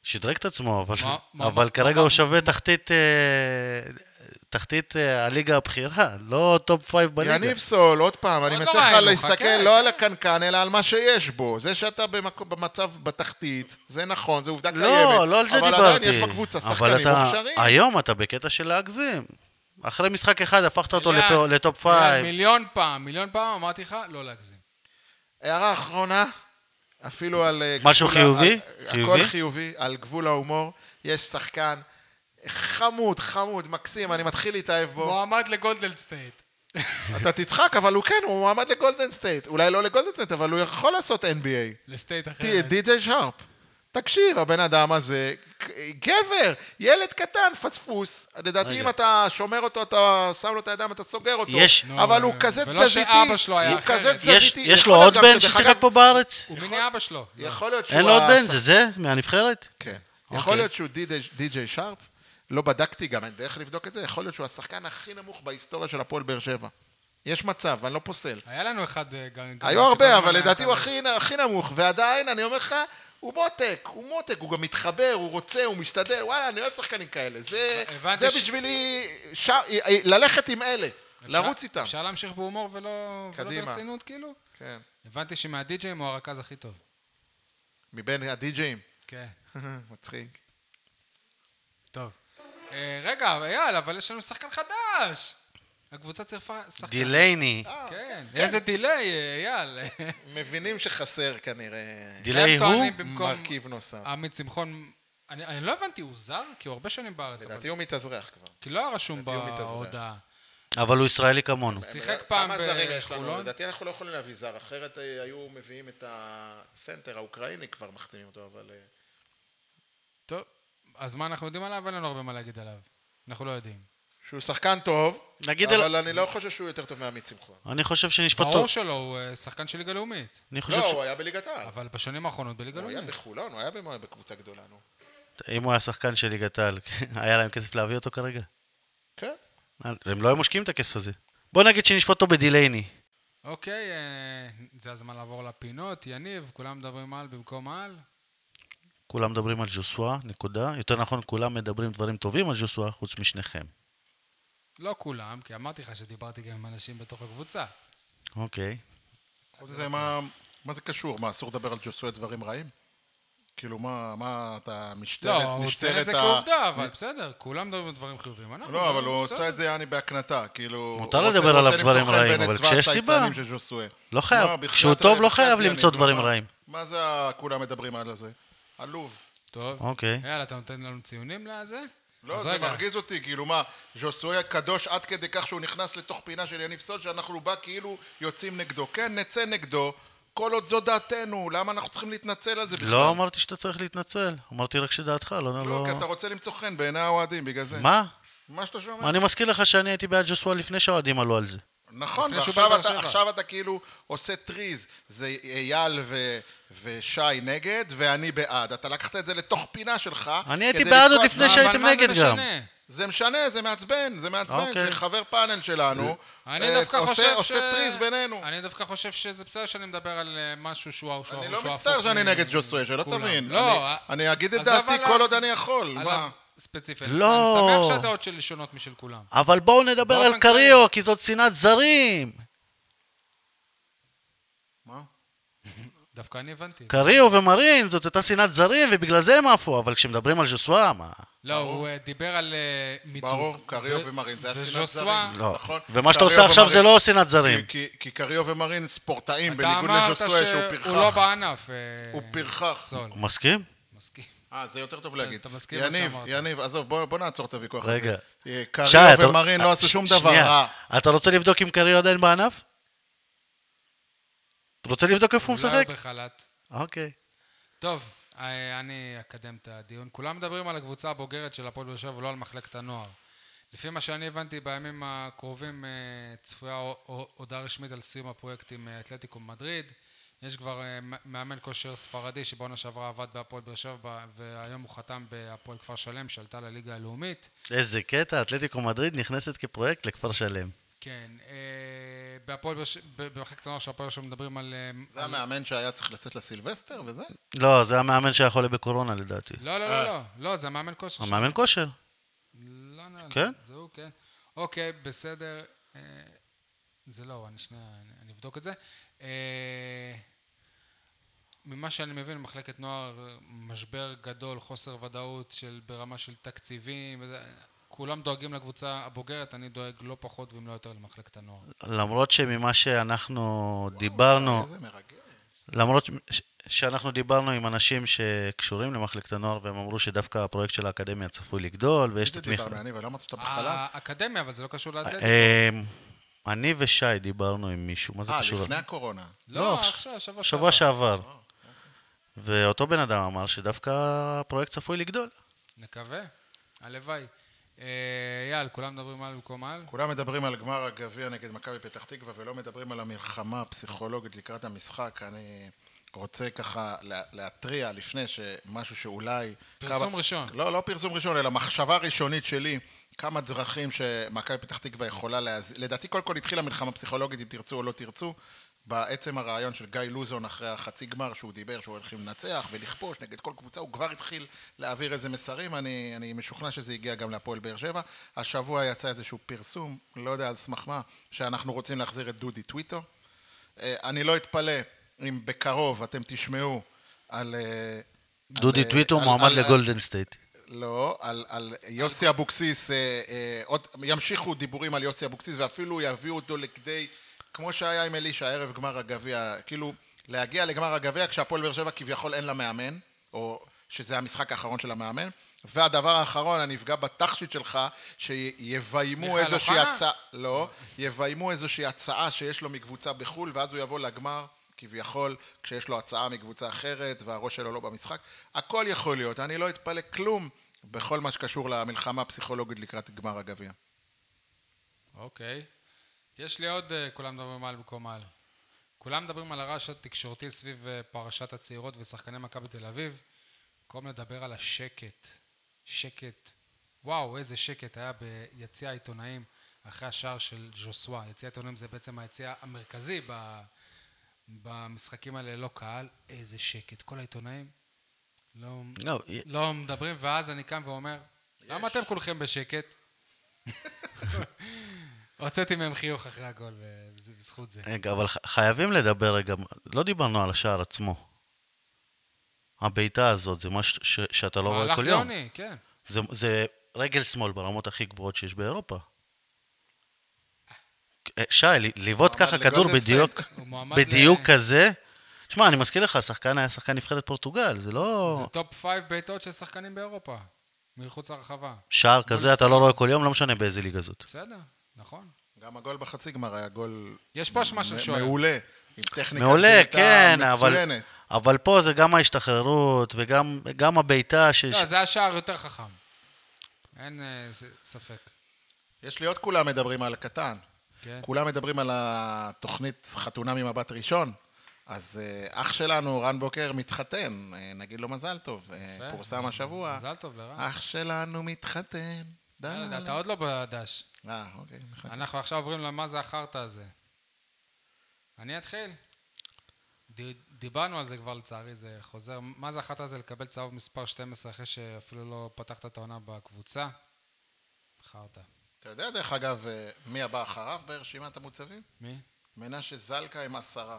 S3: שדרג את עצמו, אבל,
S2: מה- מה-
S3: אבל
S2: מה-
S3: כרגע
S2: מה-
S3: הוא שווה תחתית, אה, תחתית אה, הליגה הבכירה, לא טופ פייב בליגה.
S4: יניב סול, עוד פעם, אני
S2: לא
S4: מציע לך
S2: ראינו,
S4: להסתכל
S2: חכה.
S4: לא על הקנקן, אלא על מה שיש בו. זה שאתה במקום- במצב בתחתית, זה נכון, זו עובדה קיימת.
S3: לא, לא על זה דיברתי.
S4: אבל עדיין יש בקבוצה
S3: אבל
S4: שחקנים
S3: אתה- אה,
S4: מוכשרים.
S3: היום אתה בקטע של להגזים. אחרי משחק אחד הפכת אותו
S2: אילן,
S3: לפ- לטופ
S2: אילן,
S3: פייב.
S2: מיליון פעם, מיליון פעם אמרתי לך, לא להגזים.
S4: הערה אחרונה, אפילו על... אה,
S3: משהו
S4: גבול ה-
S3: חיובי?
S4: על-
S3: חיובי?
S4: הכל חיובי, על גבול ההומור. יש שחקן חמוד, חמוד, מקסים, אני מתחיל להתאהב בו.
S2: מועמד לגולדלד סטייט.
S4: אתה תצחק, אבל הוא כן, הוא מועמד לגולדן סטייט. אולי לא לגולדן סטייט, אבל הוא יכול לעשות NBA.
S2: לסטייט אחרת.
S4: די.ג'יי שרפ. תקשיב, הבן אדם הזה, גבר, ילד קטן, פספוס. לדעתי,
S3: רגע.
S4: אם אתה שומר אותו, אתה שם לו את הידיים, אתה סוגר אותו.
S3: יש-
S4: אבל
S2: נו, אה,
S4: הוא כזה
S2: ולא
S4: תזזיתי.
S2: שאבא שלו היה
S4: הוא
S2: אחרת.
S4: כזה
S2: יש-
S3: יש,
S4: תזזיתי.
S3: יש
S4: יכול
S3: לו עוד
S4: להיות גם
S3: בן
S4: שדרך
S3: ששיחק
S4: אגב,
S3: פה בארץ?
S2: הוא מיני אבא שלו.
S4: יכול להיות שהוא...
S3: אין לו עוד
S4: ה-
S3: בן, זה זה? מהנבחרת?
S4: כן.
S3: אוקיי.
S4: יכול להיות שהוא די.ג'יי שרפ, לא בדקתי גם, אין דרך לבדוק את זה, יכול להיות שהוא השחקן הכי נמוך בהיסטוריה של הפועל באר שבע. יש מצב, אני לא פוסל.
S2: היה לנו אחד אה, גם... גם-
S4: היו הרבה,
S2: שכל
S4: אבל
S2: הזמן היה
S4: לדעתי הוא
S2: כזה.
S4: הכי, הכי נמוך, ועדיין, אני אומר לך, הוא מותק, הוא מותק, הוא גם מתחבר, הוא רוצה, הוא משתדל, וואלה, אני אוהב שחקנים כאלה. זה,
S2: הבנתי
S4: זה
S2: ש-
S4: בשבילי ש... ללכת עם אלה,
S2: אפשר-
S4: לרוץ איתם.
S2: אפשר להמשיך בהומור ולא ולא
S4: קדימה.
S2: ברצינות, כאילו?
S4: כן,
S2: הבנתי שמהדי-ג'אים הוא הרכז הכי טוב.
S4: מבין הדי-ג'אים. [laughs]
S2: כן.
S4: מצחיק.
S2: טוב. אה, רגע, אייל, אבל יש לנו שחקן חדש! הקבוצה צירפה שחקן.
S3: דילייני.
S4: אה,
S2: כן. איזה דיליי, אה, אייל.
S4: מבינים שחסר כנראה
S3: דיליי
S2: הם
S3: הוא?
S2: טוענים במקום... אה,
S4: מרכיב נוסף.
S2: עמית שמחון... אני, אני לא הבנתי, הוא זר? כי הוא הרבה שנים בארץ. אבל...
S4: לדעתי הוא מתאזרח כבר.
S2: כי לא היה רשום
S4: לדעתי הוא מתאזרח.
S2: בהודעה.
S3: אבל הוא ישראלי כמונו.
S2: שיחק פעם
S4: כמה זרים יש לנו?
S2: בחולון.
S4: לדעתי אנחנו לא יכולים להביא זר, אחרת אה, היו מביאים את הסנטר האוקראיני כבר מחתימים אותו, אבל... אה,
S2: טוב, אז מה אנחנו יודעים עליו? אין לנו הרבה מה להגיד עליו. אנחנו לא יודעים.
S4: שהוא שחקן טוב,
S3: נגיד אל-
S4: אבל אני לא חושב שהוא יותר טוב מעמית שמחון.
S3: אני חושב שנשפט
S2: ברור
S3: טוב.
S2: שלו הוא אה, שחקן של ליגה לאומית.
S3: אני חושב
S4: לא,
S3: ש... לא
S4: הוא היה בליגת העל.
S2: אבל בשנים האחרונות בליגה
S4: הוא היה
S2: לאומית.
S4: בחולון, הוא היה במו- בקבוצה גדולה, נו.
S3: אם הוא היה שחקן של ליגת העל, כן, היה להם כסף להביא אותו כרגע?
S4: כן.
S3: הם לא היו משקיעים את הכסף הזה. בוא נגיד שנשפוט אותו בדילייני.
S2: אוקיי, אה, זה הזמן לעבור לפינות. יניב, כולם מדברים על במקום על.
S3: כולם מדברים על ז'וסווה, נקודה. יותר נכון, כולם מדברים דברים טובים על ז'וסווה, חוץ משניכם.
S2: לא כולם, כי אמרתי לך שדיברתי גם עם אנשים בתוך הקבוצה.
S3: אוקיי.
S4: זה מה, מה זה קשור? מה, אסור לדבר על ג'וסוי דברים רעים? כאילו, מה, מה, אתה משטרת,
S2: לא, הוא ציין את זה כעובדה, אבל בסדר, כולם מדברים על דברים חיובים. אנחנו
S4: לא,
S2: מדברים-
S4: אבל הוא
S2: בסדר.
S4: עושה את זה, יעני, בהקנטה, כאילו...
S3: מותר
S4: רוצה-
S3: לדבר
S4: רוצה
S3: עליו
S4: למצוא
S3: דברים
S4: חן
S3: רעים,
S4: בעיני
S3: אבל
S4: צבא
S3: כשיש סיבה.
S4: הצייצנים של ז'וסואה.
S3: לא חייב.
S4: מה, בחייאת
S3: כשהוא טוב,
S4: ה-
S3: לא
S4: בחייאת
S3: חייב
S4: ילד,
S3: למצוא
S4: נו,
S3: דברים
S4: מה-
S3: רעים.
S4: מה זה ה- כולם מדברים על זה? עלוב.
S2: טוב.
S3: אוקיי.
S2: יאללה, אתה נותן לנו ציונים לזה?
S4: לא,
S2: אז
S4: זה
S2: רגע,
S4: מרגיז אותי, כאילו מה, ז'וסויה קדוש עד כדי כך שהוא נכנס לתוך פינה של יניב סוד, שאנחנו בא כאילו יוצאים נגדו. כן, נצא נגדו, כל עוד זו דעתנו, למה אנחנו צריכים להתנצל על זה בכלל?
S3: לא אמרתי שאתה צריך להתנצל, אמרתי רק שדעתך, לא...
S4: לא,
S3: לא...
S4: כי אתה רוצה למצוא חן בעיני האוהדים, בגלל זה.
S3: מה?
S4: מה שאתה שומע.
S3: אני מזכיר לך שאני הייתי בעד ג'וסווה לפני שהאוהדים עלו על זה.
S4: נכון,
S2: לפני שהוא
S4: ועכשיו
S2: בא
S4: אתה,
S2: לבאר שבע.
S4: עכשיו אתה כאילו עושה טריז, זה אייל ו, ושי נגד, ואני בעד. אתה לקחת את זה לתוך פינה שלך.
S3: אני הייתי
S4: כדי
S3: בעד
S4: לתקוע-
S3: עוד לפני
S2: לא,
S3: שהייתם
S2: אבל מה זה
S3: נגד גם.
S2: משנה?
S4: זה משנה, זה מעצבן, זה מעצבן,
S3: אוקיי.
S4: שחבר פאנל שלנו
S2: אני
S4: אה,
S2: דווקא
S4: עושה,
S2: חושב ש...
S4: עושה טריז בינינו.
S2: אני דווקא חושב שזה בסדר שאני מדבר על אה, משהו שהוא שהוא-
S4: אני
S2: שהוא
S4: לא
S2: הפוך
S4: מצטער שאני
S2: מ-
S4: נגד ג'וסוי, שלא
S2: כולם.
S4: תבין.
S2: לא,
S4: אני-
S2: אה,
S4: אני אגיד את
S2: עזוב
S4: דעתי
S2: עליו-
S4: כל עוד אני יכול.
S2: עליו
S4: מה?
S2: ספציפית.
S3: לא.
S2: אני שמח שהדעות שלי שונות משל כולם.
S3: אבל בואו נדבר
S2: באופן
S3: על קריו, כי זאת שנאת זרים.
S4: מה?
S2: דווקא אני הבנתי.
S3: קריו ומרין זאת אותה שנאת זרים, ובגלל זה הם עפו, אבל כשמדברים על ז'וסווה, מה?
S2: לא, הוא אה, דיבר על אה, מיתוג.
S4: ברור, קריו
S2: ו-
S4: ומרין, זה השנאת
S2: וז'וסווה,
S4: זרים.
S3: לא.
S4: נכון.
S3: ומה שאתה
S4: קריו
S3: עושה עכשיו זה
S4: ומרין. כן,
S3: לא שנאת זרים.
S4: כי- כי- כי קריו ומרין ספורטאים,
S2: אתה
S4: בניגוד
S2: אמרת
S4: לז'וסוי שהוא פרחח.
S2: שהוא לא בענף. אה,
S4: הוא פרחח.
S2: סול,
S3: מסכים?
S2: מסכים.
S4: אה, זה יותר טוב להגיד.
S2: אתה מסכים למה
S4: יניב,
S2: שאמרת.
S4: יניב, עזוב, בוא בוא נעצור את הוויכוח הזה.
S3: רגע.
S4: אה,
S3: שי,
S4: קריו
S3: אתה-
S4: ומרין לא עשו
S3: ש-
S4: שום דבר
S3: שנייה.
S4: רע.
S3: אתה רוצה לבדוק אם קריו עדיין בענף? אתה רוצה לבדוק איפה הוא
S2: אולי
S3: משחק?
S2: לא בחל"ת.
S3: אוקיי.
S2: טוב, אה, אני אקדם את הדיון. כולם מדברים על הקבוצה הבוגרת של הפועל באר שבע ולא על מחלקת הנוער. לפי מה שאני הבנתי, בימים הקרובים אה, צפויה הו- הו- הודעה רשמית על סיום הפרויקט עם אה, אתלטיקו מדריד. יש כבר אה, מ- מאמן כושר ספרדי שבעונה שעברה עבד בהפועל באר שבע ב- והיום הוא חתם בהפועל כפר שלם שעלתה לליגה הלאומית.
S3: איזה קטע, אתלטיקו מדריד נכנסת כפרויקט לכפר שלם.
S2: כן, אה, בהפועל באר שבע, ב- במחלקת הנוער של הפועל באר שבע מדברים על... אה,
S4: זה המאמן שהיה צריך לצאת לסילבסטר וזה?
S3: לא, זה המאמן שהיה חולה בקורונה לדעתי.
S2: לא, לא, לא, לא, לא, זה המאמן כושר.
S3: המאמן כושר.
S2: לא נראה לי.
S3: כן?
S2: זה הוא, כן. אוקיי, בסדר. אה, זה לא, הוא, אני שנייה, אני- אני אבדוק את זה. אה, ממה שאני מבין, מחלקת נוער, משבר גדול, חוסר ודאות של ברמה של תקציבים, וזה- כולם דואגים לקבוצה הבוגרת, אני דואג לא פחות ואם לא יותר למחלקת הנוער.
S3: למרות שממה שאנחנו דיברנו,
S4: איזה מרגש.
S3: למרות ש- שאנחנו דיברנו עם אנשים שקשורים למחלקת הנוער, והם אמרו שדווקא הפרויקט של האקדמיה צפוי לגדול, ויש את
S4: זה
S3: התמיכה.
S4: דיברנו, אני ולא אמרתי
S2: אה,
S4: שאתה בחל"ת.
S2: האקדמיה, אבל זה לא קשור לאתלטיקה.
S3: אמ, אני ושי דיברנו עם מישהו, מה זה
S4: אה,
S3: קשור?
S4: לפני אה, הקורונה.
S2: לא, עכשיו, שבוע שעבר.
S3: שבוע שעבר.
S4: אוקיי.
S3: ואותו בן אדם אמר שדווקא הפרויקט צפוי לגדול.
S4: אה,
S2: נקווה, הלוואי. אה, אייל, כולם מדברים על במקום על?
S4: כולם מדברים על גמר הגביע נגד מכבי פתח תקווה ולא מדברים על המלחמה הפסיכולוגית לקראת המשחק. אני רוצה ככה לה- להתריע לפני שמשהו שאולי...
S2: פרסום ראשון.
S4: לא, לא פרסום ראשון, אלא מחשבה ראשונית שלי. כמה דרכים שמכבי פתח תקווה יכולה להז... לדעתי קודם כל התחילה מלחמה פסיכולוגית, אם תרצו או לא תרצו. בעצם הרעיון של גיא לוזון אחרי החצי גמר שהוא דיבר שהוא הולך לנצח ולכבוש נגד כל קבוצה, הוא כבר התחיל להעביר איזה מסרים, אני, אני משוכנע שזה הגיע גם להפועל באר שבע. השבוע יצא איזשהו פרסום, לא יודע על סמך מה, שאנחנו רוצים להחזיר את דודי טוויטו. אה, אני לא אתפלא אם בקרוב אתם תשמעו על... אה,
S3: דודי
S4: על, אה,
S3: טוויטו
S4: על-
S3: מועמד
S4: על-
S3: לגולדן סטייט.
S4: לא, על, על יוסי אבוקסיס, אה, אה, עוד, ימשיכו דיבורים על יוסי אבוקסיס ואפילו יביאו אותו לכדי, כמו שהיה עם אלישע, ערב גמר הגביע, כאילו להגיע לגמר הגביע כשהפועל באר שבע כביכול אין לה מאמן, או שזה המשחק האחרון של המאמן, והדבר האחרון, אני אפגע בתכשיט שלך, שיביימו
S2: מיכאל
S4: איזושהי
S2: אוחנה?
S4: הצעה, לא, יביימו איזושהי הצעה שיש לו מקבוצה בחו"ל, ואז הוא יבוא לגמר. כביכול, כשיש לו הצעה מקבוצה אחרת והראש שלו לא במשחק, הכל יכול להיות, אני לא אתפלא כלום בכל מה שקשור למלחמה הפסיכולוגית לקראת גמר הגביע.
S2: אוקיי. יש לי עוד אה, כולם מדברים על במקום על. כולם מדברים על הרעש התקשורתי סביב אה, פרשת הצעירות ושחקני מכבי תל אביב. במקום לדבר על השקט. שקט. וואו, איזה שקט היה ביציע העיתונאים אחרי השער של ז'וסווה. יציע העיתונאים זה בעצם היציע המרכזי ב... במשחקים האלה ללא קהל. איזה שקט. כל העיתונאים לא,
S3: לא, י-
S2: לא מדברים, ואז אני קם ואומר, למה אתם כולכם בשקט? [laughs] הוצאתי מהם חיוך אחרי הגול, וזה בזכות זה.
S3: רגע, אבל ח- חייבים לדבר רגע, לא דיברנו על השער עצמו. הבעיטה הזאת, זה משהו ש- שאתה לא רואה
S2: מהלך
S3: כל יום.
S2: יוני, כן.
S3: זה- זה רגל שמאל ברמות הכי גבוהות שיש באירופה. אה, שי, ל- לבעוט
S4: מועמד
S3: ככה כדור
S4: לגולדן
S3: בדיוק,
S4: סטייט.
S2: הוא מועמד
S3: בדיוק
S2: ל-
S3: כזה. שמע, אני מזכיר לך, השחקן היה שחקן נבחרת פורטוגל, זה לא...
S2: זה טופ פייב בעיטות של שחקנים באירופה, מחוץ לרחבה.
S3: שער כזה אתה לא רואה כל יום, לא משנה באיזה ליגה זאת.
S2: בסדר, נכון.
S4: גם הגול בחצי גמר היה גול
S2: יש פה אשמה של
S4: מ-
S2: שוער.
S4: מעולה, עם טכניקה
S3: מעולה,
S4: בעיטה
S3: כן, אבל,
S4: מצוינת.
S3: אבל פה זה גם ההשתחררות וגם גם הבעיטה ש...
S2: לא, זה היה שער יותר חכם. אין אה, ס- ספק.
S4: יש לי עוד כולם מדברים על הקטן.
S2: כן.
S4: כולם מדברים על התוכנית חתונה ממבט ראשון. אז אה, אח שלנו, רן בוקר, מתחתן. אה, נגיד לו מזל טוב. אה,
S2: יפה.
S4: פורסם השבוע.
S2: מזל טוב
S3: אה,
S2: לרן.
S4: אח שלנו מתחתן. דה.
S2: יאללה, אתה עוד לא בדש.
S4: אה, אוקיי. מחכה.
S2: אנחנו עכשיו עוברים למה זה החרטא הזה. אני אתחיל. ד- דיברנו על זה כבר לצערי, זה חוזר. מה זה החרטא הזה לקבל צהוב מספר 12 אחרי שאפילו לא פתחת את העונה בקבוצה? חרטא.
S4: אתה יודע, דרך אגב, אה, מי הבא אחריו ברשימת המוצבים?
S2: מי?
S4: מנשה זלקה עם עשרה.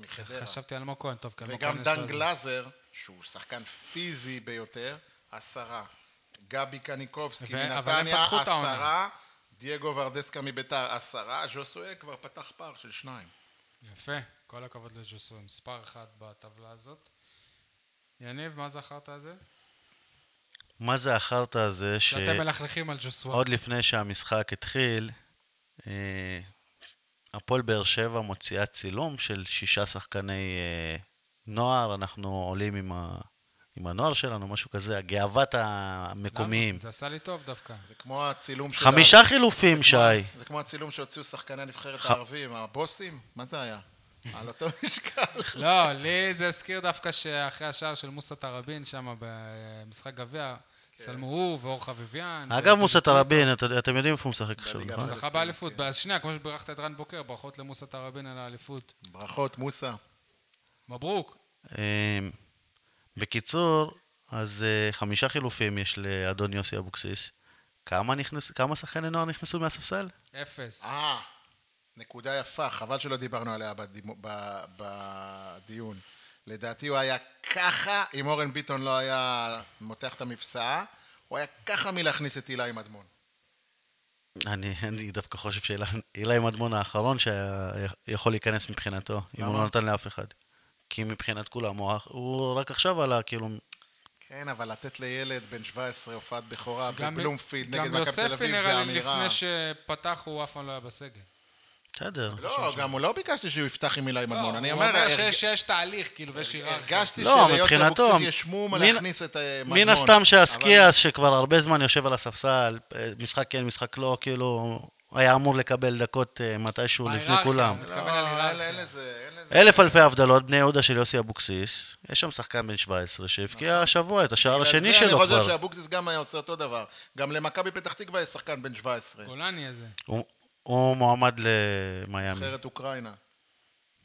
S4: מחדרה.
S2: חשבתי על אלמוג כהן, טוב, כי אלמוג כהן
S4: וגם
S2: יש לו
S4: דן
S2: איזה-
S4: גלאזר, שהוא שחקן פיזי ביותר, עשרה. גבי קניקובסקי
S2: ו- אבל הם
S4: מנתניה,
S2: פתחו את העונה.
S4: עשרה. דייגו ורדסקה מביתר, עשרה. ז'וסואה כבר פתח פער של שניים.
S2: יפה, כל הכבוד לג'וסוי, מספר אחת בטבלה הזאת. יניב, מה זה החרטא הזה?
S3: מה זה החרטא הזה ש...
S2: שאתם מלכלכים על ג'וסווה.
S3: עוד לפני שהמשחק התחיל, אה, הפועל באר שבע מוציאה צילום של שישה שחקני אה, נוער, אנחנו עולים עם, ה... עם הנוער שלנו, משהו כזה, הגאוות המקומיים.
S2: למה? זה עשה לי טוב דווקא.
S4: זה כמו הצילום של...
S3: חמישה חילופים, שי.
S4: ה- זה כמו הצילום שהוציאו שחקני הנבחרת
S3: ח-
S4: הערבים, הבוסים? מה זה היה? על אותו משקל.
S2: לא, לי זה הזכיר דווקא שאחרי השער של מוסא תראבין שם במשחק גביע,
S4: כן.
S2: צלמו הוא ואור חביביאן.
S3: אגב, מוסא תראבין, את- אתם יודעים איפה הוא משחק עכשיו,
S4: בליגה
S3: נכון?
S2: הוא זכה באליפות.
S4: כן.
S2: אז שנייה, כמו שבירכת את רן בוקר, ברכות למוסא תראבין על האליפות.
S4: ברכות, מוסא.
S2: מברוק.
S3: אמ, בקיצור, אז אה, חמישה חילופים יש לאדון יוסי אבוקסיס. כמה, נכנס, כמה שחקני נוער נכנסו מהספסל?
S2: אפס.
S4: אה, נקודה יפה, חבל שלא דיברנו עליה בדימו- ב- בדיון. לדעתי הוא היה ככה, אם אורן ביטון לא היה מותח את המפסעה, הוא היה ככה מלהכניס את הילה עם אדמון.
S3: אני, אני דווקא חושב שאילי מדמון האחרון שיכול להיכנס מבחינתו, אם הוא
S4: למה?
S3: לא נתן לאף אחד. כי מבחינת כולם הוא, הוא רק עכשיו עלה, כאילו...
S4: כן, אבל לתת לילד בן 17 הופעת בכורה
S2: גם-
S4: בבלומפילד נגד
S2: גם
S4: מכבי תל
S2: יוספי
S4: אביב
S2: נראה
S4: זה
S2: לי
S4: אמירה.
S2: לפני שפתח הוא אף פעם לא היה בסגל.
S3: בסדר.
S4: לא, גם הוא לא ביקשתי שהוא יפתח עם הילה מדמון. אני
S2: לא, הוא
S4: אומר,
S2: אומר
S4: הרג-
S2: שיש- שיש תהליך, כאילו, ויש היררכיה.
S4: הרגשתי
S3: לא,
S4: שליוסי
S3: מבחינתו,
S4: אבוקסיס יש מום על
S3: מן-
S4: להכניס את אה, מדמון.
S3: מן הסתם
S4: אבל-
S3: שהסקיאס, שכבר הרבה זמן יושב על הספסל, אה, משחק כן, משחק לא, כאילו, היה אמור לקבל דקות אה, מתישהו לפני
S2: ההיררכיה,
S3: כולם.
S2: הוא מתכוון על
S4: לא, אין-
S2: היררכיה.
S4: אין לזה, אין לזה.
S3: אלף אלפי הבדלות, בני יהודה של יוסי אבוקסיס, יש שם שחקן בן 17 שהבקיע השבוע את השער השני
S4: נכון. זה
S3: שלו
S4: אני חושב
S3: כבר.
S4: שאבוקסיס גם היה עושה אותו דבר. גם למכבי פתח תקווה יש שחקן בן 17.
S2: גולני הזה.
S3: הוא- הוא מועמד למיאמי.
S4: נבחרת אוקראינה.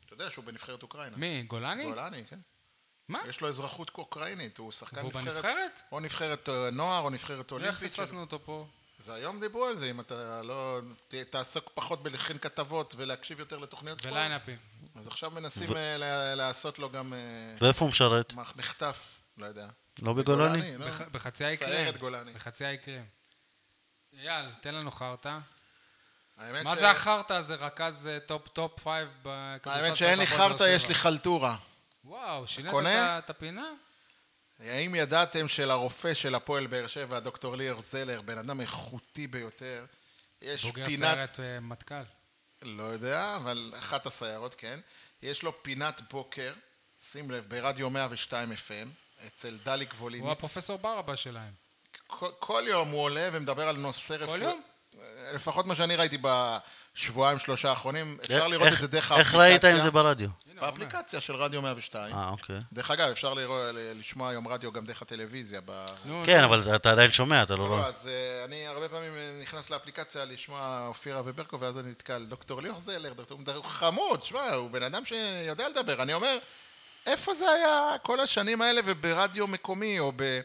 S4: אתה יודע שהוא בנבחרת אוקראינה.
S2: מי? גולני?
S4: גולני, כן.
S2: מה?
S4: יש לו אזרחות אוקראינית, הוא שחקן
S2: והוא
S4: נבחרת...
S2: בנבחרת?
S4: או נבחרת אה, נוער, או נבחרת
S2: איך
S4: אולימפית. של-
S2: לא פספסנו אותו פה?
S4: זה היום דיברו על זה, אם אתה לא... ת- תעסוק פחות בלכין כתבות ולהקשיב יותר לתוכניות ספורט.
S2: וליינאפים.
S4: אז עכשיו מנסים אה, לה- לעשות לו גם אה,
S3: ואיפה הוא משרת?
S4: מח- מחטף, לא יודע.
S3: לא בגולני?
S4: לא?
S2: בח- בחצי האי קרם.
S4: סיירת גולני.
S2: בחצי האי קרם. אייל, תן לנו חרטא.
S4: האמת
S2: מה
S4: ש-
S2: זה החרטא הזה? רכז אה, טופ טופ פייב בכדורסל.
S4: האמת שאין לי
S2: של
S4: חרטא,
S2: הפועל באר
S4: יש לי
S2: שבע.
S4: חלטורה.
S2: וואו, שינית
S4: קונה?
S2: את- את הפינה?
S4: האם ידעתם שלרופא של הפועל באר שבע, דוקטור ליאור זלר, בן אדם איכותי ביותר, יש
S2: בוגר
S4: פינת...
S2: סיירת אה, מטכ"ל.
S4: לא יודע, אבל אחת הסיירות, כן. יש לו פינת בוקר, שים לב, ברדיו 102 FM, אצל דליק ווליניץ.
S2: הוא הפרופסור ברבה שלהם.
S4: כל, כל יום הוא עולה ומדבר על נושא רפואי.
S2: יום?
S4: לפחות מה שאני ראיתי בשבועיים, שלושה האחרונים, אפשר לראות
S3: אה, איך-
S4: את זה דרך
S3: איך
S4: האפליקציה.
S3: ראית אם זה ברדיו?
S2: הנה, הוא אומר.
S4: באפליקציה של רדיו 102.
S3: אה, אוקיי.
S4: דרך אגב, אפשר לראות, לשמוע היום רדיו גם דרך הטלוויזיה. ב...
S2: נו,
S3: כן, אבל אתה עדיין שומע, אתה לא
S2: נכון.
S4: לא,
S3: רואה.
S4: אז אה, אני הרבה פעמים אה, נכנס לאפליקציה לשמוע אופירה וברקו, ואז אני נתקע על דוקטור ליאור זלר, דוקטור הוא מדבר- חמוד, שמע, הוא בן אדם שיודע לדבר. אני אומר, איפה זה היה כל השנים האלה וברדיו מקומי, או ב-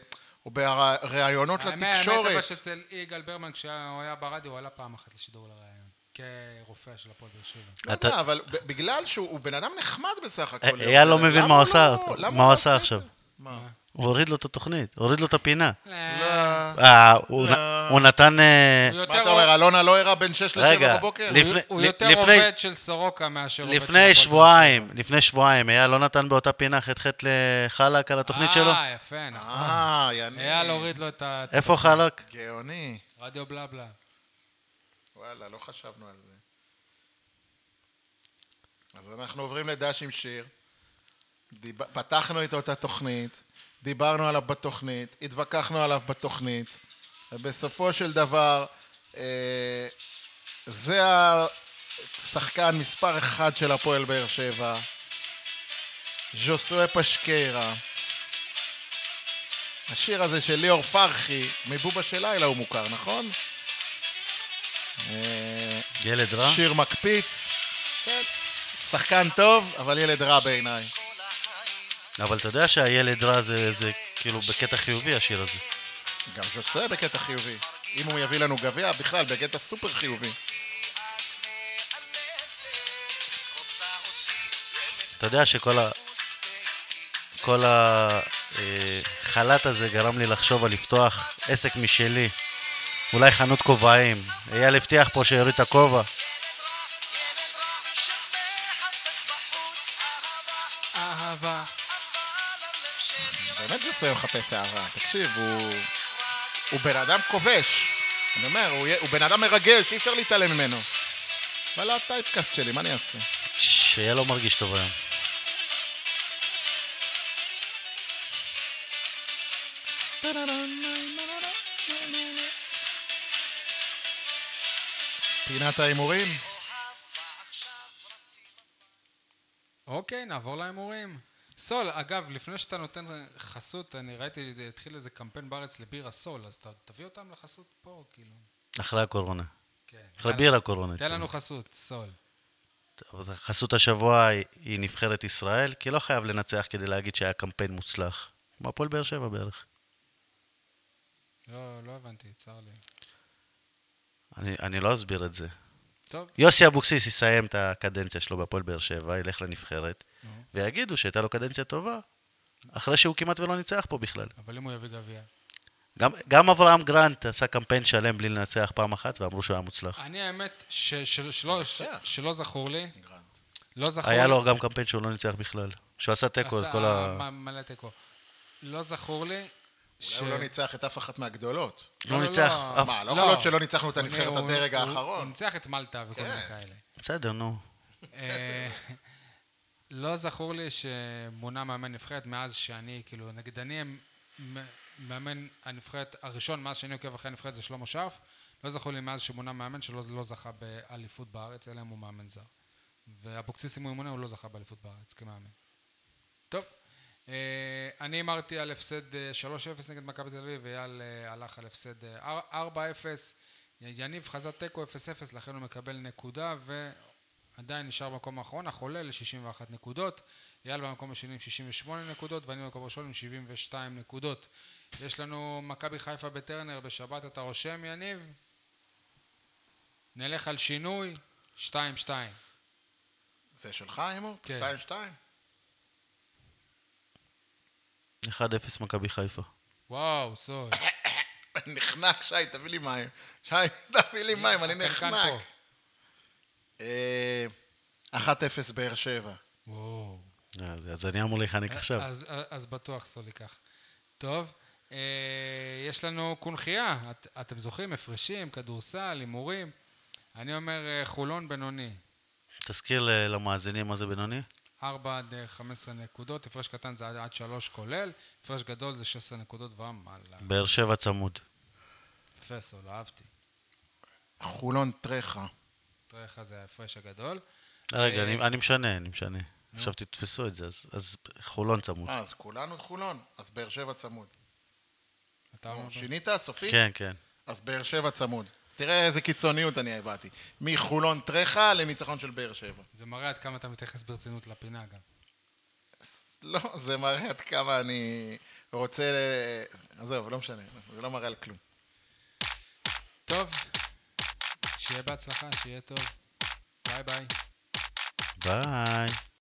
S4: או בראיונות
S2: האמת, האמת אבל
S4: לתקשורת?
S2: שאצל יגאל ברמן, כשהוא היה ברדיו, הוא עלה פעם אחת לשידור לראיון. כרופא של הפועל באר שבע.
S4: לא
S3: אתה-
S4: יודע, אבל ב- בגלל שהוא הוא בן אדם נחמד בסך
S3: אה,
S4: הכל. ליאור
S3: אייל לא
S4: זלר.
S3: מבין
S4: למה
S3: מה הוא עשה,
S4: לא- למה
S3: מה הוא
S4: עושה
S3: עשה
S4: את
S3: עכשיו.
S4: זה? מה?
S3: הוא הוריד לו את התוכנית, הוריד לו את הפינה.
S4: לא.
S3: אה, הוא נ- הוא נתן... אה,
S2: הוא יותר
S4: מה אתה
S2: עובד-
S4: אומר, אלונה לא ערה בין 6 ל-7
S3: רגע,
S4: בבוקר?
S3: לפ-
S2: הוא- הוא
S3: לפני-
S2: יותר
S3: לפני-
S2: עובד של סורוקה מאשר עובד של הפועל באר
S3: לפני
S2: שבע.
S3: שבועיים, לפני שבועיים, אייל לא נתן באותה פינה ח"ח לחלק על התוכנית שלו?
S2: אה, יפה, נכון.
S4: אה, יניב.
S2: אייל הוריד לו את ה...
S3: איפה חלק?
S4: גאוני.
S2: רדיו בלבלה.
S4: וואלה, לא חשבנו על זה. אז אנחנו עוברים לדש עם שיר. דיב... פתחנו איתו את התוכנית, דיברנו עליו בתוכנית, התווכחנו עליו בתוכנית, ובסופו של דבר, אה, זה השחקן מספר אחד של הפועל באר שבע, ז'וסואה פשקיירה. השיר הזה של ליאור פרחי, מבובה של לילה הוא מוכר, נכון? אה,
S3: ילד רע?
S4: שיר מקפיץ. כן. שחקן טוב, אבל ילד רע בעיניי.
S3: אבל אתה יודע שהילד רע זה זה כאילו בקטע חיובי השיר הזה.
S4: גם ז'וסה בקטע חיובי. אם הוא יביא לנו גביע, בכלל, בקטע סופר חיובי.
S3: אתה יודע שכל ה... כל החל"ת הזה גרם לי לחשוב על לפתוח עסק משלי. אולי חנות כובעים. אייל הבטיח פה שיוריד את הכובע.
S2: אהבה.
S4: באמת ז'וסה מחפש הערה. תקשיב, הוא... הוא בן אדם כובש. אני אומר, הוא, יה- הוא בן אדם מרגש, אי אפשר להתעלם ממנו. אבל לא הטייפקאסט שלי, מה אני אעשה?
S3: שאייל לא מרגיש טוב היום.
S4: פינת ההימורים?
S2: אוקיי, נעבור להימורים. סול, אגב, לפני שאתה נותן חסות, אני ראיתי, התחיל איזה קמפיין בארץ לבירה סול, אז ת- תביא אותם לחסות פה, כאילו.
S3: אחרי הקורונה.
S2: כן.
S3: אחרי בירה קורונה. כאילו.
S2: תן לנו חסות, סול.
S3: אבל חסות השבוע היא- היא נבחרת ישראל, כי לא חייב לנצח כדי להגיד שהיה קמפיין מוצלח. כמו הפועל באר שבע בערך.
S2: לא, לא הבנתי, צר לי.
S3: אני, אני לא אסביר את זה.
S2: טוב,
S3: יוסי אבוקסיס יסיים את הקדנציה שלו בהפועל באר שבע, ילך לנבחרת, ויגידו שהייתה לו קדנציה טובה, אחרי שהוא כמעט ולא ניצח פה בכלל.
S2: אבל אם הוא יביא גביע.
S3: גם, גם אברהם גרנט עשה קמפיין שלם בלי לנצח פעם אחת, ואמרו שהוא היה מוצלח.
S2: אני, האמת, ש- של- שלא- ש- שלא זכור לי,
S4: גרנט.
S2: לא זכור
S3: היה
S2: לי.
S3: לו גם קמפיין שהוא לא ניצח בכלל. שהוא עשה תיקו, את
S2: עשה
S3: כל ה...
S2: מ- מלא תיקו. לא זכור לי ש...
S4: אולי הוא לא ניצח את אף אחת מהגדולות.
S3: לא ניצח אף...
S4: מה, לא יכול להיות שלא ניצחנו את
S2: הוא-
S4: הנבחרת
S2: הוא-
S4: הדרג
S2: הוא- הוא
S4: האחרון?
S2: ניצח את מלטה וכל מיני
S4: כן.
S2: כאלה.
S3: בסדר, נו.
S2: אה, לא זכור לי שמונה מאמן נבחרת מאז שאני, כאילו, נגיד אני מ- מאמן הנבחרת הראשון, מאז שאני עוקב אחרי הנבחרת זה שלמה שרף, לא זכור לי מאז שמונה מאמן שלא לא זכה באליפות בארץ, אלא אם הוא מאמן זר. ואבוקסיס אם הוא ימונה הוא לא זכה באליפות בארץ כמאמן. טוב, אה, אני אמרתי על הפסד אה, 3-0 נגד מכבי תל אביב, אייל אה, הלך על הפסד אה, 4-0, יניב חזה תיקו 0-0, לכן הוא מקבל נקודה ועדיין נשאר במקום האחרון, החולה ל-61 נקודות, אייל במקום השני עם 68 נקודות ואני במקום הראשון עם 72 נקודות. יש לנו מכבי חיפה בטרנר בשבת, אתה רושם יניב? נלך על שינוי, 2-2.
S4: זה שלך, הימור?
S2: כן.
S4: 2-2?
S3: 1-0 מכבי חיפה.
S2: וואו, סוד.
S4: [laughs] נחנק, שי, תביא לי מים. [laughs] שי, תביא לי מים, אני
S2: אתם כאן
S4: נחנק.
S2: פה.
S4: אה, 1-0 באר שבע.
S2: וואו.
S3: אז אז אני אמור להיחנק עכשיו.
S2: אה, אז, אז, אז בטוח סול ייקח. טוב, אה, יש לנו קונכייה, את, אתם זוכרים? הפרשים, כדורסל, הימורים. אני אומר אה, חולון בינוני,
S3: תזכיר ל- למאזינים מה זה בינוני?
S2: 4 עד אה, 15 נקודות, הפרש קטן זה עד, עד 3 כולל, הפרש גדול זה 16 נקודות ומעלה.
S3: באר שבע צמוד.
S2: יפה סול, אהבתי.
S4: חולון טרחה.
S2: תראה איך זה ההפרש הגדול.
S3: רגע, אני- אני משנה, אני משנה. עכשיו תתפסו את זה, אז- אז חולון צמוד.
S4: אה, אז כולנו חולון, אז באר שבע צמוד. אה,
S2: אתה אומר...
S4: שינית? סופי?
S3: כן, כן.
S4: אז באר שבע צמוד. תראה איזה קיצוניות אני הבעתי. מחולון טרחה לניצחון של באר שבע.
S2: זה מראה עד כמה אתה מתייחס ברצינות לפינה גם.
S4: לא, זה מראה עד כמה אני רוצה... ל- עזוב, לא משנה, זה לא מראה על כלום.
S2: טוב, שיהיה בהצלחה, שיהיה טוב. ביי ביי.
S3: ביי.